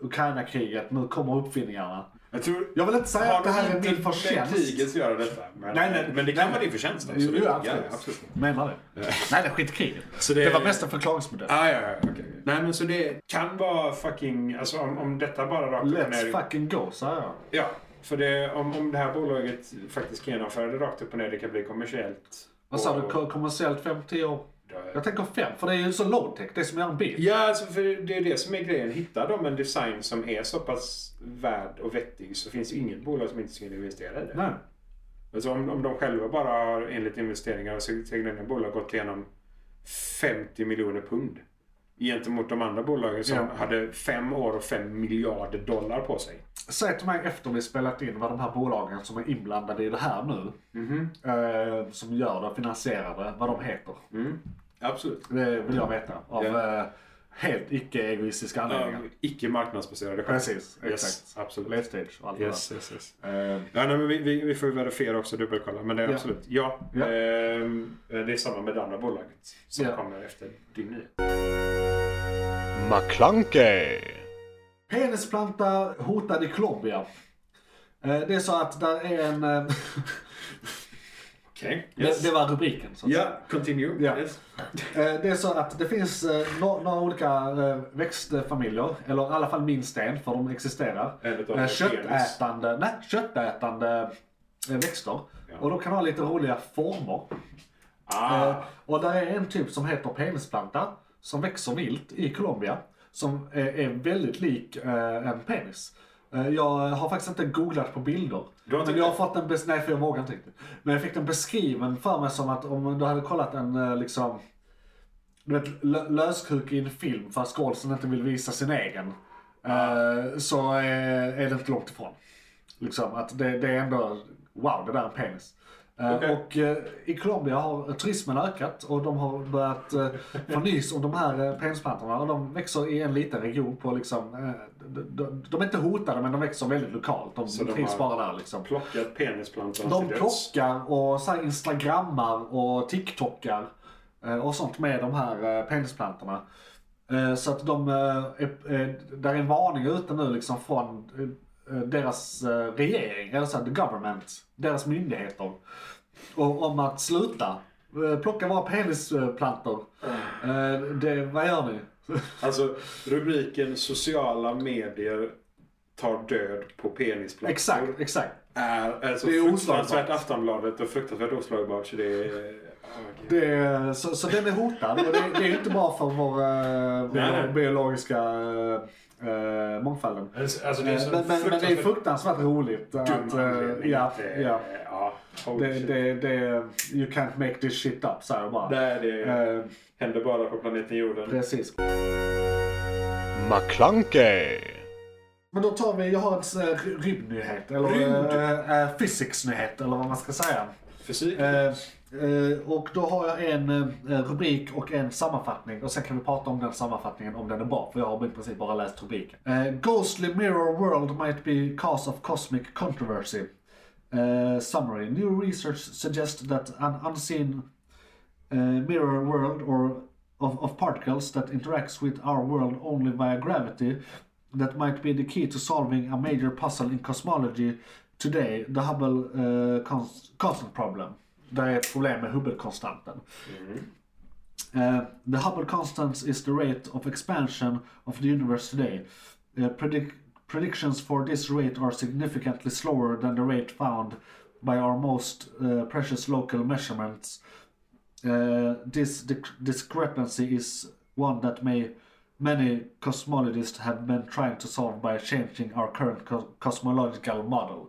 Ukraina-kriget, nu kommer uppfinningarna. Jag tror... Jag vill inte säga har att det här är inte min med förtjänst. kriget att göra detta. Men, Nej, nej, men det kan nej. vara din förtjänst Jo, absolut. jo, Ja, absolut. ja, absolut. Menar du? Nej, det är skitkriget. Så Det var mest en förklaringsmodell. Ah, ja, ja, okej. okej. Nej, men så det kan vara fucking... Alltså om, om detta bara rakt upp och Let's ner fucking go, sa jag. Ja, för det, om, om det här bolaget faktiskt kan genomföra det rakt upp och ner, det kan bli kommersiellt. Vad sa du? och- Ko- Kommersiellt 5-10 år? Jag tänker 5, för det är ju så low-tech, det är som att göra en bil. Ja, alltså för det är det som är grejen. Hittar de en design som är så pass värd och vettig så finns det inget bolag som inte skulle investera i det. Nej. Alltså om, om de själva bara har enligt investeringar och sitt egna bolag gått igenom 50 miljoner pund gentemot de andra bolagen som Ja. hade fem år och fem miljarder dollar på sig. Säg till mig efter vi spelat in vad de här bolagen som är inblandade i det här nu, Mhm. eh, som gör det, finansierar det, vad de heter. Absolut. Det vill jag veta. Av Mm. Ja. eh, helt icke-egoistiska anledningar. Icke marknadsbaserade skäl. Precis, exakt. Yes, absolut. Late stage och allt Yes, yes, yes. det där. Eh, Ja, nej, men vi, vi, vi får ju verifiera också och dubbelkolla. Men det är Ja. absolut. Ja, Ja. ehm, det är samma med det andra bolaget som Ja. kommer efter din nyhet. McClunkey. Penisplanta hotad i Colombia. Eh, Det är så att där är en... eh, Okej. det, det var rubriken. Så att säga. Ja, continue. Ja. Yes. Eh, Det är så att det finns eh, nå- några olika eh, växtfamiljer, eller i alla fall minst en, för de existerar. En utav Eh, dem är Köttätande, nej, köttätande eh, växter. Och de kan ha lite roliga former. Ah, Eh, Och där är en typ som heter penisplanta, som växer vilt i Colombia. Som är, är väldigt lik eh, en penis. Eh, jag har faktiskt inte googlat på bilder. Du har inte- men jag har fått en bes- nej, för jag vågar inte riktigt. Men jag fick den beskriven för mig som att om du hade kollat en eh, liksom, du vet, lö- löskuk i en film för att skådisen inte vill visa sin egen. Eh, så är, är det inte långt ifrån. Liksom, att det, det är ändå, wow, det där är en penis. Eh, Okej. Och eh, i Colombia har turismen ökat och de har börjat eh, få nys om de här eh, penisplantorna och de växer i en liten region på liksom, eh, de, de, de är inte hotade men de växer väldigt lokalt. De Så de trivs har- bara där liksom. plockat penisplantan De till döds. plockar och så här instagrammar och tiktokar eh, och sånt med de här eh, penisplantorna. Eh, Så att de, eh, är- är- där är en varning ute nu liksom från eh, deras eh, regering, eller så här, the government, deras myndigheter. Och, om att sluta eh, plocka våra penisplantor. Eh, Det, vad gör ni? Alltså rubriken sociala medier tar död på penisplantor. exakt, exakt. Är, alltså, Det är fruktansvärt oslagbart. Aftonbladet och fruktansvärt oslagbart. Så det är... Det är, så, så den är hotad och det, det är ju inte bra för vår, eh, Nej, nej. vår biologiska eh, mångfalden. Alltså, det är Eh, så Men, men, men det är fruktansvärt roligt dum att... eh, anledning Ja, att, eh, ja. ja, holy Det, shit. det, det, you can't make this shit up, säger jag bara. Nej, det Eh, händer bara på planeten jorden. Precis. McClunkey. Men då tar vi, jag har en sån här ry- rymdnyhet, eller Rymd? eh, eh, fysiksnyhet, eller vad man ska säga. Fysik? Eh, eh, och då har jag en eh, rubrik och en sammanfattning och sen kan vi prata om den sammanfattningen om den är bra för jag har i princip bara läst rubriken. Eh, Ghostly Mirror World might be cause of cosmic controversy. Eh, summary. New research suggests that an unseen eh, mirror world or of, of particles that interacts with our world only via gravity that might be the key to solving a major puzzle in cosmology today, the Hubble eh, cons- constant problem. Det är ett problem med Hubble-konstanten. Uh, the Hubble constant is the rate of expansion of the universe today. Uh, predic- predictions for this rate are significantly slower than the rate found by our most uh, precious local measurements. Uh, this dic- discrepancy is one that may many cosmologists have been trying to solve by changing our current co- cosmological model.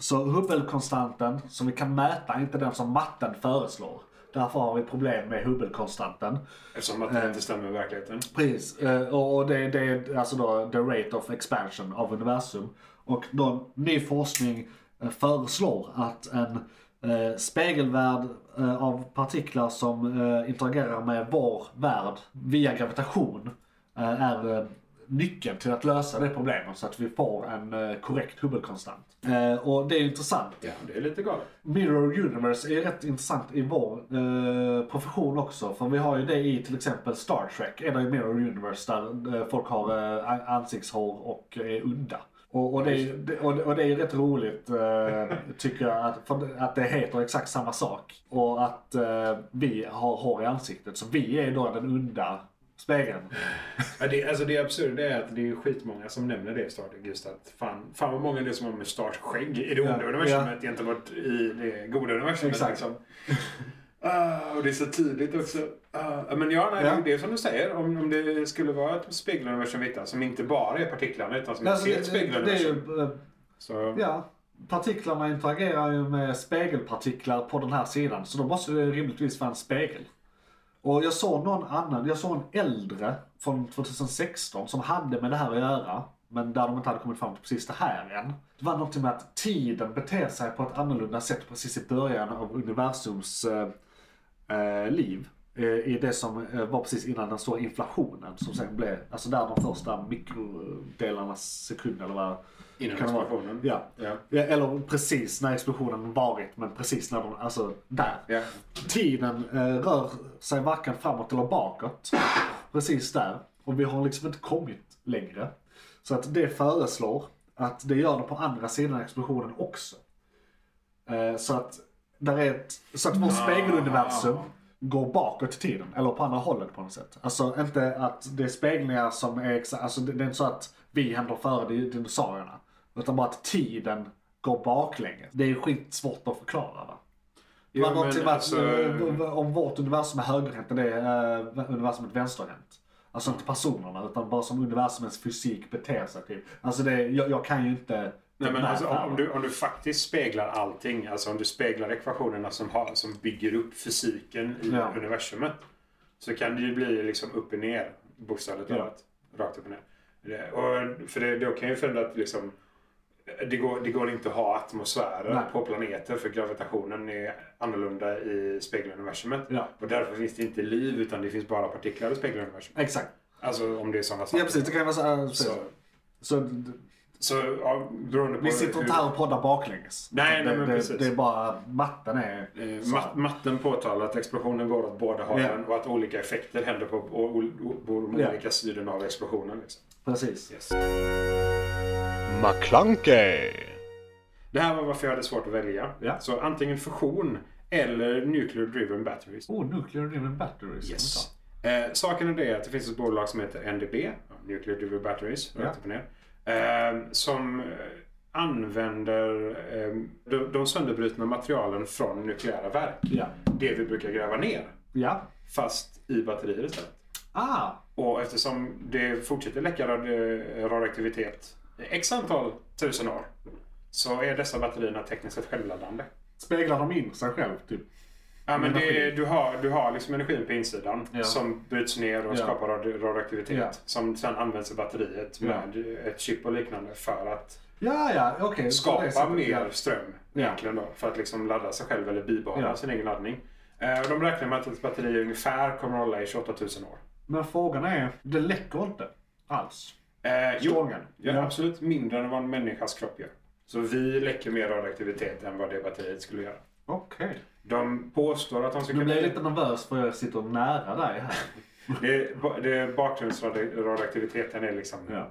Så Hubble-konstanten som vi kan mäta är inte den som matten föreslår. Därför har vi problem med Hubble-konstanten. Eftersom att det inte stämmer med verkligheten. Precis, eh, och och det, det är alltså då the rate of expansion av universum. Och då ny forskning eh, föreslår att en eh, spegelvärld eh, av partiklar som eh, interagerar med vår värld via gravitation eh, är eh, nyckeln till att lösa det problemet så att vi får en eh, korrekt Hubble-konstant. Eh, och det är ju intressant. Ja, det är lite galet. Mirror Universe är ju rätt intressant i vår eh, profession också. För vi har ju det i till exempel Star Trek. Är det ju Mirror Universe där eh, folk har eh, an- ansiktshår och är udda. Och, och, det, är ju- det- och, det- och det är ju rätt roligt eh, tycker jag att, för det- att det heter exakt samma sak. Och att eh, vi har hår i ansiktet. Så vi är ju då den udda spegeln. Ja, det, alltså det absurda är att det är skitmånga som nämner det i Star Trek. Just att fan, fan vad många det är som har med startskägg i det onda Ja, universumet gentemot i det goda universumet. Exakt. Liksom. Ah, och det är så tydligt också. Ah, men ja, nej, Ja. det är det som du säger. Om, om det skulle vara ett spegeluniversum vi hittar som inte bara är partiklarna utan som är ett Alltså, det, helt det är spegeluniversum. ju eh, Så, Ja, partiklarna interagerar ju med spegelpartiklar på den här sidan. Så då måste det rimligtvis vara en spegel. Och jag såg någon annan, jag såg en äldre från 2016 som hade med det här att göra. Men där de inte hade kommit fram till precis det här än. Det var något med att tiden beter sig på ett annorlunda sätt precis i början av universums eh, eh, liv. Eh, I det som eh, var precis innan den stora inflationen som sen blev, alltså där de första mikrodelarnas sekund eller vad Innan kan det vara? explosionen. Ja. Ja. Ja, eller precis när explosionen varit, men precis när de, alltså där. Ja. Tiden eh, rör sig varken framåt eller bakåt. Precis där. Och vi har liksom inte kommit längre. Så att det föreslår att det gör det på andra sidan explosionen också. Eh, så att där är ett, så att Ah. vårt spegeluniversum går bakåt i tiden, eller på andra hållet på något sätt. Alltså inte att det är speglingar som är exakt, alltså det, det är inte så att vi händer före di- dinosaurierna. Utan bara att tiden går baklänges. Det är ju skitsvårt att förklara va. Det Jo, var någonting men med alltså- att, eh, om vårt universum är högerhänt och det är eh, universumet vänsterhänt. Alltså inte personerna utan bara som universumets fysik beter sig. Typ. Alltså det, jag, jag kan ju inte... Nej, men den här alltså, om, affären. om, du, om du faktiskt speglar allting, alltså om du speglar ekvationerna som, har, som bygger upp fysiken i Ja. universumet, så kan det ju bli liksom upp och ner, bokstavligt Ja. talat. Rakt upp och ner. Det- Och för det, då kan ju förändra att liksom, det, går, det går inte att ha atmosfärer Nej. på planeter för gravitationen är annorlunda i spegeluniversumet. Ja. Och därför finns det inte liv utan det finns bara partiklar i spegeluniversumet. Exakt. Alltså om det är sådana saker. Ja precis, det kan ju vara så. eh, precis. Så, så d- så ja, beroende på vi sitter inte hur- här och poddar baklänges. Nej, Utan nej, det, men det, precis. det är bara matten är... Eh, så här. Mat, matten påtalar att explosionen går åt båda hållen Ja. och att olika effekter händer på, på, på de Ja. olika sidorna av explosionen. Liksom. Precis. McClunkey. Det här var varför jag hade svårt att välja. Ja. Så antingen fusion eller nuclear driven batteries. Oh, nuclear driven batteries. kan vi Yes. ta. Eh, saken är det att det finns ett bolag som heter NDB, ja, Nuclear Driven Batteries, rakt upp och ner, eh, som eh, använder eh, de, de sönderbrutna materialen från nukleära verk. Ja. Det vi brukar gräva ner, Ja. fast i batterier istället. Ah! Och eftersom det fortsätter läcka radi- radioaktivitet i x antal tusen år så är dessa batterierna tekniskt sett självladdande. Speglar de in sig själv, typ? Ja, men det, Energi. du, har, du har liksom energin på insidan Ja. som bryts ner och Ja. skapar radi- radioaktivitet Ja. som sedan används i batteriet Ja. med ett chip och liknande för att Ja, ja, okej. Okay. skapa mer ström Ja. egentligen då, för att liksom ladda sig själv eller bibehålla Ja. sin egen laddning. Eh, och De räknar med att ett batteri ungefär kommer att hålla i 28 000 år. Men frågan är, det läcker inte alls. Eh, jo, Strången. ja, Ja. absolut mindre än vad en människas kropp gör. Så vi läcker mer radioaktivitet än vad det batteriet skulle göra. Okej. De påstår att de ska Nu kunna... blir jag lite nervös för jag sitter nära dig här. Det, det, bakgrundsradioaktiviteten är liksom Ja.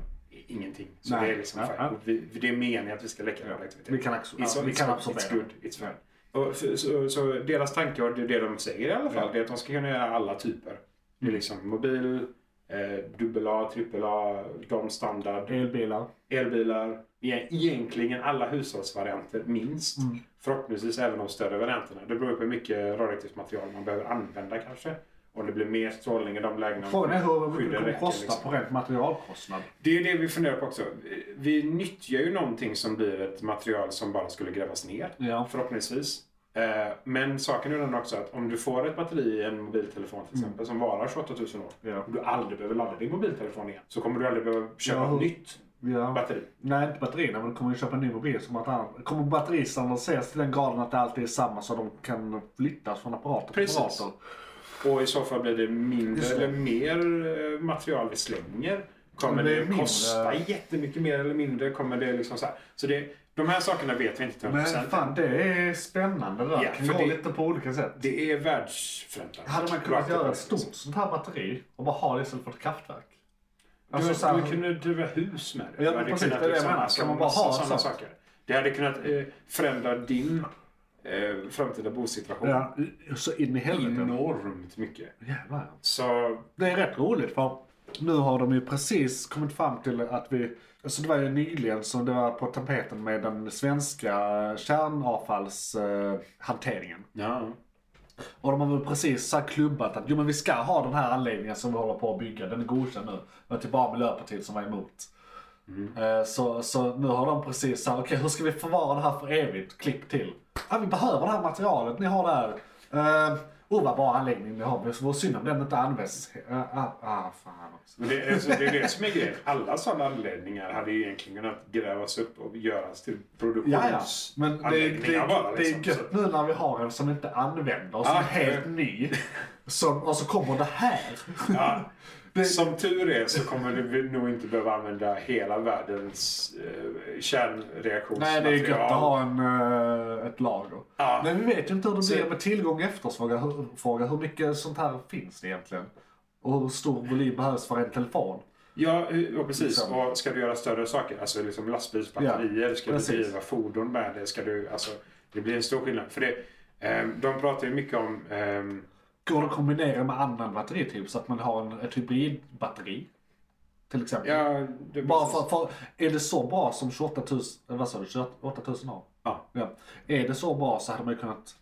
ingenting. Så Nej. det är liksom Ja, fine. ja. Och Vi, vi- det är meningen att vi ska läcka radioaktivitet. Vi kan acc- It's, ja, vi it's, kan It's absorbera. good, it's fine. Och f- så, så deras tanke, och det är det de säger i alla fall, det är att de ska kunna göra alla typer. Det Mm. är liksom mobil, eh, dubbel-A, trippel-A, de standard, Elbilar. elbilar. e- Egentligen alla hushållsvarianter minst. Mm. Förhoppningsvis även de större varianterna. Det beror på hur mycket radioaktivt material man behöver använda kanske. Om det blir mer strålning i de lägena. Frågan är hur mycket det Skydden kommer räcker, kosta liksom. på rent materialkostnad. Det är det vi funderar på också. Vi nyttjar ju någonting som blir ett material som bara skulle grävas ner. Ja. Förhoppningsvis. Eh, Men saken är den också att om du får ett batteri i en mobiltelefon Mm. till exempel som varar 28 000 år Ja. och du aldrig behöver ladda din mobiltelefon igen så kommer du aldrig behöva köpa Ja. ett nytt Ja. batteri. Nej, inte batterierna, men du kommer ju köpa en ny mobil. Som att han, kommer batteristandardiseras till den graden att det alltid är samma så de kan flyttas från apparater till Precis. apparater? Och i så fall blir det mindre Just det. eller mer eh, material vi slänger. Kommer Det det, är mindre. kosta jättemycket mer eller mindre? Kommer det liksom så här? Så det, de här sakerna vet vi inte till 100%. Men fan, det är spännande det där. Ja, kan för gå det- lite på olika sätt. Det är världsfrämjande. Hade man kunnat göra ett stort sånt här batteri och bara ha det istället för ett kraftverk? Alltså, du, så här, du kunde driva hus med det. Ja, Du men hade precis, kunnat det är det jag liksom, menar. alltså, Kan man bara massa ha sådana sånt? saker. Det hade kunnat eh, förändra din eh, framtida bosituation ja, så in i helvete. enormt mycket. Jävlar. Så Det är rätt roligt för nu har de ju precis kommit fram till att vi, alltså det var ju nyligen som det var på tapeten med den svenska kärnavfallshanteringen. ja, Och de har väl precis så här klubbat att jo men vi ska ha den här anläggningen som vi håller på att bygga, den är godkänd nu. Det var typ bara Miljöpartiet som var emot. Mm. Eh, Så, så nu har de precis såhär, okej hur ska vi förvara det här för evigt? Klipp till. Ah, vi behöver det här materialet, ni har det här. Eh, Oh vad bra anläggning ni har, men vad synd om den inte används. Eh, ah, ah, fan också. men det, alltså, det är det som är grejen. Alla sådana anledningar hade ju egentligen kunnat grävas upp och göras till Ja, ja. produktions... Men det, det, Anläggningar bara, det är liksom. gött nu när vi har en som inte använder, som Ah, är helt ja. ny. Som, och så kommer det här. Ja. Som tur är så kommer du nog inte behöva använda hela världens eh, Nej, kärnreaktionsmaterial. det är gött att ha en, eh, ett lager. Ja. Men vi vet ju inte hur det Så- blir med tillgång och efterfrågan. Hur, fråga, hur mycket sånt här finns det egentligen? Och hur stor volym behövs för en telefon? Ja, ja precis. Liksom. Och ska du göra större saker, alltså liksom lastbilsbatterier, Ja, ska precis. du driva fordon med det, ska du, alltså, det blir en stor skillnad. För det, ehm, de pratar ju mycket om, ehm, Går det att kombinera med annan batterityp så att man har en, ett hybridbatteri? Till exempel. ja, det, Bara för, för, är det så bra som 28 000, eh, vad sa du, 28 000 har? Ja. Ja. Är det så bra så hade man ju kunnat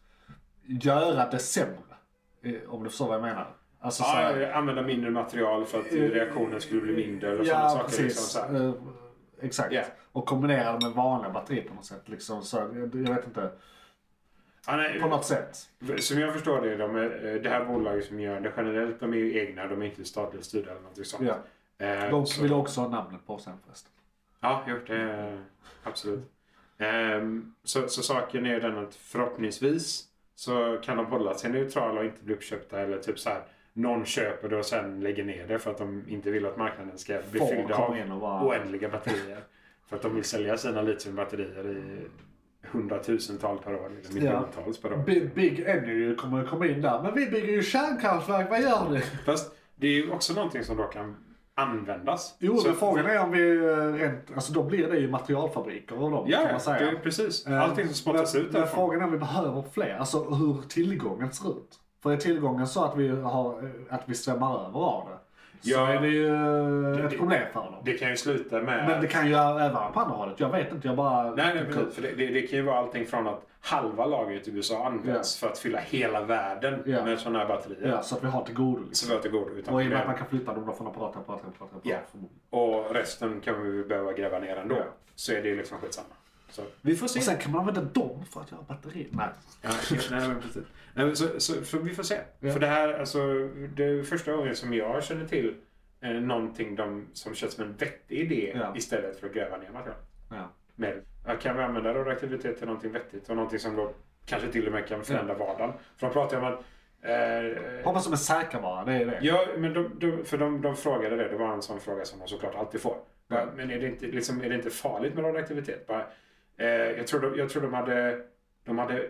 göra det sämre. Eh, Om du förstår vad jag menar. Alltså, så här- Eh, ja, använda mindre material för att reaktionen skulle bli mindre eller sådana Ja, saker. precis. Liksom, så här. Eh, Exakt. Ja. Och kombinera det med vanliga batterier på något sätt. Liksom, så, jag, jag vet inte. Ja, nej, På något sätt. Som jag förstår det, de är, eh, det här bolaget som gör det generellt, de är ju egna, de är inte statligt styrda eller någonting sånt. Ja. Eh, De så- vill också ha namnet på sen förresten. Ja, jo, det absolut. Ehm, så, så saken är den att förhoppningsvis så kan de hålla sig neutrala och inte bli uppköpta eller typ så här någon köper det och sen lägger ner det för att de inte vill att marknaden ska bli Ford fylld kommer av in och bara- oändliga batterier. För att de vill sälja sina litiumbatterier i hundratusentals per år, eller miljontals per år. Big, Big Energy kommer komma in där. Men vi bygger ju kärnkraftverk, vad gör ni? Fast det är ju också någonting som då kan användas. Jo, Så- men frågan är om vi eh, rent... Alltså då blir det ju materialfabriker av dem Ja, kan man säga. det är precis. Eh, Allting som spottas men, ut Men därifrån. frågan är om vi behöver fler. Alltså hur tillgången ser ut. För är tillgången så att vi, har, eh, att vi svämmar över av det. Så Ja. är det ju eh, Det- ett det- problem för dem. Det kan ju sluta med... Men det kan ju även på andra hållet. Jag vet inte, jag bara... Nej, nej precis. För det, det, det kan ju vara allting från att halva lagret i USA används för att fylla hela världen Ja. med sådana här batterier. Ja, så att vi har till godo Så liksom. vi går utan Och i och med att problem. man kan flytta dem då från apparat till apparat till apparat till Ja. apparat. förmodligen. Och resten kan vi behöva gräva ner ändå. Ja. Så är det ju liksom skitsamma. Så, vi får se. Och sen kan man använda dem för att göra batterier. Nej. Ja, nej, men precis. Nej, men så, så, för vi får se. Ja. För det här, alltså, det är första gången som jag känner till eh, någonting de, som känns som en vettig idé Ja. istället för att gräva ner material. Ja. med. Ja, Kan vi använda radioaktivitet till någonting vettigt och någonting som då kanske till och med kan förändra vardagen? För de pratar ju om att... Eh, Hoppas de är säkra bara, det är det. ja, men de, de, för de, de frågade det. Det var en sån fråga som de såklart alltid får. Bara, Ja. Men är det, inte, liksom, är det inte farligt med radioaktivitet? Bara, eh, jag, tror de, jag tror de hade... De hade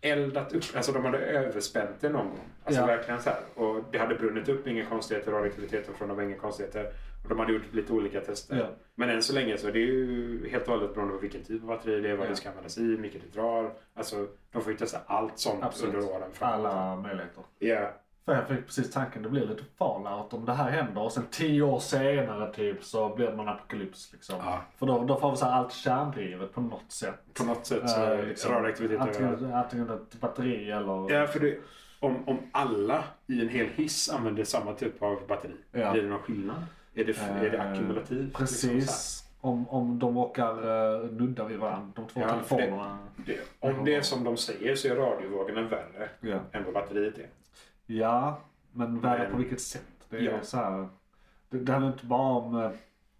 eldat upp, alltså de hade överspänt det någon gång. Alltså Ja. verkligen så här. Och det hade brunnit upp, inga konstigheter, radioaktiviteten från dem var inga konstigheter. Och de hade gjort lite olika tester. Ja. Men än så länge så är det ju helt och hållet beroende på vilken typ av batteri det är, vad Ja. det ska användas i, hur mycket det drar. Alltså de får ju testa allt sånt Absolut. under åren framåt. Alla möjligheter. Ja. För jag fick precis tanken, det blir lite Fallout om det här händer och sen tio år senare typ så blir det någon apokalyps liksom. Ja. För då, då får vi så här allt kärndrivet på något sätt. På något sätt så är Eh, liksom, radioaktivitet överallt. antingen, antingen ett batteri eller... Ja, för det, om, om alla i en hel hiss använder samma typ av batteri, Ja. blir det någon skillnad? Är det, är det Eh, ackumulativt? liksom så här? Precis. om, om de råkar uh, nudda vid varandra, de två Ja, telefonerna. Det, om det är som de säger så är radiovågorna värre Ja. än vad batteriet är. Ja, men värre Men- på vilket sätt? Det, är Ja. så här, det, det handlar inte bara om eh,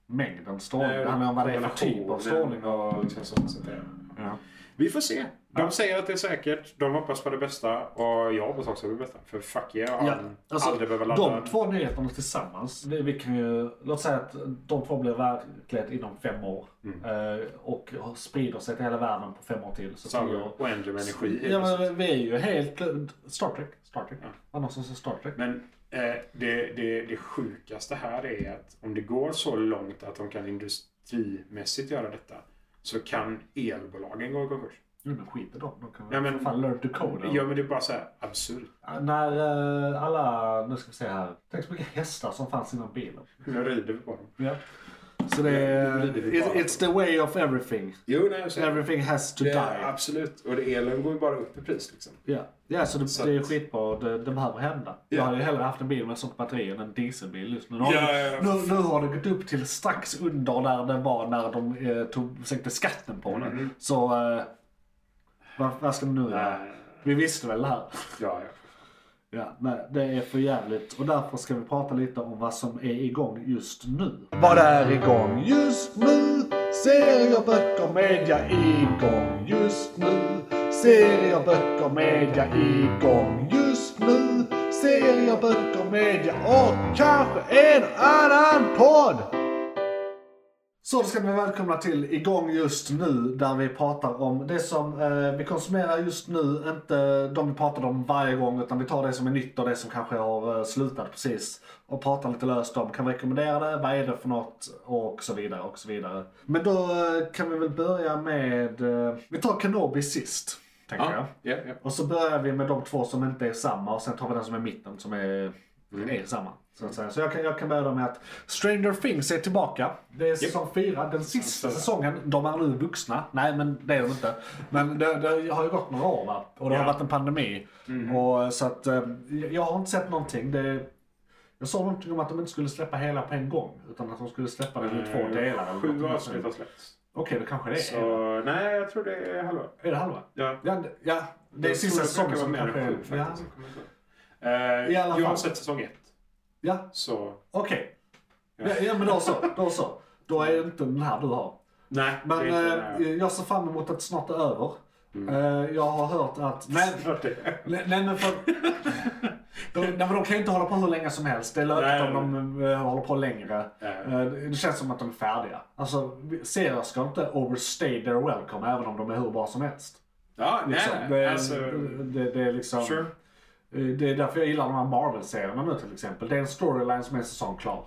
mängden strålning, Nej, det handlar om vad det är för typ av Eh, kombinationen. strålning. Och, Liksom sånt, sånt där. ja. Vi får se. De säger att det är säkert. De hoppas på det bästa. Och jag hoppas också på det bästa. För fuck yeah. Ja, han alltså, aldrig behöver ladda. de två nyheterna tillsammans, vi, vi kan ju, låt säga att de två blir verklighet inom fem år Mm. eh, och sprider sig till hela världen på fem år till. Så Så tio år. oändlig med energi. Ja, men vi är ju helt... eh, Star Trek. Star Trek. Annars så Star Trek. Men eh, det, det, det sjukaste här är att om det går så långt att de kan industrimässigt göra detta så kan elbolagen gå i konkurs. Jo, men skit i dem. De kan Ja, väl men- för fan learn to code. Ja, men det är bara så här absurt. När eh, alla... Nu ska vi se här. Tänk så mycket hästar som fanns innan bilen. Nu rider vi på dem. Ja. Så det är... Nu blir det bara- it- It's the way of everything. Jo, nej, så Everything has to det, die. Absolut. Och det, elen går ju bara upp i pris. Liksom. Ja, ja så, det, Så det är att- skitbra. Det, det behöver hända. Jag Ja. hade ju hellre haft en bil med ett sånt batteri än en dieselbil just nu. Nu har, Ja, det- ja, ja. Nu, nu har det gått upp till strax under där den var när de eh, tog, sänkte skatten på den. Så eh, vad, vad ska man nu göra? Mm. Nej. Vi visste väl det här. Ja, ja. Ja, nej, det är för jävligt och därför ska vi prata lite om vad som är igång just nu. Vad är igång just nu? Serier, böcker, media igång just nu. Serier, böcker, media igång just nu. Serier, böcker, media och kanske en annan podd! Så då ska ni vara välkomna till igång just nu där vi pratar om det som eh, vi konsumerar just nu. Inte de vi pratar om varje gång utan vi tar det som är nytt och det som kanske har eh, slutat precis. Och pratar lite löst om, kan vi rekommendera det, vad är det för något och så vidare och så vidare. Men då eh, kan vi väl börja med, eh, vi tar Kenobi sist. Tänker jag. ja, ja, ja. Och så börjar vi med de två som inte är samma och sen tar vi den som är mitten som är, Mm. är samma. Så, att säga. så jag, kan, jag kan börja med att Stranger Things är tillbaka. Det är säsong fyra, den sista säsongen. De är nu vuxna. Nej, men det är de inte. Men det, det har ju gått några år va? och det har Ja. Mm. varit en pandemi. Och, så att, eh, jag har inte sett någonting. Det, jag såg någonting om att de inte skulle släppa hela på en gång. Utan att de skulle släppa den i två delar. Eh. eller Eh, Mm. Sju någonting. avsnitt har släppts. Okej, då kanske det är. Så nej, jag tror det är halva. Är det halva? Ja. Ja, det- ja det är Jag sista tror säsongen brukar som vara kanske mer än är... sju, Ja, faktiskt. Jag kommer inte ihåg. Eh, I alla Jag har fall. sett säsong ett. ja Så Okej. Ja. ja, men då så. Då så. Då är det inte den här du har. nej, det Men är inte eh, jag ser fram emot att snart är över. Eh, jag har hört att... Nej, Klart det. nej, nej men för... De, nej, men de kan ju inte hålla på hur länge som helst. Det är löjligt om Nej, de eh, håller på längre. Nej. Eh, det känns som att de är färdiga. Alltså, serier ska inte overstay their welcome även om de är hur bra som helst. Ja, nej, Liksom. nej. det, är- alltså, det, det är liksom... Eh, sure. Det är därför jag gillar de här Marvel-serierna nu till exempel. Det är en storyline som är en säsong klar.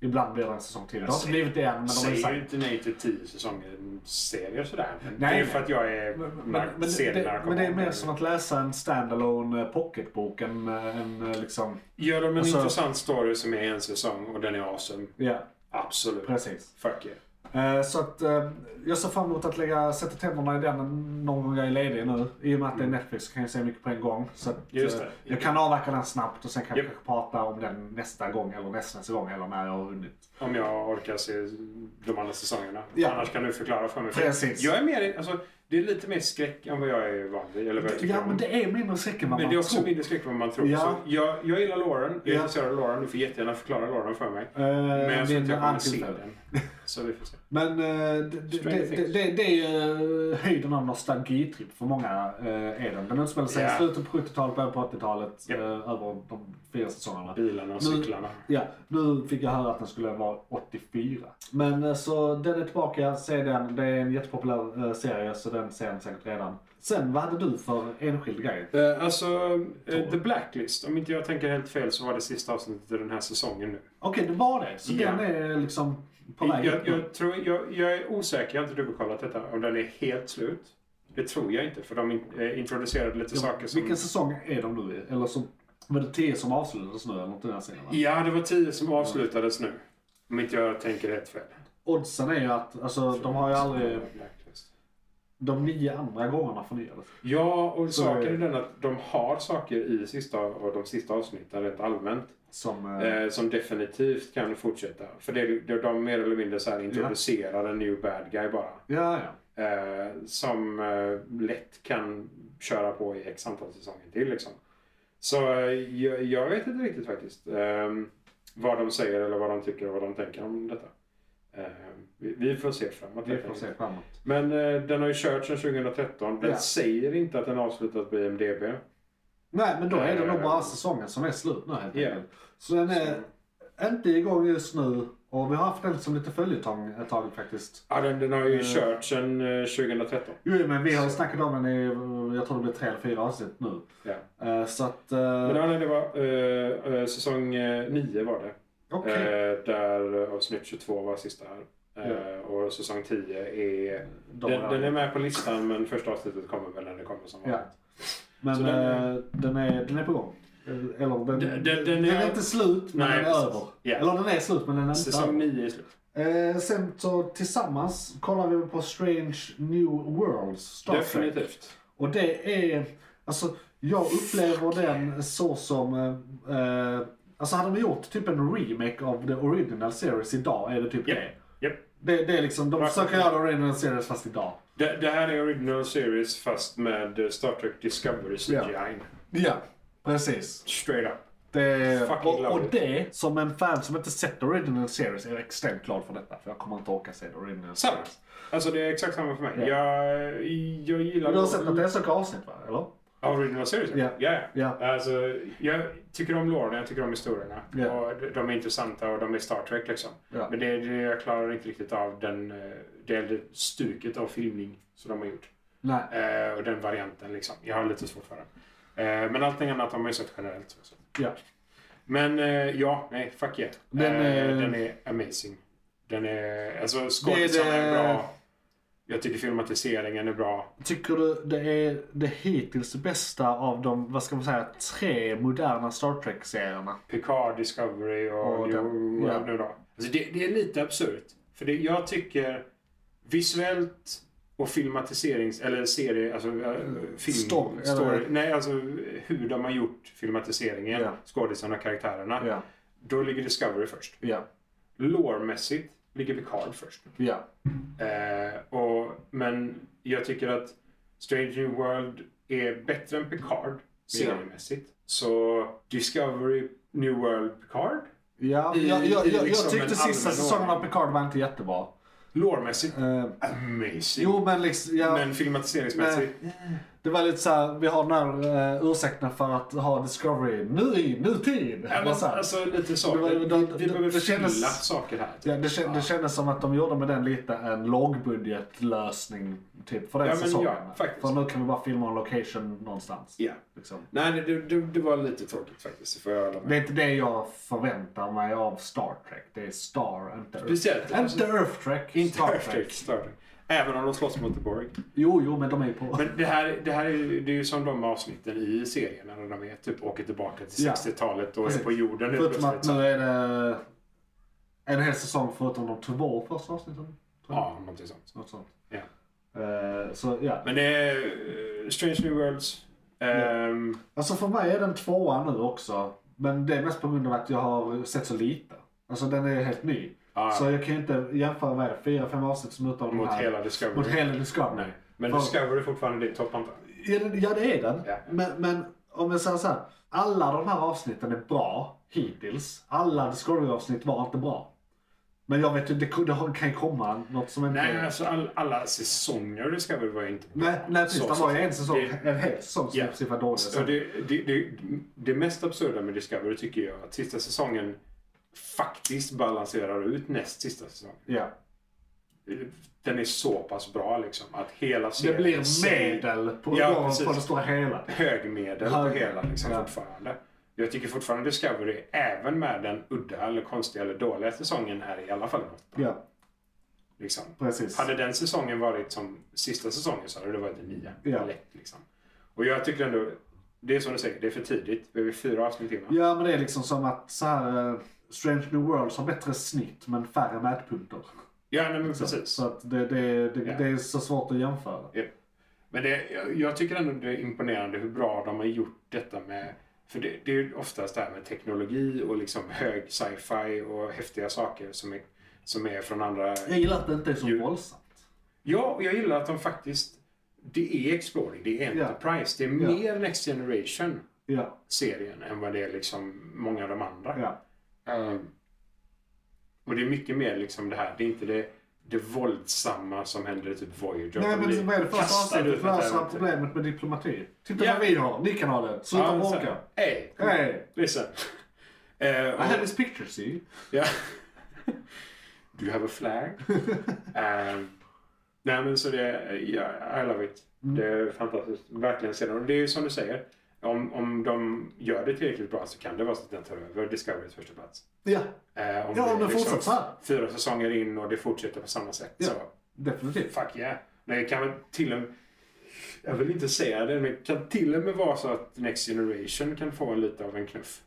Ibland blir det en säsong till. Det har inte blivit det än, men de är Säger ju säkert... inte nej till tio säsonger serier sådär. Men Nej, det är ju nej. för att jag är Men, men, men, det, serienarkoman. men det är mer som att läsa en standalone eh, pocketbok än eh, en eh, liksom... Gör de en Alltså- intressant story som är en säsong och den är awesome. Ja, Absolut. precis. Fuck yeah. Eh, Så att eh, jag ser fram emot att lägga, sätta tänderna i den någon gång jag är ledig nu. I och med att det är Netflix så kan jag se mycket på en gång. Så att, Mm. Just eh, det. jag kan avverka den snabbt och sen kan jag Japp. kanske prata om den nästa gång eller nästa, nästa gång eller när jag har hunnit. Om jag orkar se de andra säsongerna. Ja. Annars kan du förklara för mig. Precis. Jag är mer, alltså, det är lite mer skräck än vad jag är van vid. Eller vad jag tycker Ja, om. men det är mindre skräck än vad Men man det är också tror. mindre skräck än vad man tror. Ja. Så jag, jag gillar Lauren. Jag Ja. är intresserad av Lauren. Du får jättegärna förklara Lauren för mig. Eh, Men jag tror min inte jag kommer se antitell. den. Så vi får se. Men eh, det, det, Stranger det, det, det är ju eh, höjden av nostalgitripp för många eh, är den. Den utspelar sig Ja. i slutet på 70-talet, början på 80-talet, Ja. eh, över de fyra säsongerna. Bilarna och Nu- cyklarna. Ja, nu fick jag höra att den skulle vara 84. Men eh, så den är tillbaka, se den. Det är en jättepopulär eh, serie så den ser ni säkert redan. Sen, vad hade du för enskild grej? Eh, Alltså, eh, The Blacklist. Om inte jag tänker helt fel så var det sista avsnittet i den här säsongen nu. Okej, det var det. Så Ja. den är liksom på väg Jag, upp nu. jag, tror, jag, jag är osäker, jag har inte dubbelkollat detta, om den är helt slut. Det tror jag inte, för de in- eh, introducerade lite saker som... Vilken säsong är de nu i? Eller så, var det tio som avslutades nu eller något i den här serien? va? Ja, det var tio som avslutades nu. Om inte jag tänker helt fel. Oddsen är ju att alltså, de har ju aldrig... Blacklist. De nio andra gångerna förnyades. Ja, och Så- saken är den att de har saker i sista, och de sista avsnitten rent allmänt Som... eh, eh, som definitivt kan fortsätta. För det, det, de mer eller mindre så här introducerar en new bad guy bara. Ja, ja. Eh, som eh, lätt kan köra på i x antal säsonger till. Liksom. Så eh, jag, jag vet inte riktigt faktiskt eh, vad de säger eller vad de tycker och vad de tänker om detta. Eh, vi, vi får se framåt. Vi helt får enkelt. se framåt. Men eh, den har ju kört sedan 2013. Den Ja. säger inte att den är avslutad på IMDB. Nej, men då är det Eh, nog bara säsongen som är slut nu helt Ja. enkelt. Så den är inte igång just nu. Och vi har haft den som lite följetong ett tag faktiskt. Ja, den, den har ju Eh. kört sedan eh, 2013. Jo, men vi har Så. snackat om den i, eh, jag tror det blir tre eller fyra avsnitt nu. Ja. Eh, Så att... Men eh, ja, nej, det var eh, eh, säsong 9 var det. Okej. Eh, där eh, avsnitt 22 var sista här. Eh, Och säsong 10 är... De Den, har- den är med på listan men första avsnittet kommer väl när det kommer som Ja. vanligt. Men Så den den är... är- Den, är, den är på gång. Eller den, Den- den- den är- är, inte slut men Nej, den är precis. över. Ja. Eller den är slut men den är inte Säsong över. 9 är slut. Eh, sen så tillsammans kollar vi på Strange New Worlds, Star Trek. Definitivt. Och det är, alltså jag upplever den så som, eh, eh, alltså hade de gjort typ en remake av the original series idag är det typ Japp. det. Japp. det. Det är liksom, de Varför? försöker göra original series fast idag. Det, det här är original series fast med eh, Star Trek Discovery CGI. Ja, precis. Straight up. Det, Fucking och, och lovely. det, som en fan som inte sett the original series är jag extremt glad för detta. För jag kommer inte orka se the original Samma. series. Alltså det är exakt samma för mig. Jag, jag gillar... Men du har sett att det är så avsnitt va? Eller? Original series? Ja. ja. Ja. Alltså, jag tycker om låren, jag tycker om historierna. Ja. Och de- de är intressanta och de är Star Trek liksom. Ja. Men det, det, jag klarar inte riktigt av den, eh, det, det stuket av filmning som de har gjort. Nej. Eh, och den varianten liksom. Jag har lite svårt för den. Eh, men allting annat har man ju sett generellt. Så. så. Ja. Men eh, ja, nej, fuck yeah. Den är- eh, den är amazing. Den är, alltså skådisarna Det är det- är bra. Jag tycker filmatiseringen är bra. Tycker du det är det hittills bästa av de, vad ska man säga, tre moderna Star Trek-serierna? Picard, Discovery och, Och New den- World ja. nu då. Alltså det, det är lite absurt. För det, jag tycker visuellt och filmatiserings... Eller serie... Alltså eh, film... Mm. Story, eller- nej, alltså hur de har gjort filmatiseringen. Ja. Skådisarna och karaktärerna. Ja, Då ligger Discovery först. ja, Lore-mässigt ligger Picard först. ja. Eh, och, men jag tycker att Strange New World är bättre än Picard seriemässigt. Så Discovery, New World, Picard. Ja, I- jag, jag, i jag, jag liksom tyckte en sista allmän säsongen av ordning. Picard var inte jättebra. Lårmässigt, Eh, amazing. jo, men liksom, ja, men filmatiseringsmässigt, det var lite såhär, vi har den här uh, ursäkten för att ha Discovery nu i nutid. ja, Bara så men, här. alltså lite Det var- saker. Vi, det- vi det- behöver det fylla kändes- saker här. typ. Ja, det, kän- det kändes som att de gjorde med den lite en lågbudgetlösning typ för den Ja, men ja, säsongen. faktiskt. för nu kan vi bara filma en location någonstans. Ja. Liksom. Nej, det, det- det, det var lite tråkigt faktiskt. Får jag hålla med. Det är inte det jag förväntar mig av Star Trek. Det är Star, inte Earth. Speciellt, alltså- inte Earth Trek. Inte Star Star Trek. Star Trek. Även om de slåss mot The Borg. Jo, jo, men de är ju på. Men det här, det här är, ju- det är ju som de avsnitten i serien när de är, typ, åker tillbaka till Ja. 60-talet och Precis. är på jorden helt förutom att plötsligt. nu är det en hel säsong förutom de två första avsnitten. tror jag. Ja, någonting sånt. Något sånt. Ja. Eh, så ja. Men det är eh, Strange New Worlds. Ehm, Alltså för mig är den tvåa nu också. Men det är mest på grund av att jag har sett så lite. Alltså den är helt ny. Ah, Ja. Så jag kan ju inte jämföra med fyra, fem avsnitt som utav de Mot här. hela Discovery. Mot hela Discovery. Nej. Men För- Discovery är fortfarande din topp antar Ja, det- ja det är den. Ja. Men, men om jag säger så här. Alla de här avsnitten är bra hittills. Alla Discovery-avsnitt var inte bra. Men jag vet ju, det, kunde- det kan ju komma något som inte... Nej, alltså all, alla säsonger av Discovery var ju inte bra. nej, nej precis. Så- det var ju en säsong, det- en hel säsong som i Ja. princip var dålig. Så Alltså, det, det, det, det mest absurda med Discovery tycker jag är att sista säsongen faktiskt balanserar ut näst sista säsongen. Ja. den är så pass bra liksom. Att hela Det serien... blir sig- medel på, Ja, på, precis. på det stora hela. högmedel på Hög- hela liksom, Ja. fortfarande. Jag tycker fortfarande Discovery, även med den udda eller konstiga eller dåliga säsongen, är i alla fall en åtta. Ja, Liksom. precis. Hade den säsongen varit som sista säsongen så hade det varit en nia. Ja. Lätt, liksom. Och jag tycker ändå, det är som du säger, det är för tidigt. Vi har ju fyra avsnitt innan. Ja, men det är liksom som att så här, eh, Strange New Worlds har bättre snitt men färre mätpunkter. Ja, nej, men Så- precis. Så att det, det, det, Ja. det är så svårt att jämföra. Ja. Men det, jag- jag tycker ändå det är imponerande hur bra de har gjort detta med... För det, det är ju oftast det här med teknologi och liksom hög sci-fi och häftiga saker som är, som är från andra... Jag gillar att det inte är så Ju- våldsamt. Ja, och jag gillar att de faktiskt... Det är Exploring, det är Ja. Enterprise. Det är Ja. mer Next Generation-serien Ja, än vad det är liksom många av de andra. ja. Ehm, och det är mycket mer liksom det här, det är inte det, det våldsamma som händer i typ Voyager. Nej, De blir men vad är det första kastade avsnittet? ut i ett Lösa äventyr. problemet med diplomati. Titta Ja. vad vi har, ni kan ha det. Sluta så här, bråka. Hey, kom igen, Hey, listen. Eh, I have och, this picture, see? ja. Do you have a flag? Ehm, nej men så det, ja, I love it. Mm. Det är fantastiskt. Verkligen sedan. Och det är ju som du säger. Om, om de gör det tillräckligt bra så kan det vara så att den tar över Discoverys första plats. Ja, Eh, om Ja, det om är det fortsätter så här. Fyra säsonger in och det fortsätter på samma sätt. Ja. Så definitivt. fuck yeah. Det kan väl till och med... Jag vill inte säga det, men det kan till och med vara så att Next Generation kan få en lite av en knuff.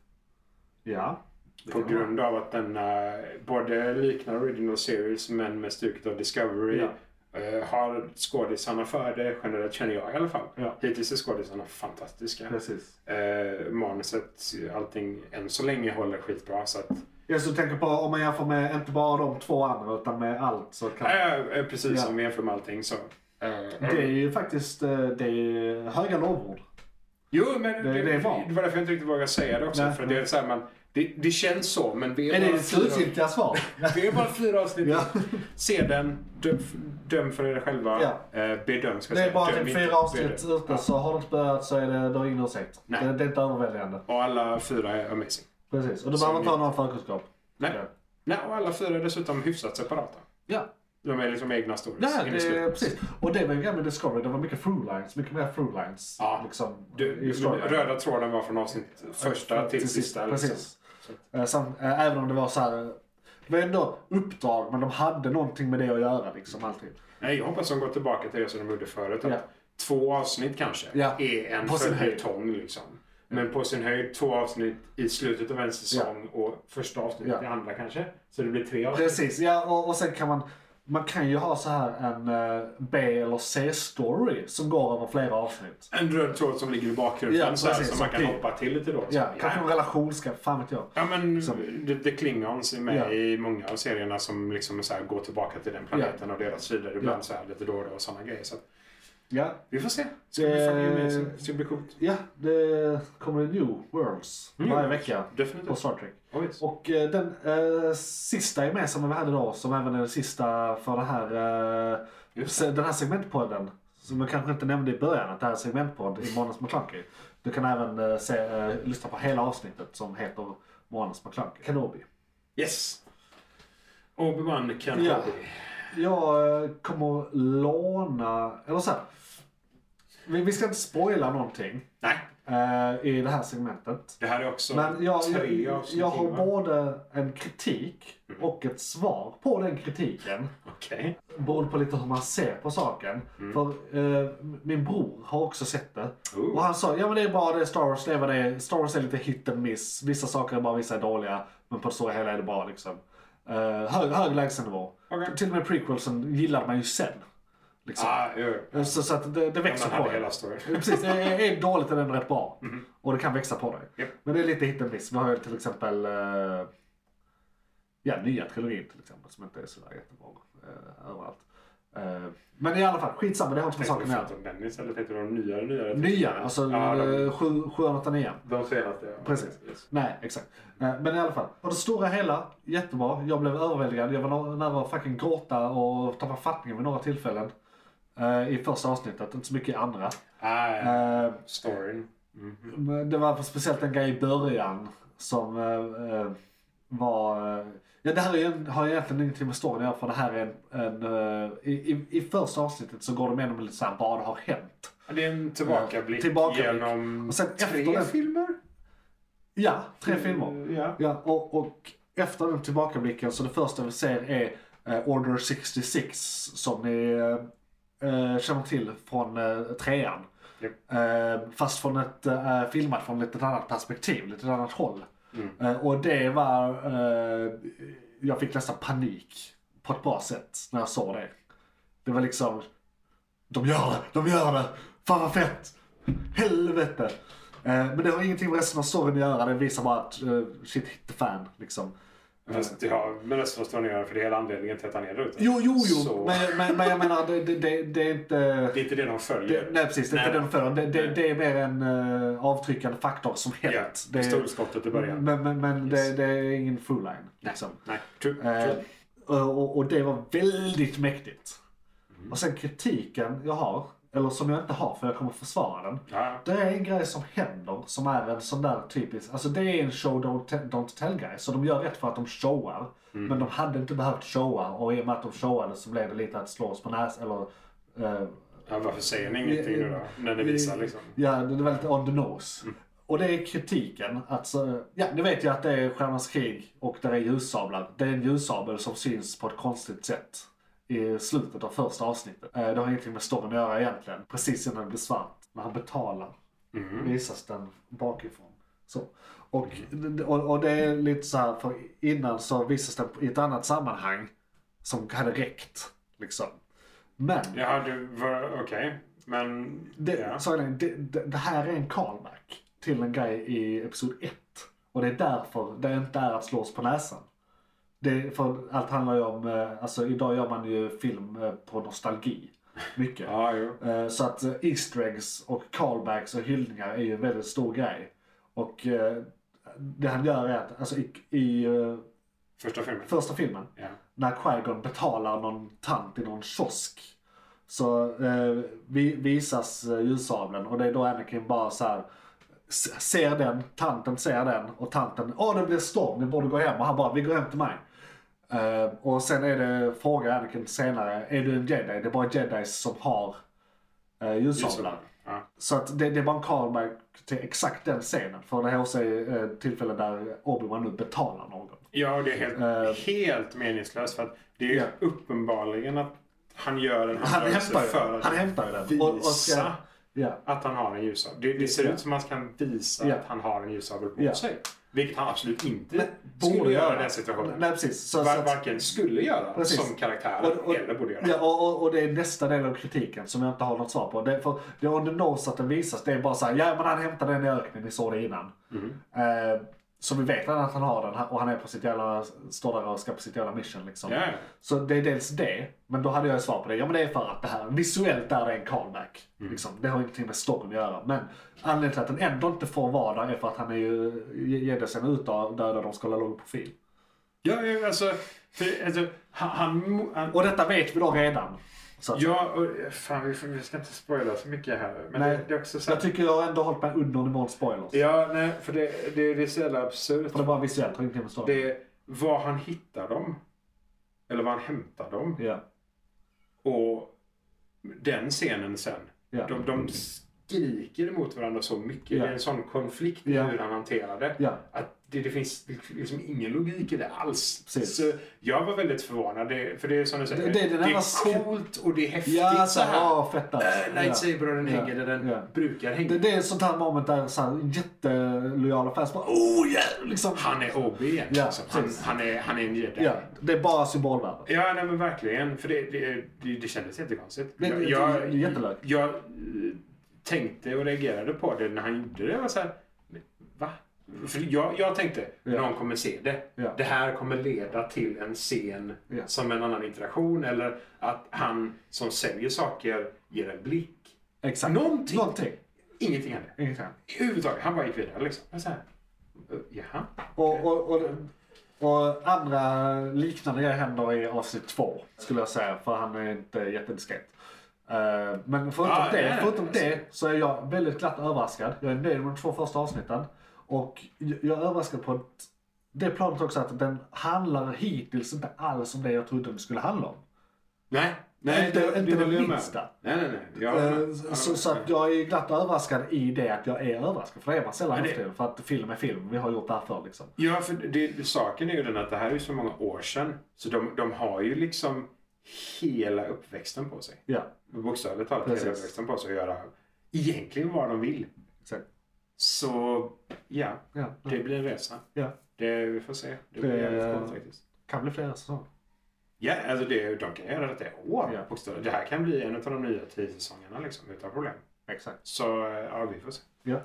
Ja. det På kan man. grund av att den eh, både liknar Original Series men med stuket av Discovery. Ja. eh, har skådisarna för det, generellt känner jag i alla fall. Ja. Hittills är skådisarna fantastiska. Precis. Eh, manuset, allting, än så länge håller skitbra. Så att, Jag så tänker på om man jämför med inte bara de två andra utan med allt så kan Eh, eh, precis, Ja. som vi jämför med allting så. Eh, Det är ju faktiskt eh, det är höga lovord. Jo, men det det, är det, bra. var därför jag inte riktigt vågade säga det också. Nej, för det, är så här, man, det, det känns så, men det Är är, det bara ditt fyra, slutgiltiga svar? det är bara fyra avsnitt. Ja. Se den, döm, döm för er själva. Ja. Eh, bedöm, ska jag Det är säga. bara Döm typ inte, fyra avsnitt bedöm. ute så har det inte börjat så är det, du har ingen ursäkt. Nej. Det, det är inte överväldigande. Och alla fyra är amazing. Precis. Och du behöver inte ha någon förkunskap. Nej. Ja. Nej, och alla fyra är dessutom hyfsat separata. Ja. De är liksom egna stories. Det här, in i slutet. det, precis. Och det var en grej med Discovery, det var mycket throughlines, mycket mer throughlines. Ja. Liksom, Du, i storyn. röda tråden var från avsnitt första till, sista. liksom. Precis. Eh, Sam, eh, även om det var så här, eh, det var ändå uppdrag men de hade någonting med det att göra liksom alltid. Nej, jag hoppas de går tillbaka till det som de gjorde förut. Att Ja. Två avsnitt kanske Ja. är en På sin följetong. Liksom. Men på sin höjd två avsnitt i slutet av en säsong och första avsnittet Ja. i andra kanske. Så det blir tre avsnitt. Precis, ja och, och sen kan man man kan ju ha så här en eh, B eller C-story som går över flera avsnitt. En röd tråd som ligger i bakgrunden Ja, så här, precis, som man kan som pi- hoppa till lite då. Så, Ja, kanske en ja. relation ska, fan vet jag. ja men The, the Klingons är med Ja. i många av serierna som liksom så här, går tillbaka till den planeten och deras sidor ibland så här, lite då och då och sådana grejer. Så att, Ja, vi får se. Det ska bli, fan Eh, gemensamt. det ska bli coolt. ja det kommer en New Worlds New varje Worlds. vecka på Definitivt. Star Trek. Oh, yes. Och eh, den eh, sista gemensamma vi hade då, som även är den sista för det här, eh, Just se- den här segmentpodden. Som jag kanske inte nämnde i början, att det här är en segmentpodd i Månads McClunky. Du kan även eh, se, eh, lyssna på hela avsnittet som heter Månads McClunky. Kenobi. Yes. Obi-Wan Kenobi. Ja. Jag eh, kommer låna, eller så här. Vi, vi ska inte spoila någonting Nej, eh, i det här segmentet. det här är också Men jag, tre jag, avsnitt jag har innan. både en kritik och ett svar på den kritiken. Okej. Beroende på lite hur man ser på saken. För eh, min bror har också sett det. Ooh. Och han sa, ja men det är bara det är Star Wars, det är vad det är. Star Wars är lite hit and miss. Vissa saker är bra, vissa är dåliga. Men på det stora hela är det bra liksom. Eh, hög, hög lägstanivå. Okej. Till och med prequelsen gillade man ju sen. Liksom. Ah, jo. Så, så att det, det växer Man på hade en. hela storyn. Mm-hmm. Precis, det är är dåligt eller ändå rätt bra. Och det kan växa på dig. Japp. Men det är lite hit and miss. Vi har ju till exempel eh, ja, nya trilogin till exempel som inte är sådär jättebra eh, överallt. Eh, men i alla fall, skitsamma, det har inte med Tänkte du saken att främst göra. om Dennis eller tänkte du de nyare, nyare? Nyare, alltså Ja, de, eh, sju- 789. de senaste. Ja. Precis. Yes. Nej, exakt. Eh, Men i alla fall. På det stora hela, jättebra. Jag blev överväldigad. Jag var nå- nära att fucking gråta och tappa fattningen vid några tillfällen. eh, I första avsnittet, inte så mycket i andra. Ah, ja. Eh, storyn. Mm-hmm. Men Det var speciellt en grej i början som eh, eh, var... eh, Ja, det här är, ju- har ju egentligen ingenting med storyn att göra, för det här är en... en eh, i, i, I första avsnittet så går de igenom lite såhär, vad har hänt? Det är en tillbakablick, Tillbakablick. genom Och sen efter tre den- filmer. Mm, Ja, tre filmer. Ja. Ja, och, och efter den tillbakablicken så det första vi ser är eh, Order 66 som ni eh, eh, känner till från eh, trean. Japp. Eh, fast från ett, eh, filmat från ett litet annat perspektiv, lite ett annat håll. Mm. Eh, och det var, eh, jag fick nästan panik på ett bra sätt när jag såg det. Det var liksom, de gör det, de gör det, fan vad fett, helvete. Eh, men det har ingenting med resten av storyn att göra, det visar bara att eh, shit hit the fan liksom. Fast, ja, men resten av storyn gör för det är hela anledningen till att han är där ute. Jo, jo, jo, Så- men, men, men jag menar det, det, det, det är inte... Det är inte det de följer. Det, nej precis, det är inte Nej. den förrän. Det, det, Nej. det är mer en eh, avtryckande faktor som hänt. Ja, det pistolskottet i början. Men, men, men Yes. det, det är ingen full line. Liksom. Nej, true. Eh, true. och, och det var väldigt mäktigt. Mm. Och sen kritiken jag har, eller som jag inte har för jag kommer försvara den. Ja, Det är en grej som händer som är en sån där typisk, alltså det är en show don't, te- don't tell grej. Så de gör rätt för att de showar. Men de hade inte behövt showa och i och med att de showade så blev det lite att slås på näsan eller eh, ja, varför säger ni ingenting nu då? När ni visar liksom. Mm. Ja, det är väldigt on the nose. Och det är kritiken. Att, så- ja, nu vet jag att det är Stjärnornas krig och där är ljussablar. Det är en ljussabel som syns på ett konstigt sätt i slutet av första avsnittet. Eh, Det har ingenting med storyn att göra egentligen. Precis innan det blir svart, när han betalar, Mm. visas den bakifrån. Så. Och, och, och det är lite så här, för innan så visas den i ett annat sammanhang som hade räckt. Liksom. Men Jaha, du var... Okej. Men... det, ja. sa jag det, det, det, det här är en callback till en grej i episod 1. Och det är därför det inte är att slås på näsan. Det, för allt handlar ju om, eh, alltså idag gör man ju film eh, på nostalgi. Mycket. Ja, jo. Eh, Så att eh, Easter eggs och callbacks och hyllningar är ju en väldigt stor grej. Och eh, det han gör är att, alltså i, i eh, Första filmen. första filmen, Ja. när Qui-Gon betalar någon tant i någon kiosk. Så eh, vi, visas eh, ljussabeln och det är då Anakin bara så här s- ser den, tanten ser den och tanten, åh det blir storm, ni borde gå hem och han bara, vi går hem till mig. Eh, och sen är det, frågar Anakin senare, är du en jedi? Det är bara jedis som har uh, ljussablar. Ja. Så att det, det är bara en callback till exakt den scenen. För det här också är eh, tillfälle där Obi-Wan nu betalar någon. ja, det är helt, Eh. helt meningslöst för att det är ju Ja. uppenbarligen att han gör en Han handrörelse hämtar ju Alltså, för den. att Han hämtar ju den. visa Och, och ska, ja, att han har en ljussabel. Det, det ser Ja. ut som att han kan visa Ja. att han har en ljussabel på Ja. sig. Vilket han absolut inte borde skulle göra i göra. den situationen. nej precis. Så, så Var, att, varken skulle göra Precis. som karaktär Och- och- eller borde göra. ja, och, och, och det är nästa del av kritiken som jag inte har något svar på. Det, för det är on the nose att den visas. Det är bara så här, ja men han hämtade den i öknen, ni såg det innan. Mm. Eh, så vi vet redan att han har den och han är på sitt jävla, står där och ska på sitt jävla mission liksom. Ja. Så det är dels det, men då hade jag svar på det. Ja men det är för att det här, visuellt är det en callback. Mm. Liksom. Det har ingenting med storyn att göra. Men anledningen till att den ändå inte får vara där är för att han är ju, Jedde sen ut där, där de ska hålla låg profil. Ja, ja, alltså, för, alltså han, han, han, Och detta vet vi då redan. Så att, Ja, och, eh, fan, vi, får- vi ska inte spoila så mycket här. Men Nej. det, det är också så jag här, tycker jag har ändå hållit mig under nivån spoilers. Ja, nej, för det, det, det är så jävla absurt. För det är bara visuellt, har ingenting med storyn. Det är var han hittar dem. Eller var han hämtar dem. Ja, Och den scenen sen. ja, De, de skriker mot varandra så mycket. Ja. Det är en sån konflikt i Ja. hur han hanterar det. ja. Att det, det finns liksom ingen logik i det alls. Precis. Så jag var väldigt förvånad. Det, för det är som du säger, Det- det, det är den enda är skri- coolt och det är häftigt. Ja, så så här. ja, fett alltså. Äh, Ja. Lightsaber och den Ja. hänger där den Ja. brukar hänga. Det, det är ett sånt här moment där så här, jättelojala fans bara oh yeah! Liksom. Han är OB egentligen. Ja, alltså. han, precis. han, är, han är en jedi. Ja, det är bara symbolvärde. Ja, nej men verkligen. För det, det, det, det kändes jättekonstigt. Det- det- Jag, det är jag, jättelöjligt. jag eh, tänkte och reagerade på det när han gjorde det. Jag var så här, men va? För jag, jag tänkte, Ja. någon kommer se det. Ja. Det här kommer leda till en scen Ja. som en annan interaktion. Eller att han som säljer saker ger en blick. Exakt. Någonting. Någonting. Ingenting hände. Ingenting. Överhuvudtaget. Han bara gick vidare liksom. Jag var så här, eh, jaha? Och, och, och, och andra liknande grejer händer i avsnitt två, skulle jag säga, för han är inte jättediskret. Eh, Men förutom, Ah, det, nej, förutom alltså. det så är jag väldigt glatt överraskad. Jag är nöjd med de två första avsnitten. Och jag jag är överraskad på att det planet också att den handlar hittills inte alls om det jag trodde den skulle handla om. Nej, nej. Inte- inte det håller jag med. minsta. Nej, nej, nej. Jag håller Eh, med. Jag Så, så håller med. att jag är glatt överraskad i det att jag är överraskad. För det är man sällan Ja, det- nu för tiden, För att film är film. Vi har gjort det här förr liksom. Ja, för det, saken är ju den att det här är ju så många år sedan. Så de, de har ju liksom hela uppväxten på sig. Ja, Bokstavligt talat Precis. hela uppväxten på sig att göra egentligen vad de vill. exakt. Så ja, Ja, det det blir en resa. Mm. Ja. Det, vi får se. Det blir Det- jävligt coolt faktiskt. kan bli flera säsonger. Ja, alltså det, de kan göra detta i år. Ja. bokstavligt. Det här kan bli en av de nya tio säsongerna liksom, utan problem. Exakt. Så eh, ja, vi får se. Ja.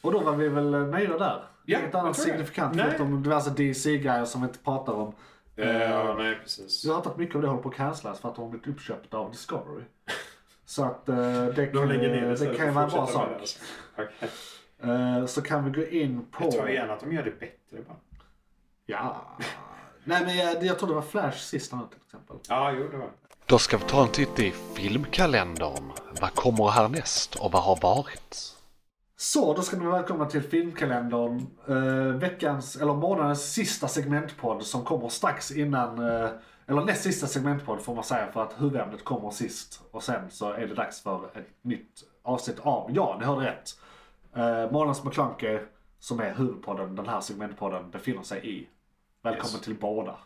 Och då var vi väl nöjda där. Ja, Inget jag annat tror det. signifikant Nej. förutom diverse DC-grejer som vi inte pratar om. Eh, ja, nej, precis. Jag har hört att mycket av det håller på att cancelas för att de har blivit uppköpta av Discovery. Så att eh, det De kan, lägger ner det det istället kan ju för vara en att bra fortsätta med sak. det, alltså. Okej. Eh, så kan vi gå in på... Jag tror gärna att de gör det bättre bara. Ja. Nej men jag, jag tror det var Flash sist han var till exempel. Ja, jo, det var det. Då ska vi ta en titt i filmkalendern. Vad kommer härnäst och vad har varit? Så, då ska ni vara välkomna till filmkalendern. Eh, veckans, eller månadens sista segmentpodd som kommer strax innan, eh, eller näst sista segmentpodd får man säga för att huvudämnet kommer sist. Och sen så är det dags för ett nytt avsnitt av, ja ni hörde rätt, eh, månadens McKlunky som är huvudpodden, den här segmentpodden befinner sig i. Välkommen Yes. till båda.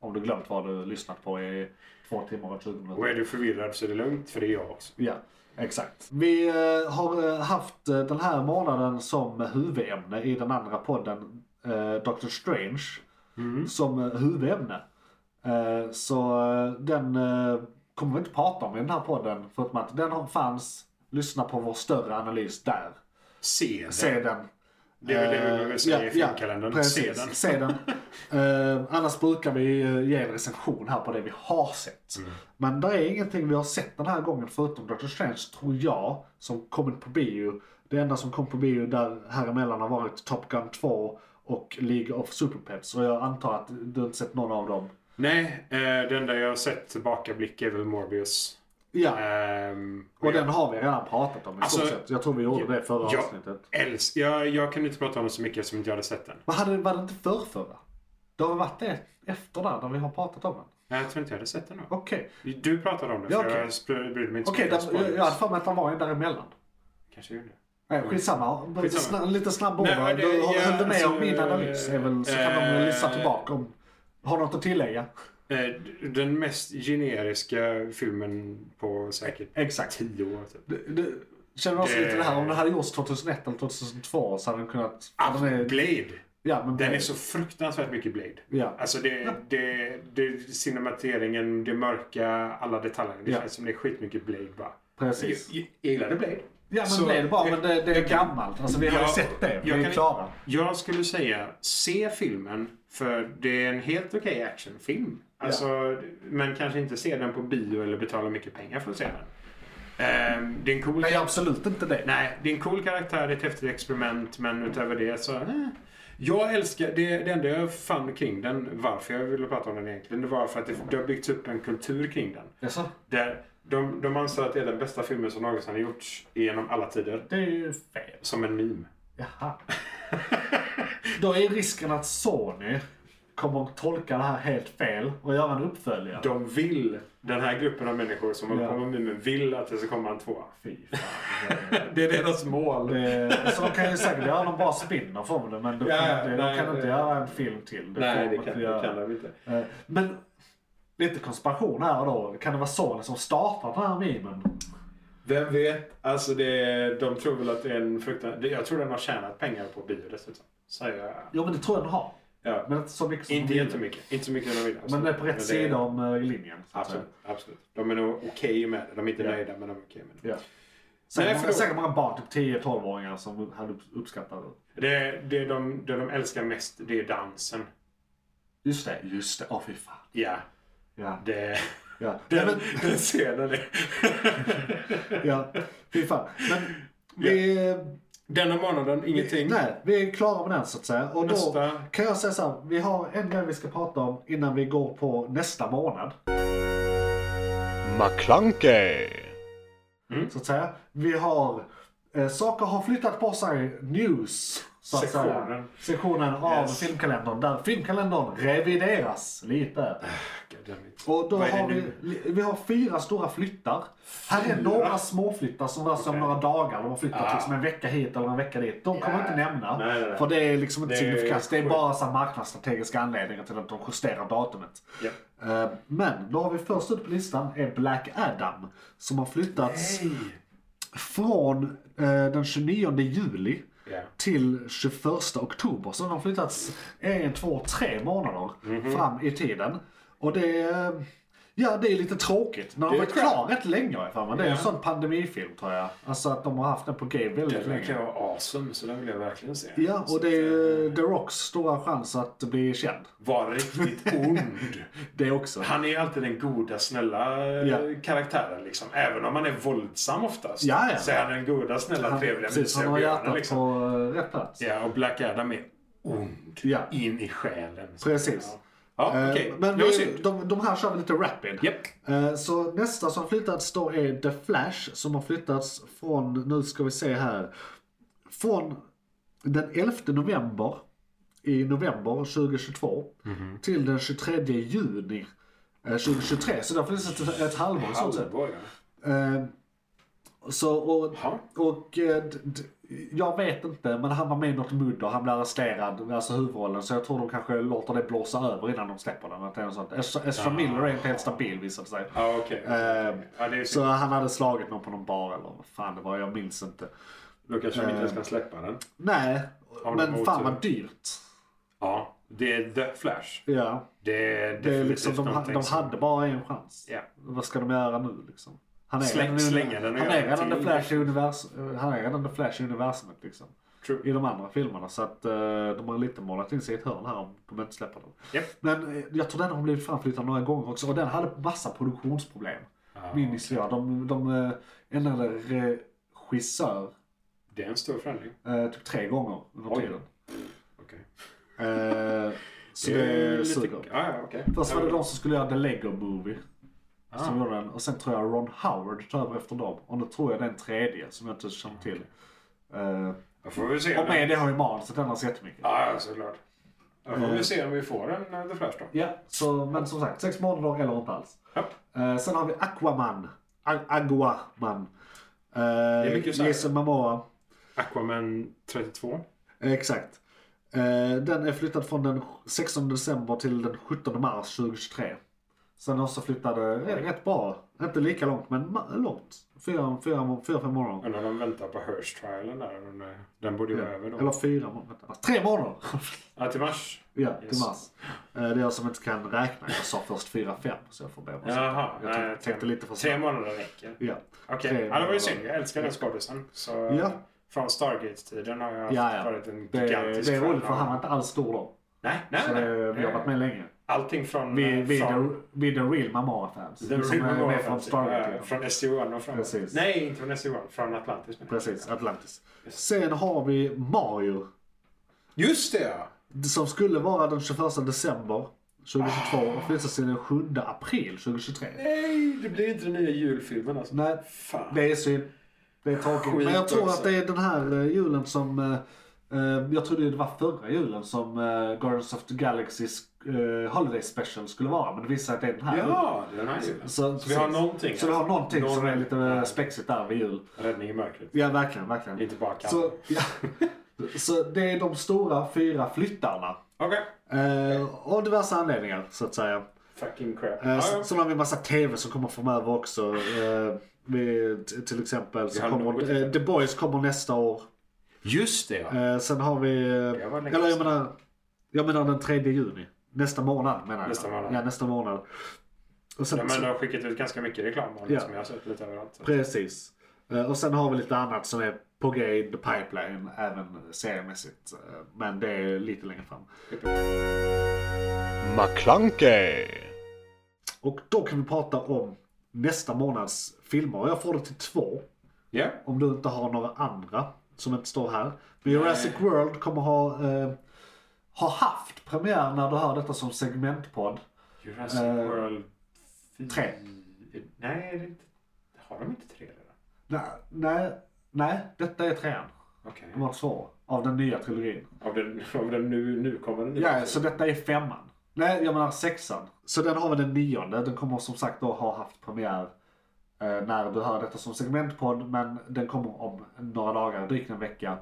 Om du glömt vad du lyssnat på i två timmar och 20 minuter. Och är du förvirrad så är det lugnt, för det är jag också. Ja, exakt. Vi eh, har eh, haft eh, den här månaden som huvudämne i den andra podden, eh, Doctor Strange, som eh, huvudämne. Eh, så eh, den eh, kommer vi inte prata om i den här podden, förutom att den har- fanns, lyssna på vår större analys där. Se den. Se den. Det är väl det vi vill säga i filmkalendern. Se den. Eh, precis. Se den. Eh, annars brukar vi eh, ge en recension här på det vi har sett. Mm. Men det är ingenting vi har sett den här gången förutom Doctor Strange, tror jag, som kommit på bio. Det enda som kom på bio där häremellan har varit Top Gun 2 och League of Super Pets. Och jag antar att du inte sett någon av dem. Nej, eh, det enda jag har sett tillbakablick är väl Morbius. Ja, Ehm, och jag- den har vi redan pratat om i Alltså, stort sett. Jag tror vi gjorde det i förra jag, avsnittet. Älsk, jag, jag kan inte prata om den så mycket som inte jag hade sett den. Vad hade, var det inte förr, förra? Det har varit det efter där, när vi har pratat om den. Nej, jag tror inte jag hade sett den då. Okej. Du pratade om den, Ja, för okej. jag spr- brydde mig inte Okej, mycket där- om jag- spoilers. jag hade för mig att han var en däremellan. Kanske gjorde det. Nej, skitsamma. Bara Skitsamma. Sna, lite snabb ord. Nej, va? men det- Du har- ja, höll du med alltså, om min analys? Är väl, så kan de eh, väl lyssna tillbaka om... Har något att tillägga? Eh, d- Den mest generiska filmen på säkert Exakt. tio år. Typ. Du, du, känner också Det- lite det här, om det hade gjorts 2001 eller 2002 så hade den kunnat... Ah, den är, Blade! ja, men Den är så fruktansvärt mycket Blade. Ja. Alltså det, det, det, cinemateringen, det mörka, alla detaljer. Det Ja. känns som det är skitmycket Blade bara. Precis. Jag, jag gillade Blade. Ja, men Så- det är det bara. Men det, det är jag kan- gammalt. Alltså, vi har ju jag- sett det. Vi jag är kan- klara. Jag skulle säga, se filmen. För det är en helt okej actionfilm. Alltså, Men kanske inte se den på bio eller betala mycket pengar för att se den. Ehm, det är en cool Nej, absolut inte det. Nej, det är en cool karaktär, det är ett häftigt experiment, men utöver det så... Eh. Jag älskar, det, det enda jag fann kring den, varför jag ville prata om den egentligen, det var för att det, det har byggts upp en kultur kring den. Jaså? Där de, de anser att det är den bästa filmen som någonsin har gjorts genom alla tider. Det är ju fel. Som en meme. Jaha. Då är risken att Sony kommer att tolka det här helt fel och göra en uppföljare. De vill, den här gruppen av människor som håller Ja. på med memen, vill att det ska komma en tvåa. Fy fan. Det är deras mål. Eh, Så de kan ju säkert göra någon bra spin-off om det men de kan, Ja, inte, nej, de kan inte det- göra en film till. Det får Nej, det man inte kan, det göra. kan de inte. Eh, Men lite konspiration här då. Kan det vara Sony som startar den här memen? Vem vet? Alltså det, de tror väl att det är en fruktansvärd... Jag tror den har tjänat pengar på bio dessutom. Så jag, Jo men det tror jag den har. ja. Men inte så mycket som Inte de vill. jättemycket. Inte så mycket de vill. alltså. Men det är på rätt sida om eh, linjen. så att säga. Absolut, absolut. De är nog okej med det. De är inte Ja. nöjda, men de är okej med det. Ja. Säkert, Nej, många, förlåt. säkert många barn, typ 10-12-åringar som hade upp- uppskattat det. Det, det, de, det de älskar mest, det är dansen. Just det, just det. Åh fy fan. Ja, Ja. det... Ja. Den, Nej, den scenen är... men, ja. Fy fan. Men vi, Denna månaden, vi, ingenting. nej, vi är klara med den så att säga. Och då Nästa. kan jag säga så här, vi har en grej vi ska prata om innan vi går på nästa månad. McClunkey! Så att säga. Vi har, eh, saker har flyttat på sig, news. så att säga, Sektionen. sektionen av Yes. filmkalendern där filmkalendern revideras lite. Eh. Goddammit. Och då Vad är det har vi, vi har fyra stora flyttar. Här är några småflyttar som rör sig om Okej. några dagar. De har flyttat Ah. liksom en vecka hit eller en vecka dit. De kommer Ja. inte nämna. Nej, nej, nej. För det är liksom inte Det är signifikant. Det är sjukt. bara så här marknadsstrategiska anledningar till att de justerar datumet. Ja. Eh, Men då har vi först ut på listan är Black Adam. Som har flyttats från eh, den 29 juli Ja. till 21 oktober. Så den har flyttats en, två, tre månader Mhm. fram i tiden. Och det är, ja, det är lite tråkigt. Den har Det är varit crap. klar rätt länge har jag för mig. Det är en Ja. sån pandemifilm tror jag. Alltså att de har haft den på G väldigt Den verkar länge. vara awesome, så den vill jag verkligen se. Ja, och det är eh, ju The Rocks stora chans att bli känd. Var riktigt ond. Det också. Han är ju alltid den goda, snälla eh, Ja. karaktären. Liksom. Även om han är våldsam oftast. Ja, ja. Så är han den goda, snälla, Han, trevliga, precis, han mysiga har björnen. hjärtat Liksom. på eh, rätt plats. Ja, och Black Adam är ond. Ja. In i själen. Precis. Ja, Eh, okej. Men Det var vi, synd. de, de här kör vi lite rapid. Japp. Eh, Så nästa som flyttats då är The Flash som har flyttats från, nu ska vi se här, från den 11 november i november 2022 Mhm. till den 23 juni eh, 2023. Så det har funnits ett, ett halvår i stort sett. Halvor, ja. Eh, Så, och, Ja. och eh, d, d, jag vet inte, men han var med i något mudder, han blev arresterad, alltså huvudrollen. Så jag tror de kanske låter det blåsa över innan de släpper den. att det är något sånt. Eftersom eftersom Miller är inte helt stabil visade det sig. Ja, okej. Eh, Ja, det är Så synd. han hade slagit någon på någon bar eller vad fan det var, jag minns inte. Då kanske de inte eh, ens kan släppa den. Nej, Har de men otur? fan vad dyrt. Ja, det är The Flash. Ja, Det är definitivt det är liksom, de, ha- någonting de som- hade bara en chans. Ja. Vad ska de göra nu liksom? Han är Släng- redan, slänga den och han göra är redan till- the flash i univers, han är redan the flash i universumet liksom. True. I de andra filmerna så att eh, de har lite målat in sig i ett hörn här om de inte släpper den. Japp. Men eh, jag tror den har blivit framflyttad några gånger också och den hade massa produktionsproblem. Ja, Minns jag. De, de eh, ändrade regissör Det är en stor förändring. eh, typ tre gånger under Oj. tiden. Okej. Eh, så Det är det lite- suger. Ja, ja, okej. Först var Ja, det de som skulle göra The Lego Movie. Ah. Som gjorde den. Och sen tror jag Ron Howard tar över efter dem. Och nu tror jag det är en tredje som jag inte känner till. Eh, Då får vi se. och med det har ju manuset ändrats jättemycket. Ja, ja, såklart. Då får vi se om vi får en eh, The Flash då. Ja, så, men som sagt, sex månader eller inte alls. Japp. Eh, sen har vi Aquaman. A- Aguaman. Uh, mycket så här. Jason Momoa. Aquaman 32. Eh, Exakt. Eh, Den är flyttad från den 16 december till den 17 mars 2023. Sen också flyttade eh, rätt bra. Inte lika långt, men ma- långt. Fyra, fyra, fyra fem månader. Undrar om de väntar på Hirsch-trialen där. Den, eh, den borde ju vara över då. Eller fyra månader. vänta. Tre månader! Ja, till mars. ja, till Yes. mars. Eh, Det är jag som inte kan räkna. Jag sa först fyra, fem. Så jag får be om ursäkt. Jaha. Jag nej, tänkte tre- lite för Tre snabbt. månader räcker. Ja. Okej. Tre Ja, det var ju månader. synd. Jag älskar den skådisen. Så Ja. från Stargate-tiden har jag Ja, ja. varit en Det, gigantisk det är fan roligt för av- han var inte alls stor då. Nej, nej, Så nej. eh, vi har varit med länge. Allting från... eh, Vi, vi, är från the, vi är the real Mamara-fans. Den Som är med från Stargate. Stargate. Från SG1 och framåt. Precis. Nej, inte från SG1. Från Atlantis. menar jag. Precis, Atlantis. Sen har vi Mario. Just det ja! Som skulle vara den 21 december 2022 och flyttas till den 7 april 2023. Nej, det blir inte den nya julfilmen alltså. Nej, Fan. det är synd. Det är tråkigt. Skit Men jag tror också. att det är den här eh, julen som... eh, eh, Jag trodde det var förra julen som eh, Guardians of the Galaxys eh, Holiday Special skulle vara. Men det visar sig att det är den här julen. Ja, det är den här julen. Så, Så vi har någonting. Så vi har någonting Någon- som är lite eh, spexigt där vid jul. Räddning i mörkret. Ja, verkligen, verkligen. Inte bara kan. Så, ja. så det är de stora fyra flyttarna. Okej. Eh, av diverse anledningar så att säga. Fucking crap. Eh, Ja, sen, ja. sen har vi en massa tv som kommer framöver också. Eh, vi, t- till exempel så har något. kommer, eh, The Boys kommer nästa år. Just det ja. Eh, sen har vi... Det var Eh, länge eller jag sedan. menar, jag menar den 3 juni. Nästa månad menar jag. Nästa månad. Ja, nästa månad. Och sen, Ja, men de har skickat ut ganska mycket reklam om det Ja. som jag har sett lite överallt. Precis. Eh, Och sen har vi lite annat som är på G in the pipeline, även seriemässigt. Eh, Men det är lite längre fram. McClunkey. Och då kan vi prata om nästa månads filmer. Och Jag får det till två. Ja. Om du inte har några andra som inte står här. Men Jurassic World kommer ha, eh, ha haft premiär när du hör detta som segmentpodd. Jurassic Eh, World 4. tre. Nej, det är inte... har de inte tre redan? Nej, nej, nej, detta är trean. Okej. Det var två. av den nya trilogin. Av den, av den nu, nu kommer den Ja, så detta är femman. Nej, jag menar sexan. Så den har vi den nionde. Den kommer som sagt då ha haft premiär eh, när du hör detta som segmentpodd. Men den kommer om några dagar, drygt en vecka.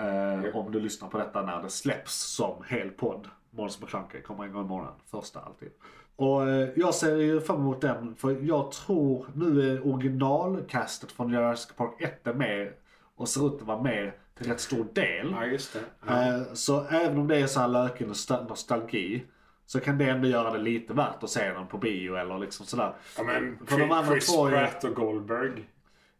Eh, om du lyssnar på detta när det släpps som hel podd. Måns McClunky kommer en gång i månaden. Första alltid. Och eh, jag ser ju fram emot den. För jag tror nu är originalkastet från Jurassic Park 1 med. Och ser ut att vara med till rätt stor del. Ja, just det. Ja. Eh, Så även om det är så här löken och sta- nostalgi så kan det ändå göra det lite värt att se den på bio eller liksom sådär. Ja, men För de andra Chris två är- Pratt och Goldberg.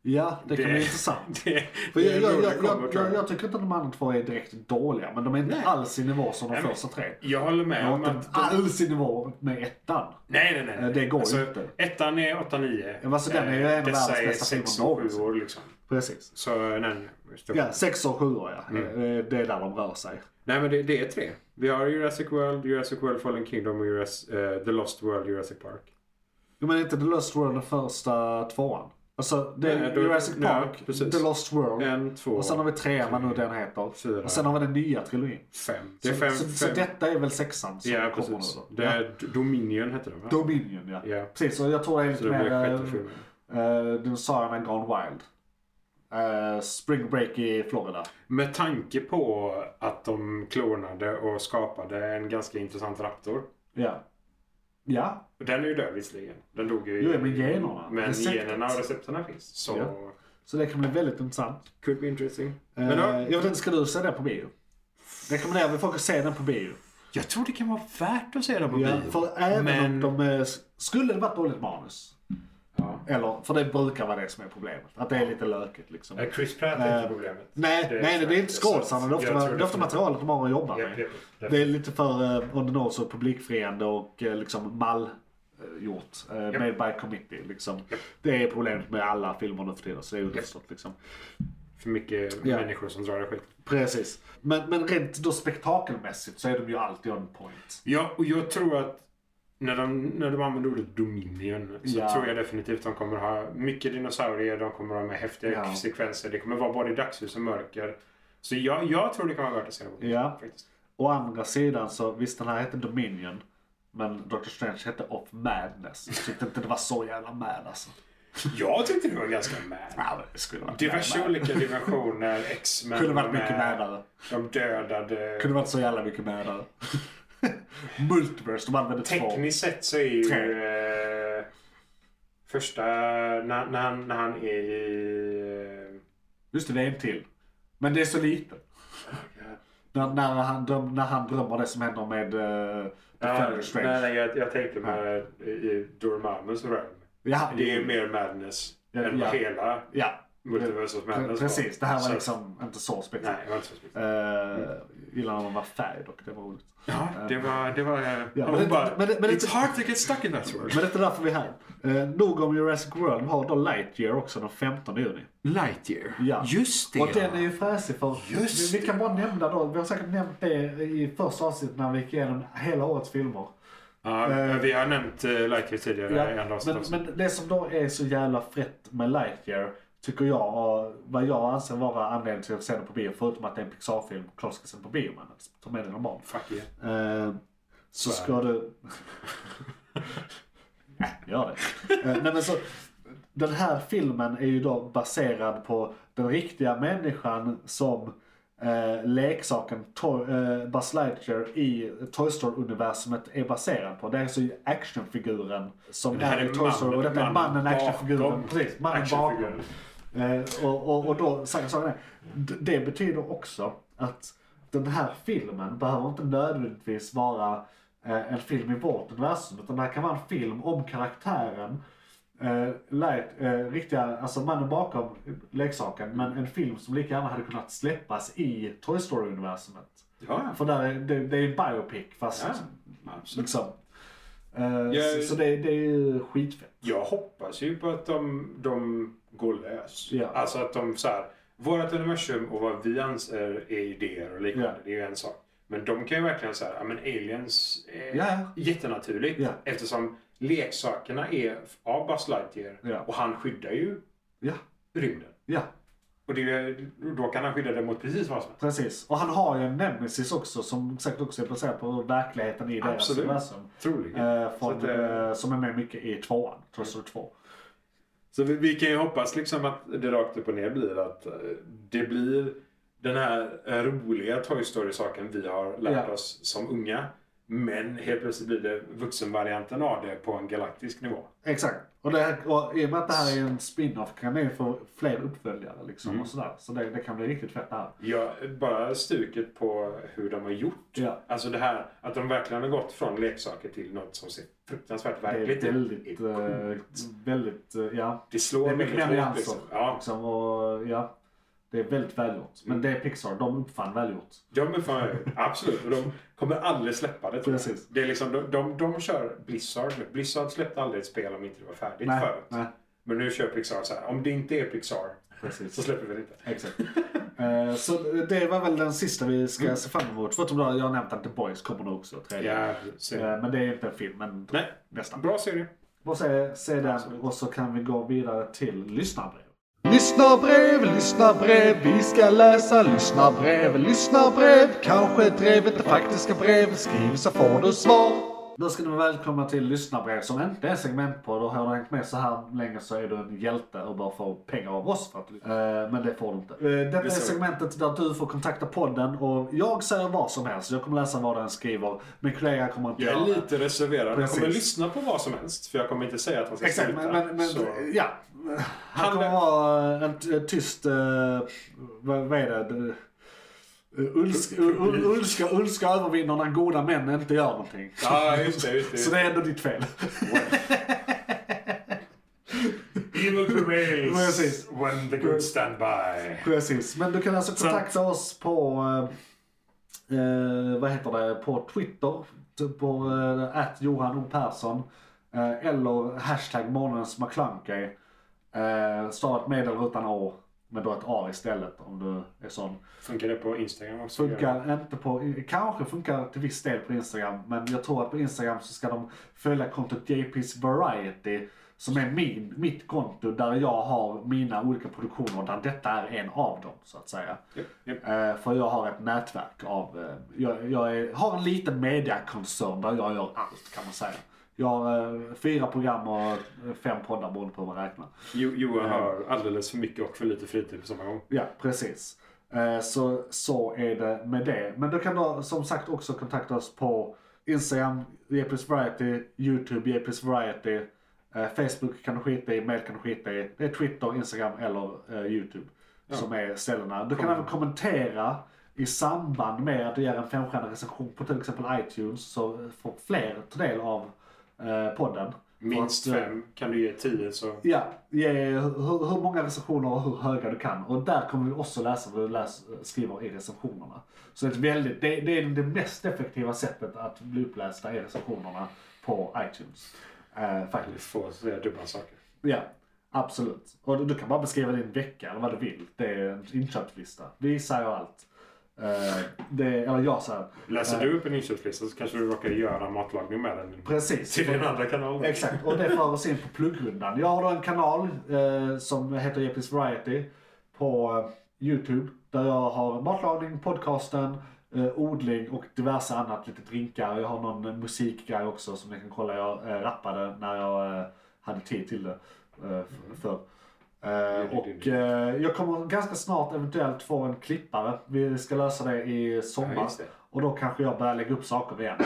Ja, det, kan Det- bli intressant. Det, För det jag, är jag, då det jag, kommer, jag, tror jag, jag. jag tycker inte de andra två är direkt dåliga, men de är inte alls i nivå som de Nej, men- första tre. Jag håller med De om är inte att... alls i nivå med ettan. Nej, nej, nej, nej. Det går inte. Ettan är 8-9. Ja, men alltså, den är ju en av världens bästa filmer Dessa är 6 någonsin. och 7 år liksom. Precis. Så eh, nej, nej. just det. Ja, sex och sju ja. Mm. Eh, Det är där de rör sig. Nej, men det, det är tre. Vi har Jurassic World, Jurassic World Fallen Kingdom och Juras, eh, The Lost World Jurassic Park. Jo, men inte The Lost World den första tvåan? Alltså, det är Nej, då- Jurassic nej, Park, precis. The Lost World. En, två, Och sen har vi trean, vad nu den heter. Fyra. Och sen har vi den nya trilogin. fem. Det är fem. så, fem. så detta är väl sexan som ja, kommer precis. nu då? Det är Dominion heter den va? Ja. Dominion ja. Ja. Precis, och jag tror det är Så lite det blir mer sjätte filmen. uh, dinosaurierna Gone Wild. Eh, spring Break i Florida. Med tanke på att de klonade och skapade en ganska intressant raptor. Ja. Ja, Den är ju död visserligen. Den dog ju i... jo men generna. Men Receptet. generna och recepterna finns. Så... Ja. Så det kan bli väldigt intressant. Could be interesting. Eh, Men då, jag vet inte, ska du se den på bio? Rekommenderar vi folk att se den på bio? jag tror det kan vara värt att se den på Ja, bio. för även Men- om de... eh, Skulle det varit dåligt manus? Ja. Eller, för det brukar vara det som är problemet. Att det är lite lökigt liksom. Eh, Chris Pratt är inte problemet. Nej, Det är nej, nej, det är inte säkert. skådisarna. Det är ofta, Jag tror det är ofta det. materialet de har att jobba Japp, med. japp, japp. Det är lite för eh, on the nose och publikfriande och eh, liksom mall eh, gjort. Eh, Made by committee liksom. Det är problemet med alla filmer nu för tiden. Så det är underförstått liksom. För mycket Ja. människor som drar i skit. Precis. Men, men rent då spektakelmässigt så är de ju alltid on point. Ja, och jag tror att när de, när de använder ordet Dominion så Ja. tror jag definitivt de kommer ha mycket dinosaurier, de kommer ha med häftiga Ja. sekvenser, det kommer vara både dagsljus och mörker. Så jag, jag tror det kan vara värt att se det på. Ja. Faktiskt. Å andra sidan så, visst den här hette Dominion. Men Doctor Strange hette Of Madness. Jag tyckte inte det var så jävla mad alltså. Jag tyckte det var ganska mad. Ja, men det skulle varit Diverse mad. olika dimensioner, X-Men eh, Kunde varit var mycket med, madare. De dödade... Kunde varit så jävla mycket mer där. Multiverse, de använde två. Tekniskt sett så är Tre. ju eh, första, när, när, han, när han är i... eh, Just det, det är en till. Men det är så lite. När, när, han, dröm, när han drömmer det som händer med uh, Ja, Defender Strange. nej, nej, jag, jag tänkte med i- i Dormammus realm. ja, Det är mer madness Ja, än ja. hela ja. Multiversus Pre- madness. Precis, det här var Så- liksom inte så Nej, speciellt. det var inte så speciellt. Uh, gillar när man var färg dock, det var roligt. Ja, det var... Det var ja, men men det- bara, men det- men det- it's hard to get stuck in that world. Men det är inte därför vi är här. Eh, nog om Jurassic World, vi har då Lightyear också den 15 juni. Lightyear. Ja. Just det. Och den är ju fräsig för Just vi, vi kan bara nämna då, vi har säkert nämnt det i första avsnittet när vi gick igenom hela årets filmer. Ja, Eh, vi har nämnt eh, Lightyear tidigare i andra men, avsnitt. men det som då är så jävla frätt med Lightyear tycker jag, och vad jag anser vara anledningen till att se den på bio, förutom att det är en Pixar-film, klart ska se den på bio man. Ta med dina barn. Fuck yeah. Eh, så Så är ska du... Nej, gör det. Eh, nej, men så, den här filmen är ju då baserad på den riktiga människan som eh, leksaken to- eh, Buzz Lightyear i Toy Story-universumet är baserad på. Det är alltså ju actionfiguren som Det här är, är i Toy Story och detta är mannen- mannen, mannen actionfiguren. bakom Precis, mannen bakom. actionfiguren. Eh, och, och, och då, saken saken är, d- det betyder också att den här filmen behöver inte nödvändigtvis vara eh, en film i vårt universum. Utan det här kan vara en film om karaktären. Eh, light, eh, riktiga, alltså mannen bakom leksaken. Men en film som lika gärna hade kunnat släppas i Toy Story-universumet. Ja, För där är, det, det är en biopic fast absolut. liksom. Eh, Jag- Så, så det, det är ju skitfett. Jag hoppas ju på att de, de går lös. Ja. Alltså att de så här, vårt universum och vad vi anser är idéer och liknande, Ja. det är ju en sak. Men de kan ju verkligen säga, ja men aliens är Ja. jättenaturligt Ja. eftersom leksakerna är av Buzz Lightyear Ja. och han skyddar ju Ja, rymden. ja. Och det, då kan han skydda det mot precis vad som helst. Precis. Och han har ju en nemesis också som säkert också är baserad på verkligheten i deras Absolut. universum. Troligen. Eh, Så från, att, Mm. eh, eh, som är med mycket i tvåan, Trustle 2. Så vi, vi kan ju hoppas liksom att det rakt upp och ner blir att eh, det blir den här eh, roliga Toy Story-saken vi har lärt Ja. oss som unga. Men helt plötsligt blir det vuxenvarianten av det på en galaktisk nivå. Exakt. Och, det här, och i och med att det här är en spin-off kan det ju få fler uppföljare liksom Mm. och sådär. Så det, det kan bli riktigt fett det här. Ja, bara stuket på hur de har gjort. Ja. Alltså det här att de verkligen har gått från leksaker till något som ser fruktansvärt Det är verkligt väldigt, Det, eh, väldigt, eh, ja. det slår Det är mycket mer väldigt nyanser. hårt. Liksom. Ja. Mm. Liksom, och, ja. Det är väldigt välgjort. Men det är Pixar, de uppfann välgjort. Ja men fan, absolut. Och de kommer aldrig släppa det. tror jag. Precis. det är liksom, de, de, de kör Blizzard nu. Blizzard släppte aldrig ett spel om inte det var färdigt Nej, förut. nej, Men nu kör Pixar så här. Om det inte är Pixar precis. så släpper vi det inte. Exakt. Eh, Så det var väl den sista vi ska se fram emot. Förutom då, jag har nämnt att The Boys kommer nog också. Tredje. Ja, så. Eh, Men det är inte en film, men Nej. nästan. Bra serie. Och se, se den Absolut. och så kan vi gå vidare till lyssnarbrev. Lyssna brev, lyssna brev, vi ska läsa lyssna brev, lyssna brev. Kanske drevet det faktiska brevet, skriv så får du svar. Då ska ni vara välkomna till lyssnarbrev som inte är segmentpodd och har du hängt med så här länge så är du en hjälte och bara får pengar av oss för att eh, Men det får du inte. Eh, detta är så. segmentet där du får kontakta podden och jag säger vad som helst. Jag kommer läsa vad den skriver. Min kollega kommer inte Jag är lite reserverad. Precis. Jag kommer lyssna på vad som helst. För jag kommer inte säga att han ska Exakt, men, sluta. men, men så. ja. Han Han- kommer vara en t- tyst, eh, vad, vad är det? Det- eh, Ulska, ul- ulska, ulska övervinner när goda män inte gör någonting. Ja, just det. Just Så det, just det är ändå ditt fel. det. Evil prevails Precis. when the good stand by. Precis, men du kan alltså kontakta oss på, eh, eh, vad heter det, på Twitter, t- på eh, att Johan O. Persson, eh, eller hashtag månadens McClunkey, eh, stavat med eller utan å, men då ett A istället om du är sån. Funkar det på Instagram också? Funkar inte på, kanske funkar till viss del på Instagram, men jag tror att på Instagram så ska de följa kontot JP's Variety, som är min, mitt konto där jag har mina olika produktioner, där detta är en av dem så att säga. Japp, japp. Eh, för jag har ett nätverk av, eh, jag, jag är, har en liten mediakoncern där jag gör allt kan man säga. Jag har eh, fyra program och eh, fem poddar beroende på hur man räknar. Jo, Johan har alldeles för mycket och för lite fritid på samma gång. Ja, precis. Eh, Så, så är det med det. Men du kan då som sagt också kontakta oss på Instagram, Jepis Variety, YouTube, Jepis Variety. eh, Facebook kan du skita i, mail kan du skita i. Det är Twitter, Instagram eller eh, YouTube som är ställena. Du kan även kommentera i samband med att du ger en femstjärnig recension på till exempel iTunes så får fler ta del av eh, podden. Minst För att, eh, fem. Kan du ge tio så... Ja, ge hur, hur många recensioner och hur höga du kan. Och där kommer vi också läsa vad du läs, skriver i recensionerna. Så det är, ett väldigt, det, det är det mest effektiva sättet att bli upplästa i recensionerna på iTunes. Eh, Du faktiskt. får säga dubbla saker. Ja, absolut. Och du, du kan bara beskriva din vecka eller vad du vill. Det är en inköpslista. Vi säger allt. Eh, det, eller jag säger. Läser du upp en inköpslista så kanske du råkar göra matlagning med den Precis. till din andra kanal. Exakt, och det för oss in på pluggrundan. Jag har då en kanal eh, som heter Epis Variety på eh, Youtube. Där jag har matlagning, podcasten, eh, odling och diverse annat. Lite drinkar. Jag har någon eh, musikgrej också som ni kan kolla. Jag eh, rappade när jag eh, hade tid till det eh, f- förr. Eh, och eh, jag kommer ganska snart eventuellt få en klippare. Vi ska lösa det i sommar. Ja, just det. Och då kanske jag börjar lägga upp saker igen.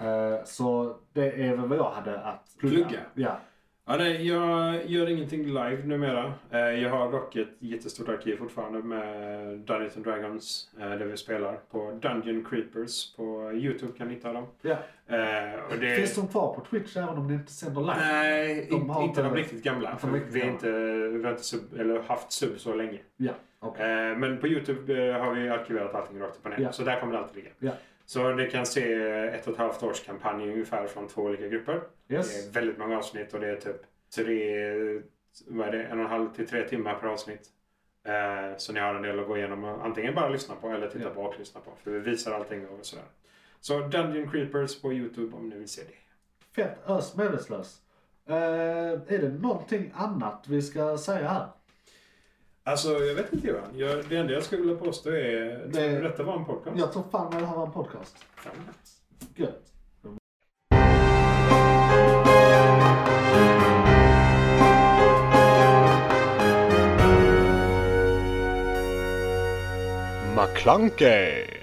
Eh, Så det är väl vad jag hade att plugga. Plugga? Ja. Ja, nej, jag gör ingenting live numera. Eh, Jag har dock ett jättestort arkiv fortfarande med Dungeons and Dragons. eh, Där vi spelar på Dungeon Creepers. På Youtube kan ni hitta dem. ja. Eh, Och det... Finns de kvar på Twitch även om det inte sänder live? Nej, De inte- har inte de inte- riktigt gamla. inte För de riktigt vi, är gamla. inte, vi har inte sub, eller haft sub så länge. Ja, okej. Eh, Men på Youtube eh, har vi arkiverat allting rakt upp och ner. Ja. Så där kommer det alltid ligga. Ja. Så ni kan se ett och ett halvt års kampanj ungefär från två olika grupper. Det Yes. är väldigt många avsnitt och det är typ tre, vad är det, en och en halv till tre timmar per avsnitt. Eh, Så ni har en del att gå igenom och antingen bara lyssna på eller titta Ja. på och lyssna på. För vi visar allting och sådär. Så Dungeon Creepers på Youtube om ni vill se det. Fett ös medvetslös. Eh, är det någonting annat vi ska säga här? Alltså, jag vet inte Johan. Jag, det enda jag skulle vilja påstå är... Det- Detta var en podcast. Jag tror fan jag har en podcast. Gött. McClunkey!